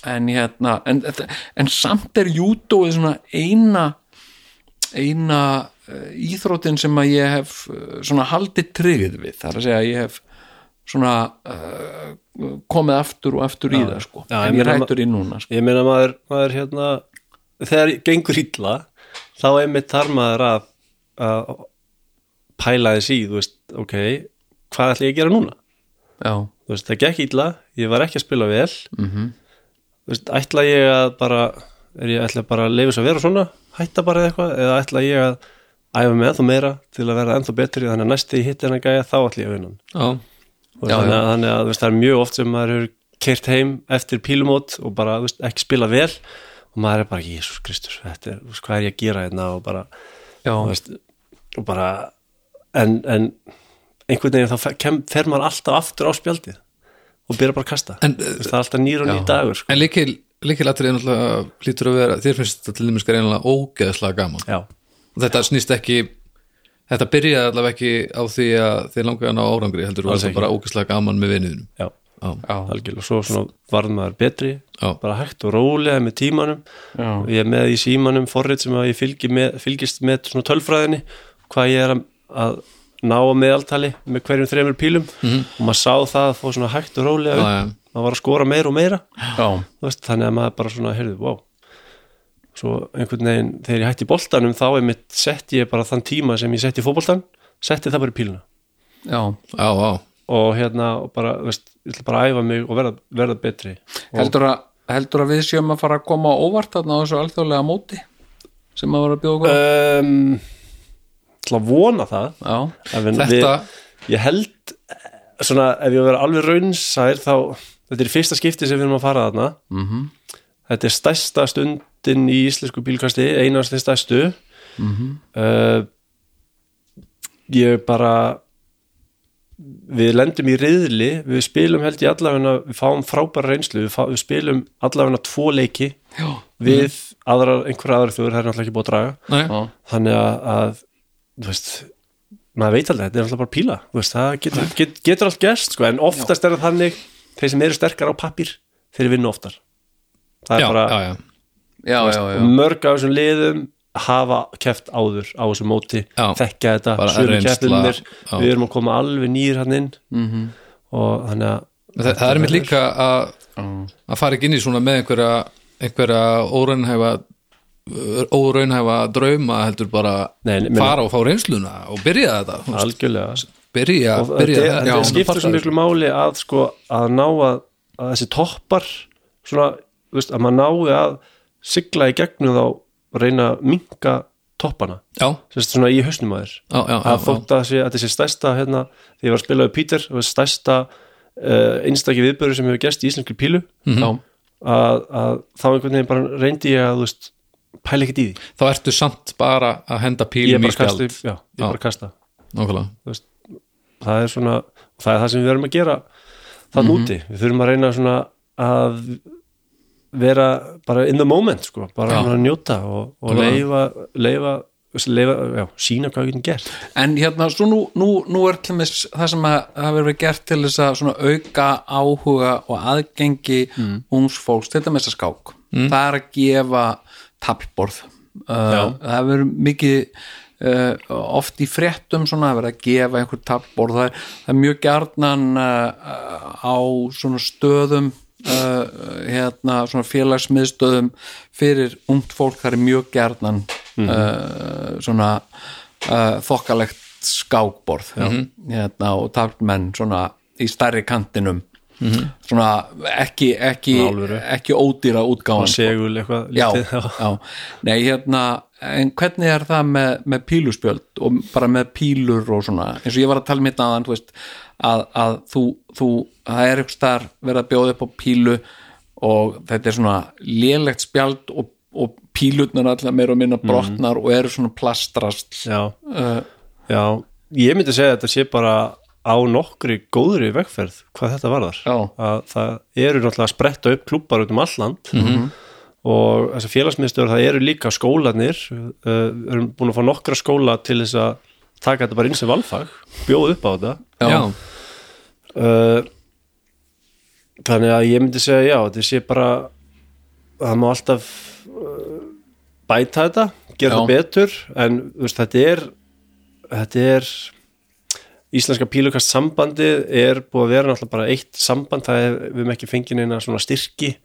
Speaker 4: en hérna en, en samt er júdóið svona eina eina eh, íþróttin sem að ég hef eh, svona haldið tryggð við, þar að segja að ég hef svona uh, komið aftur og aftur í það sko
Speaker 6: Já, ég
Speaker 4: en ég
Speaker 6: meina-
Speaker 4: rættur í núna sko.
Speaker 6: ég meina maður, maður hérna þegar gengur illa þá einmitt þar maður að, að pæla þess í þú veist, ok, hvað ætla ég að gera núna
Speaker 4: já,
Speaker 6: þú veist, það gekk illa, ég var ekki að spila vel -hmm. þú veist, ætla ég að bara er ég ætla bara að leifa svo að vera svona hætta bara eða eitthvað, eða ætla ég að æfa mig ennþá meira til að vera ennþá betri þannig að næsti hitt en að gæja þá ætla ég að vinna hann.
Speaker 5: Já,
Speaker 6: Þú veist,
Speaker 4: Já,
Speaker 6: þannig, að, þannig að þú veist, það er mjög oft sem maður hefur keirt heim eftir pílumót og bara þú veist, ekki spila vel og maður er bara, Jésús Kristus, þetta er, þú veist, hvað er ég að gera hérna og bara,
Speaker 4: já,
Speaker 6: þú veist, og bara en, en einhvern veginn þá fer, kem, fer maður alltaf aftur á spjaldið og byrja bara að kasta
Speaker 5: En,
Speaker 6: Þú veist, það er alltaf nýr og nýr dagur sko.
Speaker 5: En líkil, líkil atrið náttúrulega lítur að vera, þér finnst þetta til dæmis greinlega ógeðslega gaman
Speaker 6: já,
Speaker 5: og þetta snýst ekki þetta byrjaði allavega ekki á því að þið langaði að ná árangri heldur var
Speaker 6: Alls
Speaker 5: þetta
Speaker 6: ekki.
Speaker 5: bara ógeðslega gaman með vinniðinum
Speaker 6: já,
Speaker 5: já,
Speaker 6: algjörlega svo svona varð maður betri
Speaker 5: Já.
Speaker 6: bara hægt og rólega með tímanum
Speaker 4: Já.
Speaker 6: ég er með í símanum forrið sem að ég fylgi með, fylgist með svona tölfræðinni hvað ég er að, að ná að meðaltali með hverjum þremur pílum og maður sá það að fóð svona hægt og rólega upp.
Speaker 5: já, já.
Speaker 6: maður var að skora meira og meira
Speaker 4: já,
Speaker 6: Þú veist, þannig að maður bara svona, heyrðu, wow svo einhvern veginn, þegar ég hætti í boltanum þá er mitt, setti ég bara þann tíma sem ég setti í fótboltan, setti það bara í píluna
Speaker 4: já.
Speaker 5: já, já.
Speaker 6: og hérna, og bara, þú veist, ég ætla bara að æfa mig og verða, verða betri
Speaker 4: Heldur, að, heldur að við séum að fara að koma á óvart þarna á þessu alþjóðlega móti sem að vera að bjóða okkur á?
Speaker 6: um, ætla að vona það
Speaker 4: já,
Speaker 6: En við-
Speaker 5: þetta,
Speaker 6: við, ég held, svona, ef ég vera alveg raunsær þá, þetta er í fyrsta skipti sem við erum að fara þarna mm -hmm. þetta er stærsta stundin í íslensku bílkasti, einast þeir stærstu uh, ég bara við lendum í riðli við spilum held ég allavegna við fáum frábæra reynslu, við, fá, við spilum allavegna tvo leiki
Speaker 4: já,
Speaker 6: við aðrar, einhverja aðrar þjóður, það er náttúrulega ekki búið að draga
Speaker 5: nei,
Speaker 4: já.
Speaker 6: þannig að, að þú veist, maður veit aldrei, þetta er alltaf bara píla þú veist, það getur, get, getur allt gerst sko, en oftast er það þannig þeir sem eru sterkar á pappir, þeir vinna oftar það er
Speaker 5: já,
Speaker 6: bara
Speaker 5: já, já,
Speaker 4: já, já, já.
Speaker 6: mörg af þessum liðum hafa keft áður á þessu móti
Speaker 5: Já.
Speaker 6: þekkja þetta,
Speaker 5: Bara
Speaker 6: sömu
Speaker 5: reynsla,
Speaker 6: keftinir
Speaker 5: já.
Speaker 6: við erum að koma alveg nýr hann inn -hmm. og þannig að
Speaker 5: það, það er mitt líka að að fara ekki inn í svona með einhverja einhverja óraunhæfa óraunhæfa drauma heldur bara
Speaker 6: Nei, nei, menn-
Speaker 5: fara og fá reynsluna og byrja þetta þú veist,
Speaker 6: algjörlega
Speaker 5: byrja,
Speaker 6: og
Speaker 5: byrja
Speaker 6: þetta, þetta skiptir svo miklu máli að sko að ná að, að þessi toppar svona, þú veist, að maður nái að sigla í gegnum þá og reyna að minka toppana
Speaker 5: já,
Speaker 6: sérst svona í hausnum að þér
Speaker 5: já, já, já,
Speaker 6: að þótt að, sé, að þessi stærsta hérna, þegar ég var að spila við Peter, það var stærsta uh, einstakki viðbörður sem hefur gerst í íslenski pílu
Speaker 5: Mhm.
Speaker 6: að, að þá einhvern veginn bara reyndi ég að þú veist, pæla ekkert í því
Speaker 5: þá ertu samt bara að henda
Speaker 6: ég er
Speaker 5: pílum í
Speaker 6: bara að
Speaker 5: spjald
Speaker 6: kasta, já, ég er bara að kasta
Speaker 5: nákvæmlega
Speaker 6: þú veist, það er svona það er það sem við verðum að gera þann úti, við þurfum að reyna svona að vera bara in the moment sko, bara
Speaker 5: Já.
Speaker 6: að njóta og, og
Speaker 5: Alveg.
Speaker 6: leifa, leifa, leifa já, sína hvað við getum gert
Speaker 4: En hérna, svo nú, nú, nú er til með það sem að hafa verið gert til þess að svona auka áhuga og aðgengi mm. ungs fólks, þetta með þess að skák það er að gefa tapiborð uh, það hefur verið mikið uh, oft í fréttum svona að vera að gefa einhver tapiborð það er, það er mjög gjarnan uh, á svona stöðum uh, hérna svona félagsmiðstöðum fyrir ungt fólk það er mjög gjarnan uh, svona uh, þokkalegt skákborð
Speaker 6: Mhm.
Speaker 4: hérna, og taflmenn svona í stærri kantinum
Speaker 6: Mhm.
Speaker 4: svona ekki ekki, ekki ódýra útgáfan
Speaker 6: segul eitthvað
Speaker 4: já,
Speaker 6: lítið,
Speaker 4: já. Nei, hérna, en hvernig er það með, með píluspjöld og bara með pílur og svona, eins og ég var að tala mitt aðan, þú veist, að, að þú, þú, það er ykkur starf verið að bjóða upp á pílu og þetta er svona lélegt spjald og, og pílurnar allar meira og minna brotnar og eru svona plastrast
Speaker 6: Mhm.
Speaker 4: eh,
Speaker 6: já, já ég myndi segja að þetta sé bara á nokkri góðri vegferð hvað þetta varðar
Speaker 4: Já.
Speaker 6: að það eru náttúrulega að spretta upp klúpar út um alland mm -hmm. og þessar félagsmiðstöður það eru líka skólanir uh, erum búin að fá nokkra skóla til þess að taka þetta bara inn sem valfag bjóð upp á þetta
Speaker 5: já,
Speaker 6: uh, þannig að ég myndi segja já, þetta sé bara það má alltaf uh, bæta þetta, gera
Speaker 4: Já.
Speaker 6: það betur en þú veist, þetta er þetta er Íslenska pílukast sambandi er búið að vera náttúrulega bara eitt samband það er við með ekki fengið neina svona styrki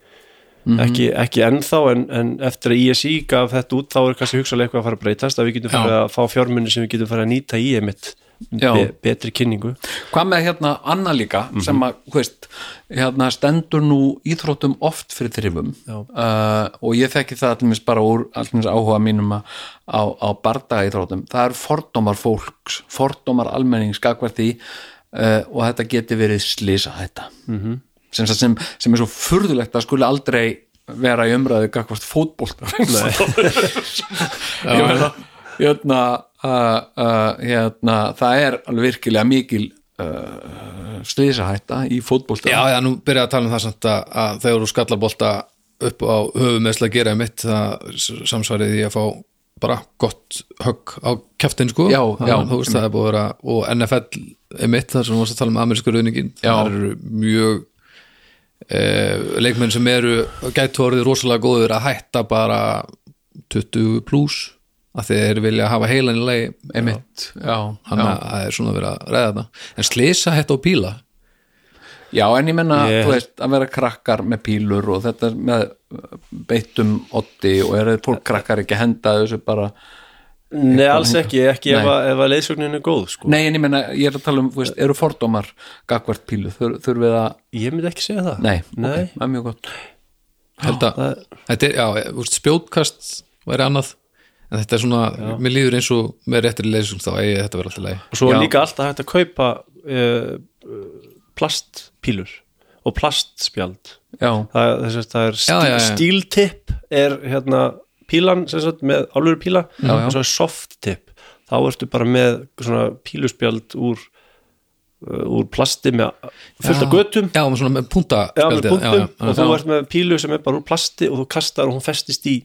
Speaker 4: Mhm.
Speaker 6: ekki, ekki ennþá en, en eftir að ISI gaf þetta út þá er kannski hugsalega eitthvað að fara að breytast að við getum farið að fá fjármunni sem við getum farið að nýta í einmitt
Speaker 4: Já.
Speaker 6: be, betri kynningu
Speaker 4: Hvað með hérna Anna líka sem að, þú veist, hérna stendur nú íþróttum oft fyrir þrifum
Speaker 6: Já.
Speaker 4: uh, og ég þekki það allmins bara úr allmins áhuga mínum að- á, á barda íþróttum. Það eru fordómar fólks, fordómar almenning skakvært því uh, og þetta geti verið slisa þetta mm -hmm. sem, sagt sem, sem er svo furðulegt að skuli aldrei vera í umræðu gagvart fótbolt ég meina hérna, uh, uh, hérna það er alveg virkilega mikil slísahætta í fótbolta
Speaker 5: Já, já, nú byrjaði að tala um það samt að, að þegar þú skallabolta upp á höfumeðsla að gera mitt það s- samsvarið í að fá bara gott högg á kjaftin sko
Speaker 4: Já,
Speaker 5: Þannig
Speaker 4: já,
Speaker 5: að þú veist það er búið að vera og NFL er mitt þar sem þú varst að tala um amerísku rauðningin
Speaker 4: Já.
Speaker 5: það eru mjög eh, leikmenn sem eru gætu orðið rosalega góður að hætta bara 20 pluss að þeir vilja hafa heilan í lagi
Speaker 4: einmitt, já,
Speaker 5: hann
Speaker 4: já.
Speaker 5: að það er svona að vera að ræða þetta en slisa hætta á bíla
Speaker 4: já, en ég menna
Speaker 6: Ég-
Speaker 4: þú veist, að vera krakkar með pílur og þetta er með uh, beittum otti og er þetta fólk krakkar ekki að henda þessu bara,
Speaker 6: Nei, alls ekki, ekki ef
Speaker 4: Nei.
Speaker 6: að, ef að leiðsögnin er góð sko.
Speaker 4: nei, en ég menna ég er að tala um, þú veist, eru fordómar gagvart pílu, Þur, þurfið að
Speaker 6: Ég myndi ekki segja það
Speaker 4: nei,
Speaker 6: Nei.
Speaker 4: ok, það er mjög gott
Speaker 5: held að þetta er, já, úst, spjótkast væri annað en þetta er svona, mér líður eins og með réttri leysum þá eigi þetta að vera alltaf leið
Speaker 6: Og
Speaker 4: Já.
Speaker 6: svo er líka alltaf hægt að kaupa uh, plastpílur og plastspjald
Speaker 4: já,
Speaker 6: það, er- þess, að það er stíl,
Speaker 5: Já, já, já.
Speaker 6: stíltipp er hérna pílan sem sagt, með alvöru píla
Speaker 5: Já, já.
Speaker 6: og svo er softtipp þá ertu bara með svona píluspjald úr, uh, úr plasti með fullt af götum
Speaker 5: já, með svona með
Speaker 6: já, með
Speaker 5: puntaspjaldið
Speaker 6: punktum og þú
Speaker 5: já.
Speaker 6: ert með pílu sem er bara úr plasti og þú kastar og hún festist í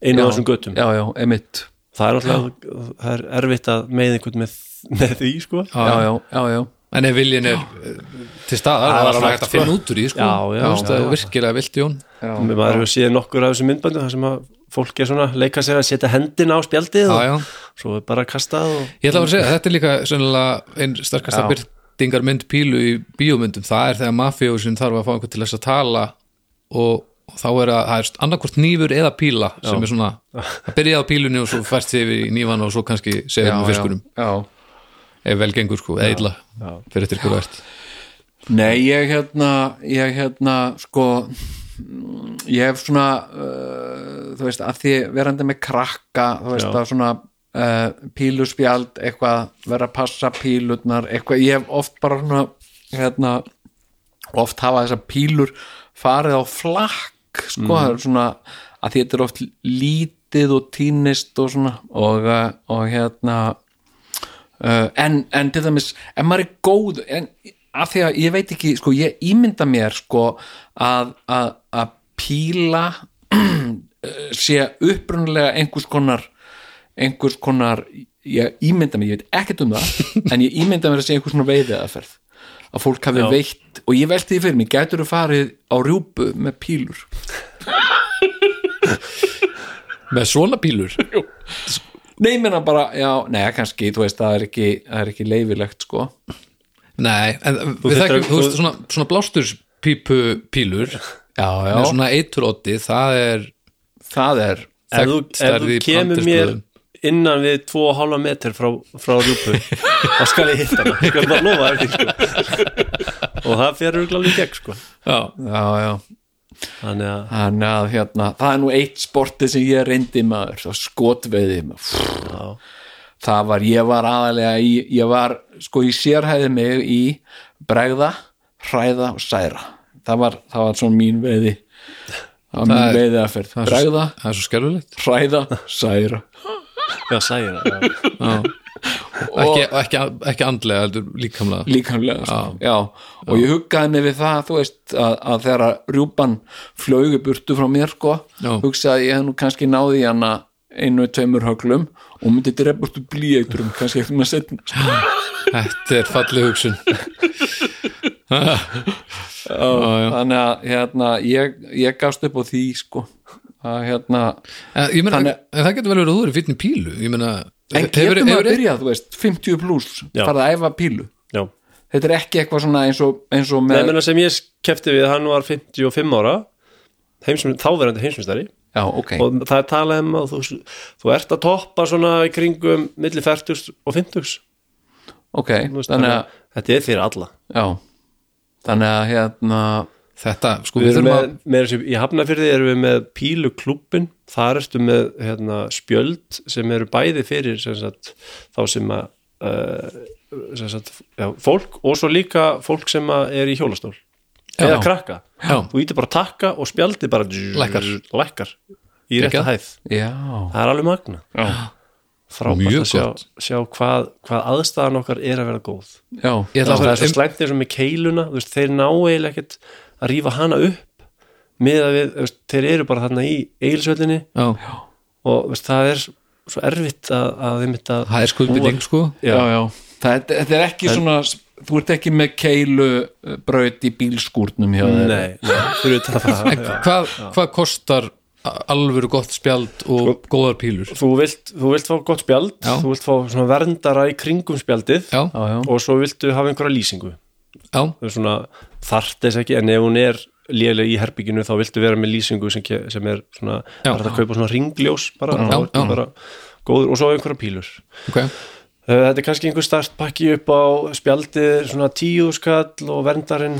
Speaker 6: einu af þessum götum
Speaker 4: já, já, emitt
Speaker 6: það er alltaf það er erfitt að meða einhvern með, með því sko
Speaker 5: Já,
Speaker 4: já, já, já, já,
Speaker 5: en ef viljin er eh, til staðar,
Speaker 6: Það
Speaker 5: það
Speaker 6: er
Speaker 5: er alveg
Speaker 6: alveg
Speaker 5: hægt að
Speaker 6: sko.
Speaker 5: finna út úr í sko.
Speaker 6: Já, já,
Speaker 5: Þú veist,
Speaker 6: já,
Speaker 5: það er
Speaker 6: já.
Speaker 5: virkilega vilt í hún
Speaker 6: já, maður hefur séð nokkur af þessum myndböndum þar sem að fólk er svona leika sér að setja hendina á spjaldið
Speaker 5: já,
Speaker 6: og
Speaker 5: já.
Speaker 6: svo er bara kastað og
Speaker 5: ég ætla að vera að segja, þetta er líka sennilega einn starkasta
Speaker 6: Já.
Speaker 5: byrtingar mynd pílu í bíómyndum, það er þegar mafjóðsinn þarf að fá einhvern til þess að tala og og þá er að, það er annarkvort nýfur eða píla sem er svona, að byrja á pílunni og svo fært sig yfir í nýfan og svo kannski segja um fiskunum,
Speaker 4: já.
Speaker 5: ef vel gengur sko, eða illa fyrir eftir hverju ert
Speaker 4: Nei, ég hérna, ég hérna, sko, mm, ég hef svona, uh, þú veist, að því verandi með krakka, þú veist,
Speaker 6: Já.
Speaker 4: að svona uh, píluspjald, eitthvað, vera að passa pílurnar, eitthvað, ég hef oft bara svona, hérna, oft hafa þessar pílur farið á flakk, sko, það er svona, að því þetta er oft lítið og tínist og svona, og, uh, og hérna, uh, en, en til dæmis ef maður er góð en, af því að ég veit ekki, sko, ég ímynda mér sko, að, að, að píla eh, sé upprunalega einhvers konar einhvers konar ég ímynda mér, ég veit ekkert um það en ég ímynda mér að sé einhvers konar veiðið aðferð að fólk hafi veitt og ég velti því fyrir mig, gætur þú farið á rjúpu með pílur
Speaker 5: með svona pílur,
Speaker 4: Nei, ég meina bara, já, neða kannski, þú veist, það er ekki, það er ekki leifilegt, sko.
Speaker 5: nei en við
Speaker 6: þurftir
Speaker 5: þekkjum,
Speaker 6: að-
Speaker 5: þú veist, svona, svona blásturspípu pílur já, já. með svona eituróti, það er
Speaker 4: Það er,
Speaker 6: ef þú,
Speaker 5: þekkt
Speaker 6: ef
Speaker 5: stærð
Speaker 6: þú
Speaker 5: í
Speaker 6: kemur mér
Speaker 5: handelsblöðum.
Speaker 6: innan við 2,5 metr frá, frá rjúpu þá skal ég hitta hana skal bara lofa eftir sko. og það fer rúglega í gegn sko.
Speaker 5: já,
Speaker 4: já, já.
Speaker 6: þannig að
Speaker 4: Þannig að hérna, það er nú eitt sportið sem ég reyndi maður, það skotveiði maður. Pff, Það var, ég var aðalega í, ég var, sko, ég sérhæði mig í bregða, hræða og særa. Það var, það var svona mín veiði, það var
Speaker 5: er-
Speaker 4: mín veiði aðferð.
Speaker 5: það er svo-
Speaker 4: Bregða,
Speaker 5: það er svo skelfilegt
Speaker 4: hræða, særa.
Speaker 6: já, sæði það já.
Speaker 5: ekki, ekki, ekki andlega, heldur líkamlega
Speaker 4: líkamlega sko. já. og ég huggaði mig við það þú veist að, að þegar að rjúpan flögu burtu frá mér sko
Speaker 5: Já.
Speaker 4: hugsaði ég hef nú kannski náði í hana einu tveimur höglum og myndi drefburtu blíeiturum kannski eftir maður setna sko.
Speaker 5: Þetta er fallið hugsun
Speaker 4: þannig að hérna, ég, ég gafst upp á því sko að hérna
Speaker 5: en, ég meina,
Speaker 4: Þannig-
Speaker 5: en það getur vel verið að þú eru fyrir pílu Ég meina,
Speaker 4: en getur maður að byrja þú veist 50 pluss,
Speaker 6: Já.
Speaker 4: farið að æfa pílu
Speaker 6: já.
Speaker 4: þetta er ekki eitthvað svona eins og, eins og
Speaker 6: Nei,
Speaker 4: með,
Speaker 6: menna, sem ég kefti við, hann var 55 ára heimsum, þáverandi heimsumstari
Speaker 4: já ok
Speaker 6: og það er talað um að þú, þú ert að toppa svona í kringum milli 40 og 50
Speaker 4: ok,
Speaker 6: Þú veist,
Speaker 4: þannig að
Speaker 6: þetta er fyrir alla
Speaker 4: já, þannig að hérna
Speaker 5: Þetta, sko,
Speaker 6: Við
Speaker 5: við
Speaker 6: erum
Speaker 5: þurfum
Speaker 6: með,
Speaker 5: að
Speaker 6: með þessi, í Hafnafyrði erum við með píluklúbbin, þar ertu með hérna, spjöld sem eru bæði fyrir sem sagt, þá sem að uh, sem sagt, já, fólk og svo líka fólk sem að er í hjólastól eða krakka,
Speaker 5: Já.
Speaker 6: þú ítir bara að takka og spjaldið bara
Speaker 5: Lækkar.
Speaker 6: lækkar í rétta
Speaker 5: Gekkað.
Speaker 6: hæð,
Speaker 4: Já,
Speaker 6: það er alveg magna
Speaker 4: já.
Speaker 6: frábært
Speaker 5: Mjög
Speaker 6: að sjá,
Speaker 5: gott.
Speaker 6: sjá hvað, hvað aðstæðan okkar er að vera góð
Speaker 4: já,
Speaker 5: Ég ætla að
Speaker 6: það er svo
Speaker 5: fara
Speaker 6: slæmt eins og með keiluna þú veist, þeir ná eiginlega ekkert að rífa hana upp með að við, þú veist, þeir eru bara þarna í eigilsvöldinni
Speaker 5: Já,
Speaker 6: og þú veist, það er svo erfitt að, að þeim þetta
Speaker 5: það er skuldbinding sko
Speaker 6: Já.
Speaker 4: já, já. Það, þetta er ekki svona þú ert ekki með keilu uh, braut í bílskúrnum hjá þér
Speaker 6: nei, nei, fyrir utan það
Speaker 5: En hvað, hvað kostar a- alvöru gott spjald og
Speaker 4: Sko-
Speaker 5: góðar pílur?
Speaker 6: þú vilt, þú vilt fá gott spjald
Speaker 5: Já.
Speaker 6: þú vilt fá svona verndara í kringum spjaldið
Speaker 5: Já,
Speaker 4: já, já.
Speaker 6: og svo viltu hafa einhverja lýsingu
Speaker 5: já,
Speaker 6: það er svona þart þess ekki en ef hún er léleg í herbygginu þá viltu vera með lýsingu sem, ke- sem er svona
Speaker 5: Já.
Speaker 6: já, er að kaupa svona ringljós bara,
Speaker 5: Já,
Speaker 6: þá ertu
Speaker 5: já.
Speaker 6: bara góður og svo einhverja pílur
Speaker 5: ok
Speaker 6: Eh, Þetta er kannski einhver startpakki upp á spjaldið svona tíu skall og verndarinn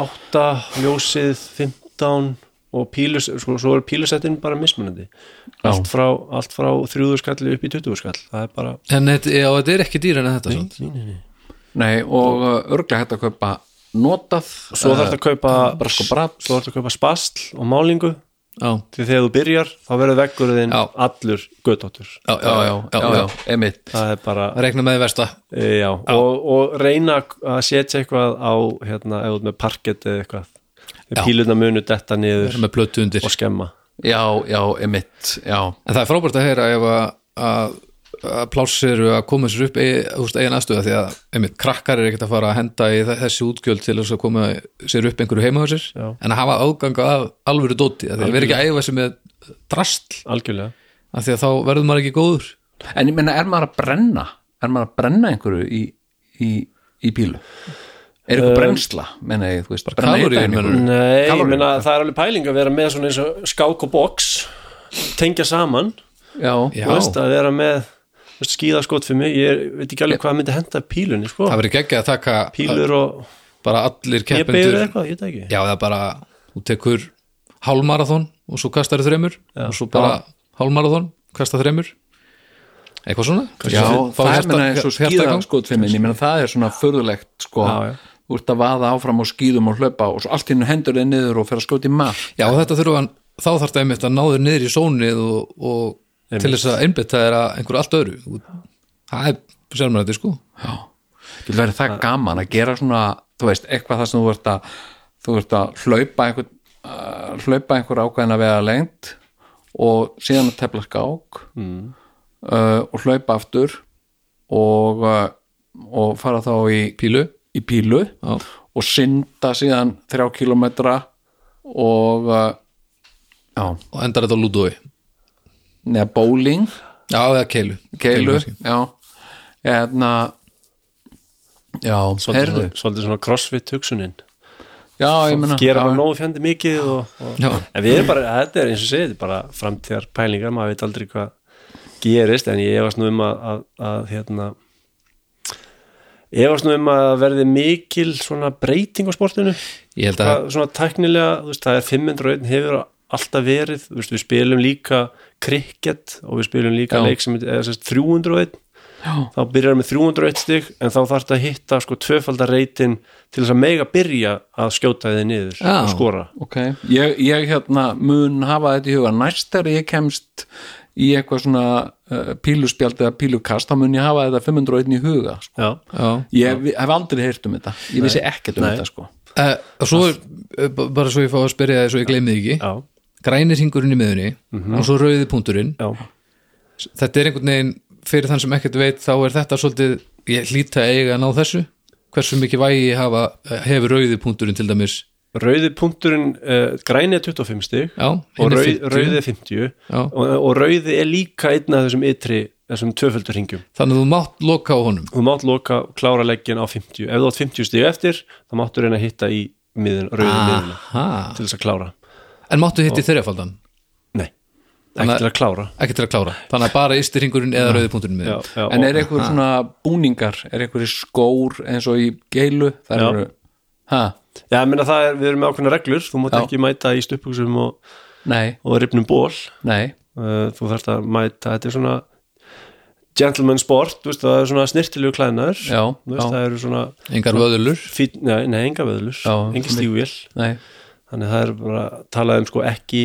Speaker 6: átta, ljósið 15 og pílus, svo, svo er pílusettin bara mismunandi allt frá, allt frá þrjúðu skalli upp í 20 skall það er bara,
Speaker 5: En þetta, já, þetta er ekki dýr en þetta samt.
Speaker 4: Nei, og uh, örglega hægt að kaupa notað
Speaker 6: svo þarf þetta að kaupa
Speaker 4: Eh, bara sko brat.
Speaker 6: svo þarf þetta að kaupa spastl og málingu
Speaker 5: Já,
Speaker 6: því þegar þú byrjar þá verður veggurðin
Speaker 5: Já.
Speaker 6: allur göttóttur
Speaker 5: já, já, já, já, já, já.
Speaker 4: emitt
Speaker 6: það er bara
Speaker 5: Rekna með því versta
Speaker 6: E, Já, og, og reyna að setja eitthvað á, hérna, eða með parkett eða eitthvað,
Speaker 5: Já.
Speaker 6: píluna munu detta niður
Speaker 5: með plötu undir
Speaker 6: og skemma
Speaker 4: já, já, emitt, já,
Speaker 5: En það er frábært að heyra ef að- að að plássir að koma sér upp eigi- þú veist, eigin aðstöða því að einmitt krakkar er ekkert að fara að henda í þe- þessi útgjöld til þess að koma sér upp einhverju heima á sér
Speaker 6: Já.
Speaker 5: en að hafa áganga af alvöru dóti að því að vera ekki að æfa sér með drastl
Speaker 6: algjörlega,
Speaker 5: að því að þá verður maður ekki góður
Speaker 4: en ég meina, er maður að brenna er maður að brenna einhverju í, í, í bílu er eitthvað brennsla, menna ég, þú veist brenna
Speaker 5: kaloríur,
Speaker 4: hita einhverju?
Speaker 5: Eh, meinarðu?
Speaker 6: nei,
Speaker 4: Kaloríur?
Speaker 6: ég meina það er alveg pæling að vera með svona eins og skák og box tengja saman,
Speaker 4: já,
Speaker 5: Já.
Speaker 6: þú veist að vera með skýða skot fyrir mig, ég veit ekki alveg hvað myndi henda pílunni, sko,
Speaker 5: það verður ekki að taka
Speaker 6: pílur og
Speaker 5: bara allir
Speaker 6: ég beigður
Speaker 5: keppendur
Speaker 6: eitthvað, ég veit það ekki
Speaker 5: já það er bara, þú tekur hálmarathon og svo kastar þreymur og svo bara hálmarathon, kastar þreymur eitthvað svona
Speaker 4: já,
Speaker 5: Fá
Speaker 4: það er
Speaker 5: hjarta-
Speaker 4: meina eins og skýða
Speaker 5: hjartagang.
Speaker 4: skotfimmin, ég meina það er svona förðulegt, sko,
Speaker 6: Já, já.
Speaker 4: þú ert að vaða áfram og skýðum og hlaupa og svo allt hennu hendur þeir niður og fer að skjóta í mark
Speaker 5: Já, og þetta þurfa hann, þá þarf þetta einmitt að náður niður í sónið og, og til þess að einbytta þér að einhverju allt öðru Þú- Það er sérmærætti sko
Speaker 4: Getur verið það gaman að gera svona, þú veist, eitthvað það sem þú ert að, þú ert að hlaupa einhver, uh, hlaupa einhver ákveðina vega lengt og síðan að tefla skák mm. og hlaupa aftur og, uh, og fara þá í pílu, í pílu
Speaker 5: Já.
Speaker 4: og synda síðan þrjá kilometra og uh, já,
Speaker 5: og endar þetta á lúdói
Speaker 4: neða bowling
Speaker 5: Já, eða keilu
Speaker 4: keilu,
Speaker 5: kannski.
Speaker 4: já eðna já,
Speaker 6: svolítið,
Speaker 4: heyrðu
Speaker 6: svona- svolítið svona crossfit hugsunin
Speaker 4: já, ég meina
Speaker 6: gera
Speaker 4: já,
Speaker 6: bara nógu fjandi mikið og, og,
Speaker 5: Já.
Speaker 6: en við erum bara, þetta er eins og segið bara framtíðar pælingar, maður veit aldrei hvað gerist, en ég efast nú um að, að, að hérna efast nú um að verði mikil svona breyting á sportinu
Speaker 5: Ég held að,
Speaker 6: það, svona tæknilega, þú veist, það er 500 hefur alltaf verið, þú veist, við spilum líka krikket og við spilum líka
Speaker 4: Já.
Speaker 6: leik sem er sérst 301 Já. þá byrjar með 301 stig en þá þarf þetta að hitta sko tvöfaldar reytin til þess að mega byrja að skjóta þið niður
Speaker 5: Já.
Speaker 6: og skora
Speaker 4: ok, ég, ég hérna mun hafa þetta í huga næst þegar ég kemst í eitthvað svona uh, píluspjald eða pílukast, þá mun ég hafa þetta 501 í huga, sko
Speaker 6: Já.
Speaker 5: já
Speaker 4: ég vi- hef aldrei heyrt um þetta, ég vissi ekkert um þetta, sko
Speaker 5: Eh, og Svo er, eh, b- bara svo ég fá að spyrja þið svo ég gleymið ekki
Speaker 6: Já. Mhm.
Speaker 5: Grænir hringurinn í miðunni og svo rauði punkturinn
Speaker 6: Já.
Speaker 5: Þetta er einhvern veginn, fyrir þann sem ekkert veit þá er þetta svolítið, ég hlýta eiga að ná þessu hversu mikið vægi hafa, eh, hefur rauði punkturinn til dæmis
Speaker 6: rauði punkturinn uh, græni er 25 stig
Speaker 5: Já,
Speaker 6: og
Speaker 5: hinn er
Speaker 6: rauð,
Speaker 5: 50.
Speaker 6: rauði er 50
Speaker 5: Já.
Speaker 6: og, og rauði er líka einn af þessum ytri, þessum tvöföldur ringjum
Speaker 5: þannig að þú mátt loka á honum
Speaker 6: þú mátt loka og klára leggin á 50 ef þú átt 50 stig eftir, þá máttu reyna að hitta í miðun, rauði
Speaker 4: Ah.
Speaker 6: miðuna
Speaker 5: Aha.
Speaker 6: til þess að klára
Speaker 5: En máttu hitti þreifaldan,
Speaker 6: nei,
Speaker 5: Þannig-
Speaker 6: ekki til að klára
Speaker 5: ekki til að klára Þannig að bara ystyrringurinn eða rauði punkturinn með
Speaker 6: já, já,
Speaker 4: en
Speaker 6: og-
Speaker 4: er einhver svona búningar er einhver skór eins og í geilu þar
Speaker 6: Já.
Speaker 4: eru, ha,
Speaker 6: já, ég meina það er, við erum með ákveðna reglur þú mátt
Speaker 4: Já.
Speaker 6: ekki mæta í stuppuksum og,
Speaker 4: nei,
Speaker 6: og ripnum ból
Speaker 4: nei
Speaker 6: Uh, þú þarft að mæta, þetta er svona gentleman sport, þú veist, það er svona snirtilegu klæðnar,
Speaker 4: Já,
Speaker 6: þú veist,
Speaker 4: já.
Speaker 6: það eru svona
Speaker 5: Engar vöðlur
Speaker 6: fín, nei, nei, enga veðlur,
Speaker 4: Já,
Speaker 6: enga stígvél
Speaker 4: Nei,
Speaker 6: þannig það er bara talað um sko ekki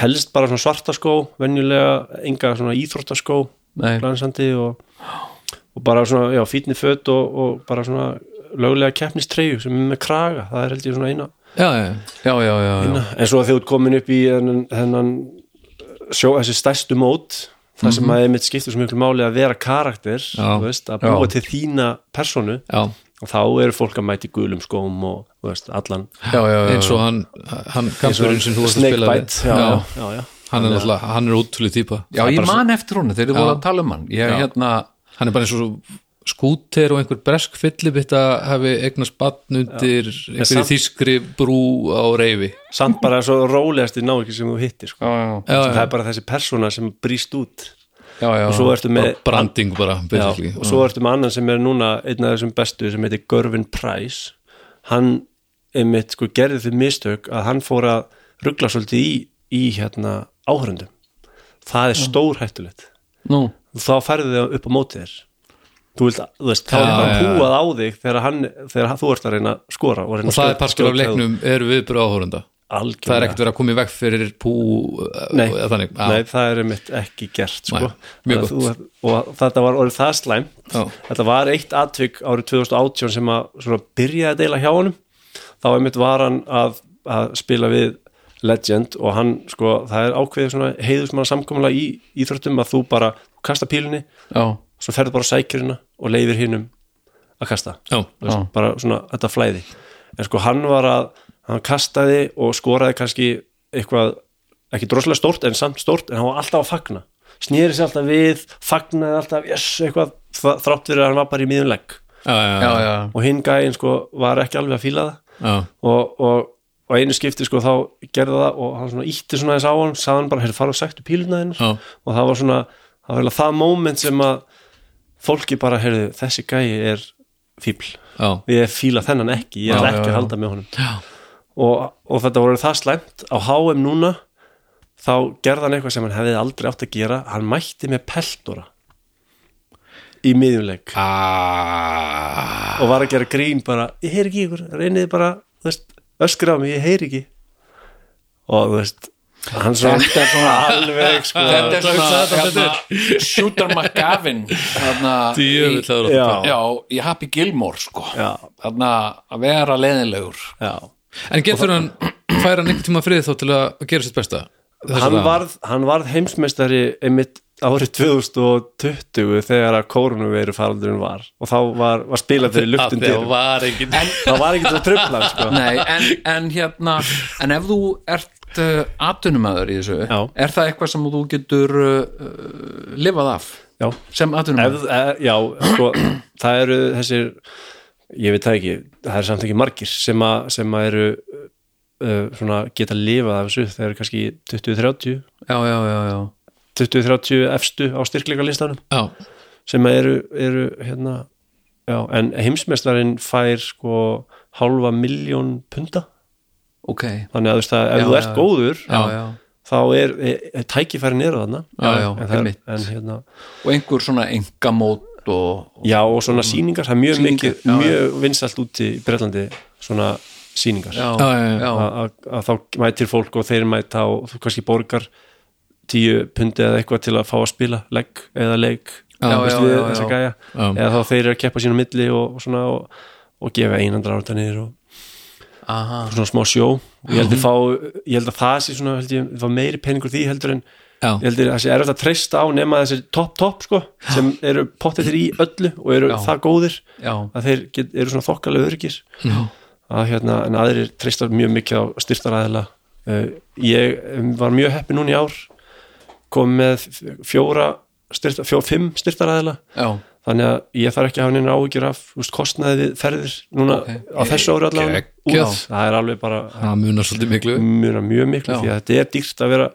Speaker 6: helst bara svona svarta skó venjulega enga svona íþróttaskó
Speaker 4: Nei.
Speaker 6: glansandi og, og bara svona, já, fínni fött og, og bara svona lögulega keppnistreyju sem er með kraga, það er held ég svona eina,
Speaker 5: já, já,
Speaker 4: já, já, já, já.
Speaker 6: eina. en svo að þið út komin upp í þennan, þennan sjó, þessi stærstu mót það sem að einmitt skiptir svo miklu máli að vera karakter,
Speaker 5: Mhm. Já.
Speaker 6: þú veist, að búa
Speaker 5: Já.
Speaker 6: til þína personu,
Speaker 5: já.
Speaker 6: og þá eru fólk að mæti gulum skóm og, þú veist, allan
Speaker 4: já, já, já,
Speaker 5: eins og hann, hann kampurinn sem þú varst að spila við.
Speaker 6: Snakebite, já, já, já, já.
Speaker 5: hann er náttúrulega, hann er útrúlega típa
Speaker 4: já ég man eftir hún, þeir eru voru að tala um hann ég
Speaker 5: Já.
Speaker 4: hérna,
Speaker 5: hann er bara eins og skúter og einhver bresk fyllibitta hafi eignast batn undir einhverju
Speaker 6: samt-
Speaker 5: þýskri brú á reyfi
Speaker 6: samt bara svo rólegasti návíki sem þú hittir sko.
Speaker 4: já, já,
Speaker 5: já,
Speaker 6: það
Speaker 5: já,
Speaker 6: er bara þessi persóna sem brýst út
Speaker 4: já, já,
Speaker 6: og svo ertu með
Speaker 5: branding bara
Speaker 6: já,
Speaker 5: basically.
Speaker 6: og svo ertu með annan sem er núna einn af þessum bestu sem heitir Görvin Price hann einmitt sko gerði þau mistök að hann fór að ruggla svolítið í, í hérna áhörundum það er stór hættulegt
Speaker 4: nú,
Speaker 6: þá færðu þau upp á móti þér þú vilt, þú veist, þá
Speaker 5: Já,
Speaker 6: er bara
Speaker 5: já, já.
Speaker 6: húað á þig þegar, hann, þegar hann- þú ert að reyna að skora og, reyna
Speaker 5: og
Speaker 6: að
Speaker 5: það
Speaker 6: skjóta-
Speaker 5: er parskjál af
Speaker 6: skjóta-
Speaker 5: leiknum eru viðbröð áhórunda
Speaker 6: Algjörlega.
Speaker 5: það er ekkert verið að koma í veg fyrir pú eh,
Speaker 6: Nei,
Speaker 5: eða þannig Já.
Speaker 6: nei, það er mitt ekki gert sko.
Speaker 5: Nei, mjög
Speaker 6: Þannig að þú, og þetta var orðið það slæm
Speaker 5: Já.
Speaker 6: þetta var eitt atvik árið 2018 sem að svona byrjaði að deila hjá honum þá einmitt var hann að, að spila við Legend og hann sko, það er ákveðið svona heiðusmanna samkomulega í íþróttum að þú bara kasta pílinni,
Speaker 4: já,
Speaker 6: svo ferðu bara sækjurina og leifir hinnum að kasta
Speaker 5: Já.
Speaker 6: Þú veist, bara svona þetta flæði en sko hann var að, hann kastaði og skoraði kannski eitthvað ekki droslega stórt en samt stórt en hann var alltaf að fagna, snýri sér alltaf við fagnaði alltaf, yes, eitthvað þ- þrátt fyrir að hann var bara í miðum legg
Speaker 5: Já, já,
Speaker 4: já,
Speaker 5: já,
Speaker 4: já.
Speaker 6: og hinn gæinn sko var ekki alveg að fíla það
Speaker 5: já.
Speaker 6: og, og, og einu skipti sko þá gerði það og hann svona ítti svona þess á hann sagði hann bara, heyrðu, fara og sæktu píluna þinn
Speaker 5: Já.
Speaker 6: og það var svona, það var eiginlega það moment sem að fólki bara, heyrðu, þessi gæi er fíbl
Speaker 5: Já.
Speaker 6: ég fíla þennan ekki, ég er
Speaker 5: Já, já,
Speaker 6: ekki að
Speaker 5: já.
Speaker 6: halda með honum og, og þetta voru það slæmt á HM núna þá gerði hann eitthvað sem hann hefði aldrei átt að gera hann mætti með peltora í miðjumleik
Speaker 5: Ah.
Speaker 6: og var að gera grín bara, ég heyri ekki í ykkur, reynið bara þú veist, öskra á mig, ég heyri ekki og þú veist hann svo
Speaker 4: þetta er svona
Speaker 6: alveg sko
Speaker 4: þetta er svona,
Speaker 5: hugsaði þetta
Speaker 4: hérna, Shooter McGavin hérna,
Speaker 5: Djöfull,
Speaker 4: í-
Speaker 5: það voru-
Speaker 6: já, já,
Speaker 4: já, í Happy Gilmore sko, þarna að vera leðinlegur
Speaker 5: en getur hann færa hann einhvern tíma frið þá til að gera sitt besta Þessa
Speaker 6: hann,
Speaker 5: dagana?
Speaker 6: varð, hann varð heimsmeistari einmitt árið 2020 þegar að koronaviru faraldurinn var og þá var, var spilað fyrir luktum
Speaker 5: Af því að
Speaker 6: dyrum
Speaker 5: var engin
Speaker 6: það var ekki til að tröfla sko.
Speaker 4: Nei, en, en hérna en ef þú ert uh, atunumæður í þessu,
Speaker 6: Já.
Speaker 4: er það eitthvað sem þú getur uh, lifað af
Speaker 6: já,
Speaker 4: sem
Speaker 6: ef,
Speaker 4: atunumæður?
Speaker 6: e, já sko, það eru þessir ég veit það ekki, það eru samt ekki margir sem, a, sem að eru uh, svona, geta lifað af þessu þeir eru kannski 20-30
Speaker 4: Já, já, já, já
Speaker 6: 20-30 efstu á styrkleika listanum
Speaker 5: já,
Speaker 6: sem að eru, eru hérna, já, en heimsmeistarinn fær sko hálfa miljón punda
Speaker 4: Ok,
Speaker 6: þannig að þú veist að ef
Speaker 4: Já,
Speaker 6: þú
Speaker 4: já,
Speaker 6: ert
Speaker 4: já.
Speaker 6: góður
Speaker 4: já, já
Speaker 6: þá er, er, er tækifærin eru þarna
Speaker 4: Já, já,
Speaker 6: en, það er,
Speaker 4: einmitt.
Speaker 6: en hérna
Speaker 4: og einhver svona engamót og,
Speaker 6: já og svona sýningar, það er mjög
Speaker 4: Sýningar,
Speaker 6: mikið
Speaker 4: já,
Speaker 6: mjög vinsalt úti í Bretlandi svona sýningar
Speaker 4: já,
Speaker 5: Já, já, já.
Speaker 4: já,
Speaker 6: að að- að þá mætir fólk og þeir mæta og þú kannski borgar tíu pundi eða eitthvað til að fá að spila legg eða leik
Speaker 4: Já,
Speaker 6: þú veist
Speaker 4: já,
Speaker 6: við
Speaker 4: já,
Speaker 6: þessa
Speaker 4: já.
Speaker 6: gæja.
Speaker 5: Já.
Speaker 6: eða þá þeir eru að keppa sína á milli og, og, svona, og, og gefa einandra ártanir og
Speaker 4: aha
Speaker 6: svona smá sjó og ég held
Speaker 4: Mhm.
Speaker 6: að, fá, ég held að það sé svona held ég, það var meiri peningur því heldur en
Speaker 5: Já.
Speaker 6: ég held að það sé erfitt að treysta á nema þessir topp topp sko sem eru pottetir í öllu og eru
Speaker 4: Já.
Speaker 6: það góðir
Speaker 4: Já,
Speaker 6: að þeir get, eru svona þokkalega örgir að hérna en aðrir treysta mjög mikið á styrtaræðila uh, ég um, var mjög heppi núna í ár kom með f- fjóra styrta, fjó, fimm styrtaræðila
Speaker 4: já,
Speaker 6: þannig að ég þarf ekki að hafa neina áhyggjur af þú veist, kostnaði við ferðir núna
Speaker 4: Ok.
Speaker 6: á þessu ári allavega
Speaker 5: Geggjað.
Speaker 6: Út. það er alveg bara
Speaker 5: það munar svolítið miklu
Speaker 6: mjög, mjög miklu
Speaker 4: Já.
Speaker 6: því að þetta er dýrt að vera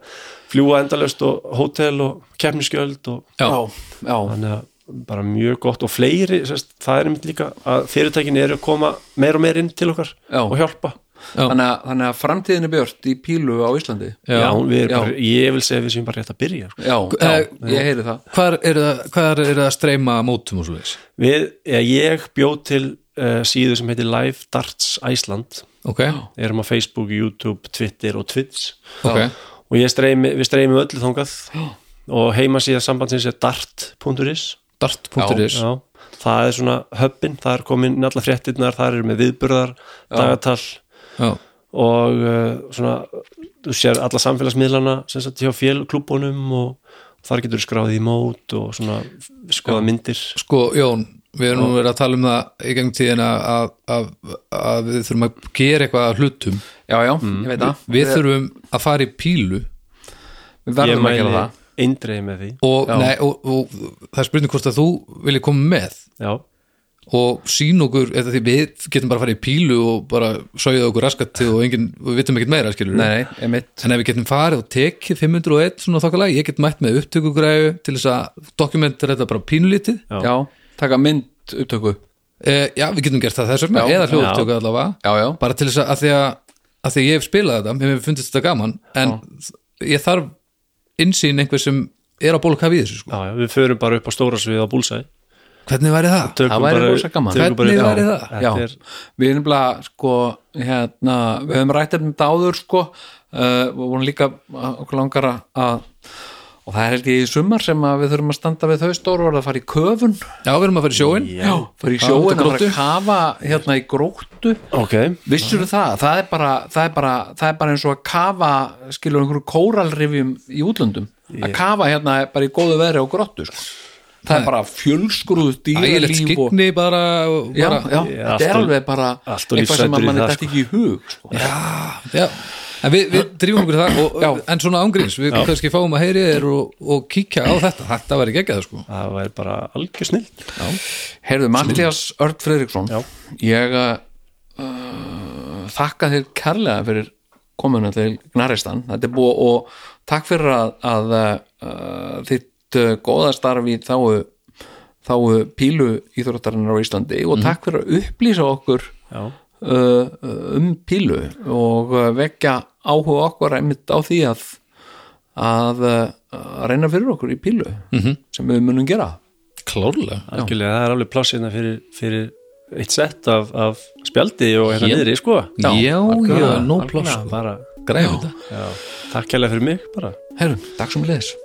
Speaker 6: fljúa endalaust og hótel og keppnisgjöld og
Speaker 5: Já.
Speaker 4: já, já,
Speaker 6: þannig að bara mjög gott og fleiri, sérst, það er einmitt líka að fyrirtækin eru að koma meir og meir inn til okkar
Speaker 4: Já.
Speaker 6: og hjálpa
Speaker 5: Já.
Speaker 4: Þannig, að, þannig að framtíðin er björt í pílu á Íslandi
Speaker 5: Já.
Speaker 6: Já, við erum
Speaker 4: já.
Speaker 6: bara, ég vil segja við séum bara rétt að byrja sko.
Speaker 4: já, já
Speaker 5: Eh,
Speaker 4: ég heyri það
Speaker 5: hvar eru það, hvar eru það að streyma mótum og svo veis
Speaker 6: Við, eða ég bjóð til uh, síðu sem heitir Live Darts Iceland
Speaker 5: ok,
Speaker 6: erum á Facebook, YouTube, Twitter og Twitch
Speaker 5: ok,
Speaker 6: og ég streymi, við streymum öllu þangað og heima síðan sambandsins er dart.is
Speaker 5: dart.is
Speaker 6: Já, það er svona höppin, það er komin inn allar fréttirnar, það eru með viðburðar dagatal
Speaker 5: Já.
Speaker 6: og uh, svona þú sér alla samfélagsmiðlana sem sagt hjá félklúbunum og þar getur skráðið í mót og svona skoða myndir
Speaker 5: sko Jón, við erum nú verið að tala um það í gengum tíðina að, að, að við þurfum að gera eitthvað að hlutum
Speaker 4: já, já,
Speaker 6: Mm.
Speaker 4: ég veit það
Speaker 5: við þurfum að fara í pílu
Speaker 4: við verðum að gera það
Speaker 6: eindreið með því
Speaker 5: og, nei, og, og það er spurning hvort að þú vilja koma með
Speaker 6: Já,
Speaker 5: og sín okkur, eða því við getum bara að fara í pílu og bara sögja okkur raskat til og enginn, við vitum ekkert meira skilur
Speaker 4: nei, nei, einmitt
Speaker 5: en ef við getum farið og tekið 501 svona þokkalega, ég get mætt með upptökugræðu til þess að dokumentar þetta bara pínulítið
Speaker 6: Já.
Speaker 4: já, taka mynd upptöku
Speaker 5: Eh, já, við getum gert það þess vegna,
Speaker 4: Já.
Speaker 5: eða hljóðutöku allavega
Speaker 4: já, já,
Speaker 5: bara til þess að, að því að, að því að ég hef spilað þetta, mér hefur fundist þetta gaman en ég þarf innsýn einhver sem er að bólka við þessu sko.
Speaker 6: já, já, við förum bara upp á stóra svið á búlsæ
Speaker 5: hvernig væri það?
Speaker 4: það væri rosa gaman
Speaker 5: tökum bara- Hvernig væri það?
Speaker 4: já,
Speaker 6: Þetta er,
Speaker 4: við erum bara sko hérna, við höfum rætt um þetta áður sko, uh, við vorum líka uh, okkur langar að- að og það er held ég í sumar sem að við þurfum að standa við þau stóru og að fara í köfun
Speaker 5: Já, við erum að fara í sjóin
Speaker 4: já, fara í
Speaker 5: Já,
Speaker 4: sjóin
Speaker 5: út á
Speaker 4: að fara
Speaker 5: gróttu.
Speaker 4: að kafa hérna í gróttu
Speaker 6: ok,
Speaker 4: vissur það, það er, bara, það, er bara, það er bara eins og að kafa skilur einhverju kóralrifjum í útlöndum að kafa hérna bara í góðu veðri á gróttu sko. það er bara fjölskruð
Speaker 5: ægilegt
Speaker 4: dýralíf og
Speaker 5: skikni bara,
Speaker 4: já,
Speaker 5: bara
Speaker 4: já,
Speaker 6: Ég
Speaker 4: þetta er
Speaker 6: er eh, allt of-
Speaker 4: alveg bara
Speaker 6: allt of
Speaker 4: eitthvað sem að
Speaker 6: lífshræddur í
Speaker 4: manni
Speaker 6: það,
Speaker 4: dætt ekki í hug sko.
Speaker 5: Já, en við, við drýfum okkur í það og,
Speaker 4: Já.
Speaker 5: en svona ángríns, við kannski fáum að heyri þér og, og kíkja á þetta, þetta væri geggjað sko.
Speaker 6: það væri bara algjör snill
Speaker 4: heyrðu, Mattias Örn Fredriksson
Speaker 6: Já.
Speaker 4: ég uh, þakka þér kærlega fyrir komuna til Gnaristan þetta er búið og takk fyrir að, að uh, þitt uh, góða starfi þáu þáu pílu íþróttarinnar á Íslandi
Speaker 6: Mhm.
Speaker 4: og takk fyrir að upplýsa okkur
Speaker 6: Já,
Speaker 4: uh, um pílu og uh, vekja áhuga okkur einmitt á því að að uh, reyna fyrir okkur í pílu -hmm. sem við munum gera
Speaker 5: klárlega
Speaker 6: algjörlega, það er alveg pláss hérna fyrir, fyrir eitt sett af, af spjaldi og hérna
Speaker 5: Ég-
Speaker 6: niðri, sko
Speaker 5: Já, já,
Speaker 4: algjörlega,
Speaker 5: no
Speaker 4: algjörlega.
Speaker 5: plus sko.
Speaker 6: bara,
Speaker 5: Græjum þetta
Speaker 6: já, takk hérlega fyrir mig bara
Speaker 4: Herru, takk sem leðis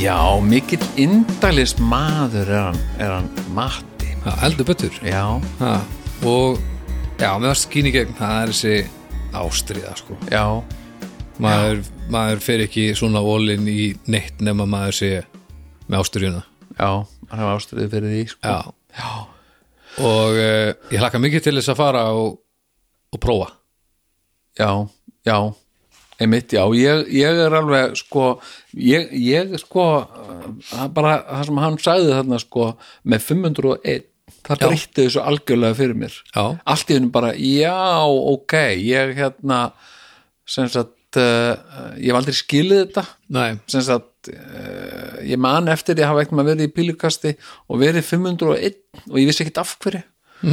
Speaker 4: Já, mikill indalist maður er hann, er hann Matti
Speaker 5: Já, heldur betur
Speaker 4: Já,
Speaker 5: ha. og já, með það skýn í gegn það er þessi ástriða sko.
Speaker 4: já,
Speaker 5: maður, maður fer ekki svona ólinn í neitt nema maður sé með ástriðuna
Speaker 4: já hann hefur ástriðið fyrir því sko.
Speaker 5: já. og uh, ég hlakka mikið til þess að fara og, og prófa
Speaker 4: já, já einmitt, já, ég, ég er alveg sko, ég, ég sko uh, bara það sem hann sagði þarna sko, með 501 það
Speaker 5: Já.
Speaker 4: breytti þessu algjörlega fyrir mér
Speaker 5: Já.
Speaker 4: allt í hennu bara, já, ok ég hérna sem sagt, uh, ég hef aldrei skilið þetta
Speaker 5: Nei,
Speaker 4: sem sagt uh, ég man eftir ég hafa eitthvað verið í pílukasti og verið 501 og ég vissi ekkert af hverju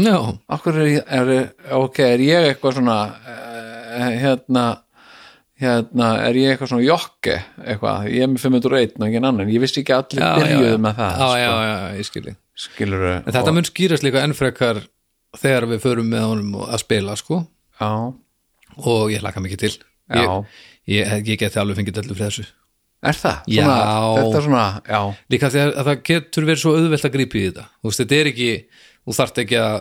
Speaker 5: já,
Speaker 4: okkur er, ég- er, ok, er ég eitthvað svona uh, hérna hérna, er ég eitthvað svona jokke eitthvað, ég er með 501 og engin annan, ég vissi ekki að allir
Speaker 5: já, já,
Speaker 4: byrjuðu
Speaker 5: já. sko.
Speaker 4: með það
Speaker 5: já, já, já, ég skilji
Speaker 4: skilur
Speaker 5: En þetta mun skýrast líka ennfrekar þegar við förum með honum og- að spila sko
Speaker 4: já,
Speaker 5: og ég hlakka mikið til ég,
Speaker 4: Já.
Speaker 5: ég, ég geti alveg fengið allir fyrir þessu
Speaker 4: er það?
Speaker 5: Já.
Speaker 4: Svona, þetta er svona, já,
Speaker 5: líka því að að það getur verið svo auðvelt að grípa í þetta þú veist, þetta er ekki, þú þarft ekki að,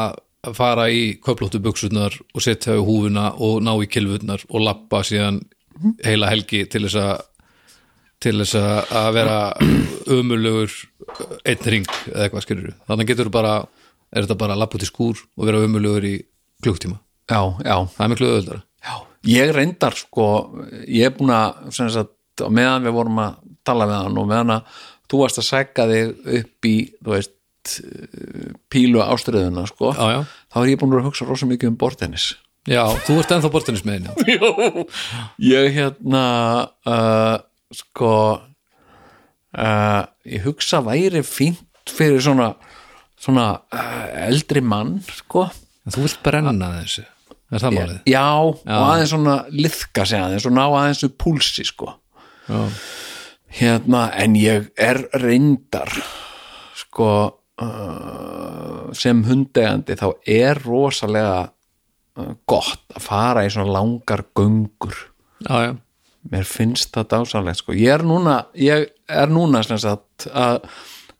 Speaker 5: að að fara í köflóttu buksurnar og setja í húfuna og ná í kilfurnar og lappa síðan heila helgi til þess að til þess að að vera ömulugur einn ring eða eitthvað skilur við, þannig getur bara er þetta bara að lappa út í skúr og vera ömulugur í klukktíma,
Speaker 4: já, já
Speaker 5: það er miklu auðveldara
Speaker 4: Já, ég reyndar sko, ég er búin að sem sagt, á meðan við vorum að tala með hann og meðan að þú varst að sækka þig upp í, þú veist eh, pílu ástriðuna sko
Speaker 5: Já, já.
Speaker 4: þá er ég búin að hugsa rosa mikið um bortennis
Speaker 5: Já, þú ert ennþá bortinismiðin já.
Speaker 4: ég hérna uh, sko uh, ég hugsa væri fínt fyrir svona, svona uh, eldri mann sko
Speaker 5: En Þú vilt brenna þessu, er það málið?
Speaker 4: já, og aðeins svona liðka sig aðeins og ná aðeins upp púlsi sko
Speaker 5: Já.
Speaker 4: hérna, en ég er reyndar sko uh, sem hundegandi þá er rosalega uh, gott að fara í svona langar göngur
Speaker 5: já, já
Speaker 4: mér finnst það dásalegt sko. ég er núna, ég er núna sem sagt, að,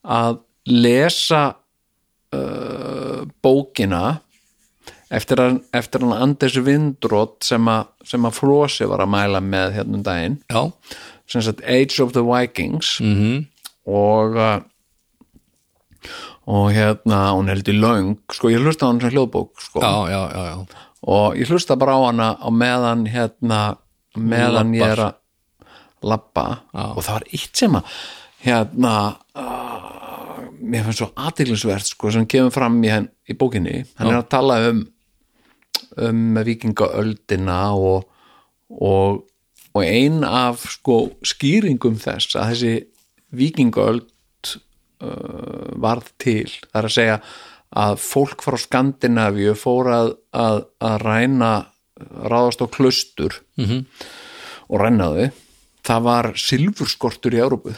Speaker 4: að lesa uh, bókina eftir að, eftir að Anders Vindrótt sem að, sem að Frosi var að mæla með hérna um daginn
Speaker 5: Já,
Speaker 4: sem sagt Age of the Vikings -hmm. og uh, og hérna hún heldur löng, sko ég hlusta á hann sem hljóðbók sko
Speaker 5: já, já, já, já.
Speaker 4: og ég hlusta bara á hana á meðan hérna, meðan ég er að labba og það var eitt sem að hérna uh, mér finnst svo aðdeglisvert sko sem kemur fram í, henn, í bókinni hann er að tala um um vikingaöldina og, og, og ein af sko skýringum þess að þessi vikingaöld uh, varð til það er að segja að fólk frá Skandinavíu fór að, að, að ræna ráðast á klaustur -hmm. og rænaði það var silfurskortur í Európu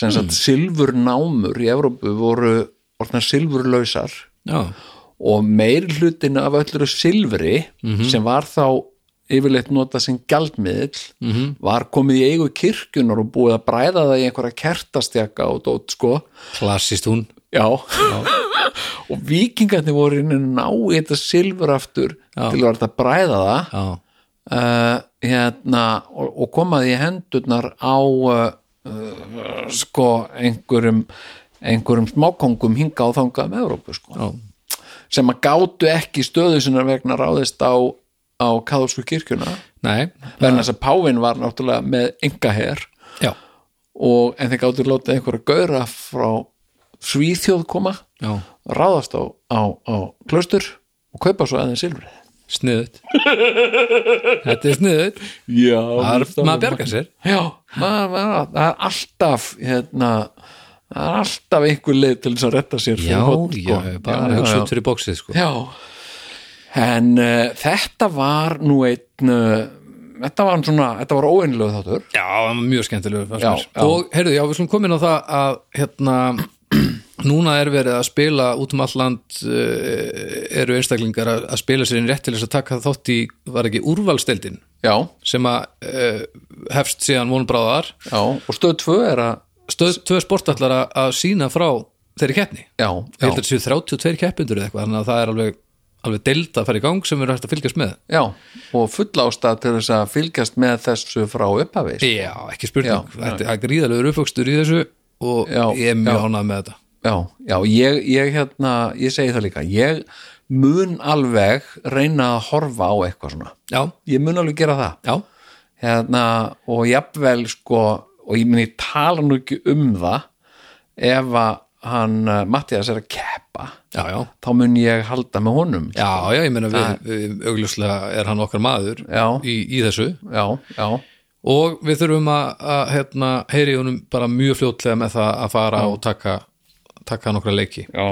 Speaker 4: sem sagt silfurnámur í Európu voru orðna silfurlausar
Speaker 5: já.
Speaker 4: og meir hlutin af öllur silfri sem var þá yfirleitt notað sem gjaldmiðl -hmm. var komið í eigu kirkjunar og búið að bræða það í einhverja kertastjaka og dót sko
Speaker 5: Klassist hún
Speaker 4: Já, og vikingarnir voru inn að ná í þetta silfur aftur til að vera þetta bræða það
Speaker 5: Já,
Speaker 4: uh, hérna, og, og komaði í hendurnar á uh, uh, sko einhverjum einhverjum smákongum hinga á þangað með Evrópu sko
Speaker 5: já,
Speaker 4: sem að gátu ekki stöðu sinna vegna ráðist á, á kathólsku kirkjuna
Speaker 5: nei
Speaker 4: vegna þess að Pávin var náttúrulega með engaher
Speaker 5: Já,
Speaker 4: og en þeir gátu látið einhverja gauðra frá Svíþjóð koma
Speaker 5: já,
Speaker 4: ráðast á, á, á klaustur og kaupa svo aðeins silfrið
Speaker 5: sniðut Þetta er sniðut
Speaker 4: Já,
Speaker 5: Maður bjargar sér
Speaker 4: Já, maður, maður, það er alltaf hérna, það er alltaf einhver leið til þess að retta sér fyrir
Speaker 5: Já,
Speaker 4: horn,
Speaker 5: já,
Speaker 4: sko.
Speaker 5: bara
Speaker 4: já,
Speaker 5: hugsa
Speaker 4: já,
Speaker 5: út fyrir bóksið sko
Speaker 4: já. En uh, þetta var nú einn uh, þetta var svona, þetta var óeinlega þáttur
Speaker 5: Já, það var mjög skemmtilegur
Speaker 4: Já,
Speaker 5: já,
Speaker 4: já.
Speaker 5: Og heyrðu, já, við slum komin á það að hérna, núna er verið að spila út um alland uh, eru einstaklingar að, að spila sér inn rétt til þess að taka þátt í, var ekki úrvalsteldin
Speaker 4: Já,
Speaker 5: sem að uh, hefst síðan vonbráðar
Speaker 4: já, og stöð tvö er að
Speaker 5: Stöð tvö sportallar að, að sína frá þeirri keppni
Speaker 4: Já,
Speaker 5: Ég held
Speaker 4: já,
Speaker 5: að þetta séu 32 keppindur eða eitthvað þannig að það er alveg, alveg deild að fara í gang sem eru hægt að fylgjast með
Speaker 4: já og full ástæð til þess að fylgjast með þessu frá upphafi sko.
Speaker 5: Já, ekki spurning,
Speaker 4: Já,
Speaker 5: þetta er gríðalegur uppvöxtur í þessu og
Speaker 4: Já,
Speaker 5: ég er mjög
Speaker 4: já.
Speaker 5: ánað með þetta
Speaker 4: Já, já, ég, ég hérna ég segi það líka, ég mun alveg reyna að horfa á eitthvað svona,
Speaker 5: Já,
Speaker 4: ég mun alveg gera það
Speaker 5: já,
Speaker 4: hérna, og jafnvel sko, og ég muni tala nú ekki um það ef að hann, eh, Mattias er að keppa,
Speaker 5: já, já
Speaker 4: þá mun ég halda með honum,
Speaker 5: Já, já, ég meina við, við augljóslega er hann okkar maður
Speaker 4: Já.
Speaker 5: í, í þessu
Speaker 4: já, já
Speaker 5: og við þurfum að, að hérna, heyri honum bara mjög fljótlega með það að fara og taka, taka nokkra leiki
Speaker 4: Já,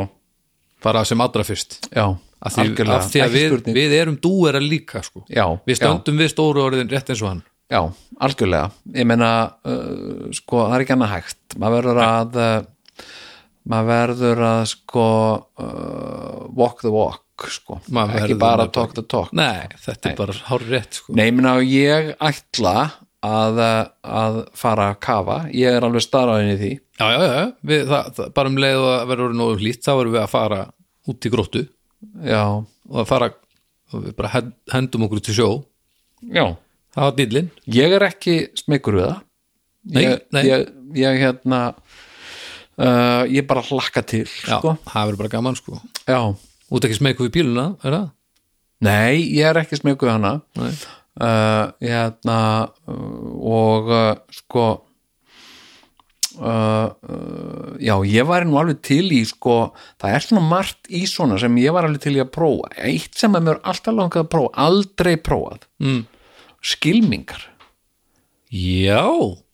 Speaker 5: bara sem allra fyrst
Speaker 4: já,
Speaker 5: af því, af því að
Speaker 4: ekki
Speaker 5: við,
Speaker 4: spurning
Speaker 5: við erum dúera líka sko.
Speaker 4: Já,
Speaker 5: við stöndum við stóru orðin rétt eins og hann
Speaker 4: Já, algjörlega ég meina, uh, sko, það er ekki annað hægt maður verður að uh, maður verður að sko uh, walk the walk sko,
Speaker 5: Maður
Speaker 4: ekki
Speaker 5: verður
Speaker 4: bara
Speaker 5: að-
Speaker 4: talk the talk
Speaker 5: Nei, þetta er bara hár rétt sko.
Speaker 4: Nei, ég meina, ég ætla að, uh, að fara að kafa ég er alveg starraðin í því
Speaker 5: Já, já, já, við, það, það, bara um leið og að verður orðin nógu hlýtt þá erum við að fara út í gróttu
Speaker 4: Já,
Speaker 5: og að fara og við bara hen- hendum okkur til sjó
Speaker 4: já
Speaker 5: það var dýllinn
Speaker 4: Ég er ekki smekur við það
Speaker 5: Nei,
Speaker 4: ég,
Speaker 5: nei.
Speaker 4: Ég, ég hérna uh, ég bara hlakka til
Speaker 5: Já,
Speaker 4: sko,
Speaker 5: það verður bara gaman sko
Speaker 4: já
Speaker 5: Út ekki smeku við bíluna, er það?
Speaker 4: Nei, ég er ekki smekuð hana uh, hérna, uh, og uh, sko uh, uh, já, ég var nú alveg til í sko, það er svona margt í svona sem ég var alveg til í að prófa eitt sem að mér er alltaf langað að prófa aldrei prófað mm. skilmingar,
Speaker 5: Já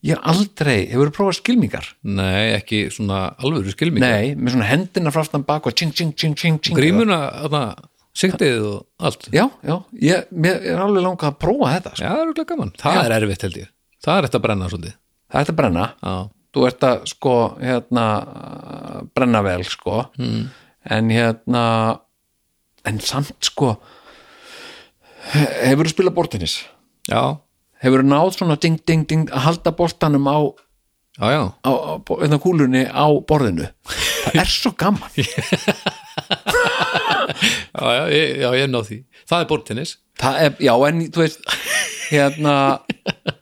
Speaker 4: ég aldrei hefur prófað skilmingar,
Speaker 5: Nei, ekki svona alvöru skilming
Speaker 4: nei, með svona hendina frá aftan bak og tjing, tjing, tjing, tjing, tjing
Speaker 5: Grímuna, þarna, sigtið og allt
Speaker 4: já, já, ég, mér er alveg langað að prófa þetta sko.
Speaker 5: Já, það er örugglega gaman Það er erfitt held ég Það er þetta að brenna svolítið
Speaker 4: það ætti að brenna
Speaker 5: Já.
Speaker 4: þú ert að sko hérna uh, brenna vel sko mm. en hérna en samt sko hefur þú spilað bortinnis
Speaker 5: já,
Speaker 4: hefur þú náð svona ding ding ding að halda boltanum á, á,
Speaker 5: já, já
Speaker 4: á bo- hérna kúlunni á borðinu það er svo gaman
Speaker 5: Já, já, ég, já, ég er náð því Það er bortinnis
Speaker 4: það er, já en þú veist hérna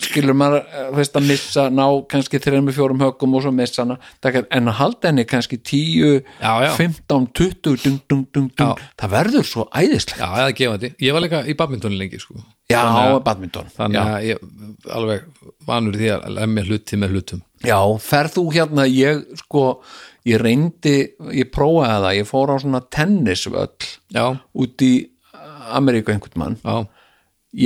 Speaker 4: skilur maður eh, þú veist að missa, ná kannski þreymur fjórum högum og svo missa hana Það er- en að halda henni kannski 10
Speaker 5: Já, já.
Speaker 4: 15, 20 dung, dung, dung,
Speaker 5: Já.
Speaker 4: dung. það verður svo æðislegt
Speaker 5: Já, það er gefandi Ég var líka í badminton lengi sko.
Speaker 4: já,
Speaker 5: Þannig að-
Speaker 4: badminton
Speaker 5: Þannig
Speaker 4: já.
Speaker 5: að ég alveg vanur því að lemja hluti með hlutum
Speaker 4: já, ferð þú hérna ég sko, ég reyndi ég prófaði það, ég fór á svona tennisvöll
Speaker 5: Já,
Speaker 4: út í Ameríku einhvern mann
Speaker 5: já,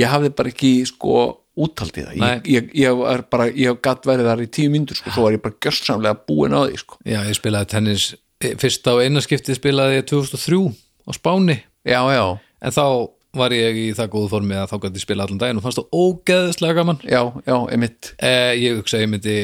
Speaker 4: ég hafði bara ekki sko úthaldið það,
Speaker 5: Nei.
Speaker 4: ég, ég, ég var bara ég gatt verið þar í tíu myndur sko, svo var ég bara gjörsamlega búin á því sko
Speaker 5: já, ég spilaði tennis Fyrsta og eina skiptið spilaði ég 2003 á Spáni
Speaker 4: já, já,
Speaker 5: En þá var ég í það góðu formi að þá gæti spila allan daginn og fannst það ógeðslega gaman
Speaker 4: já, já, einmitt
Speaker 5: eh, Ég hugsa að ég myndi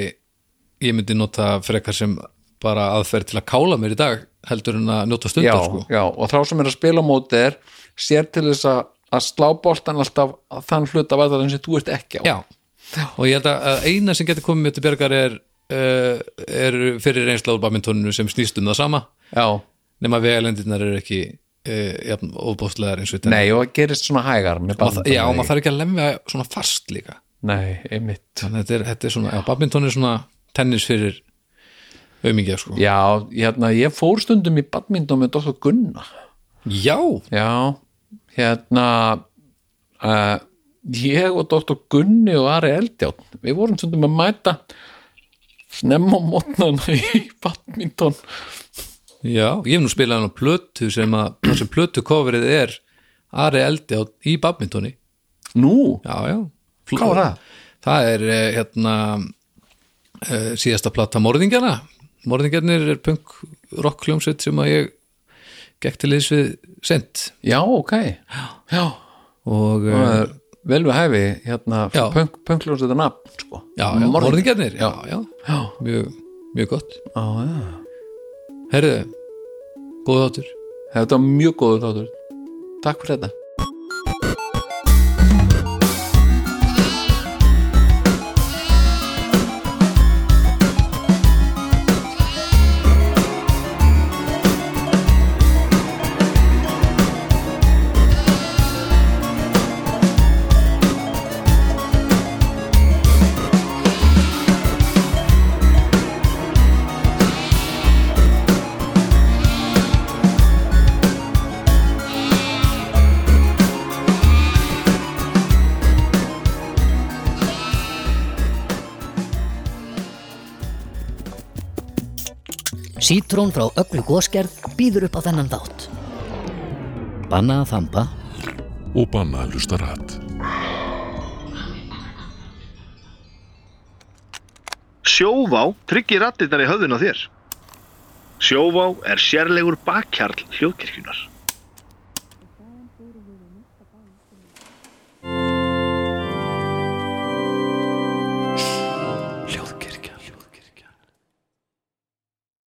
Speaker 5: ég myndi nota frekar sem bara aðferð til að kála mér í dag heldur en að njóta
Speaker 4: já,
Speaker 5: stundar sko
Speaker 4: já, og þá sem er að spila á móti er sér til þess að, að slá boltan alltaf að þann hluta var það sem þú ert ekki á
Speaker 5: Já, og ég held að- að eina sem getur komið mér til bjargar er, uh, er fyrir reynsla úr badmintoninu sem snýst um það sama
Speaker 4: já.
Speaker 5: nema vegalendirnar eru ekki uh, jafn, ofbóðslegar eins og þetta
Speaker 4: nei, og það gerist svona hægar með badminton,
Speaker 5: Já, og
Speaker 4: eða
Speaker 5: maður þarf ekki að lemja svona fast líka
Speaker 4: ekki? nei, einmitt
Speaker 5: þannig að þetta er, þetta er svona, já, badminton er svona tennis fyrir aumingja sko
Speaker 4: já, hérna, ég fór stundum í badminton með Dóttur Gunna
Speaker 5: Já,
Speaker 4: Já, hérna uh, ég og Dr. Gunni og Ari Eldjátt við vorum stundum að mæta snemma á mótnana í badminton
Speaker 5: já, ég hef nú spilað hann á plötu sem að, það sem plötu coverið er Ari Eldi á, í badmintoni
Speaker 4: Nú,
Speaker 5: Já, já.
Speaker 4: Hvað var það?
Speaker 5: Það er eh, hérna eh, síðasta plata Morðingjana. Morðingjarnir er punk rock hljómsveit sem að ég gekk til liðs við sent
Speaker 4: já, ok Já,
Speaker 5: og eh,
Speaker 4: það er vel við hæfi hérna,
Speaker 5: Já.
Speaker 4: punk, punkljóðs þetta nafn sko.
Speaker 5: já, já,
Speaker 4: Morðingjar.
Speaker 5: Morðingjarnir, já, já,
Speaker 4: Já,
Speaker 5: mjög, mjög gott.
Speaker 4: já, já
Speaker 5: Herðu, góð áttur.
Speaker 4: Þetta var mjög góður þáttur Takk fyrir þetta
Speaker 2: Sítrón frá öllu góskerð býður upp á þennan þátt. Banna að þamba
Speaker 3: og banna að hlusta rætt.
Speaker 1: Sjóvá tryggir rattirnar í höfðun á þér. Sjóvá er sérlegur bakkjarl hljóðkirkjunar.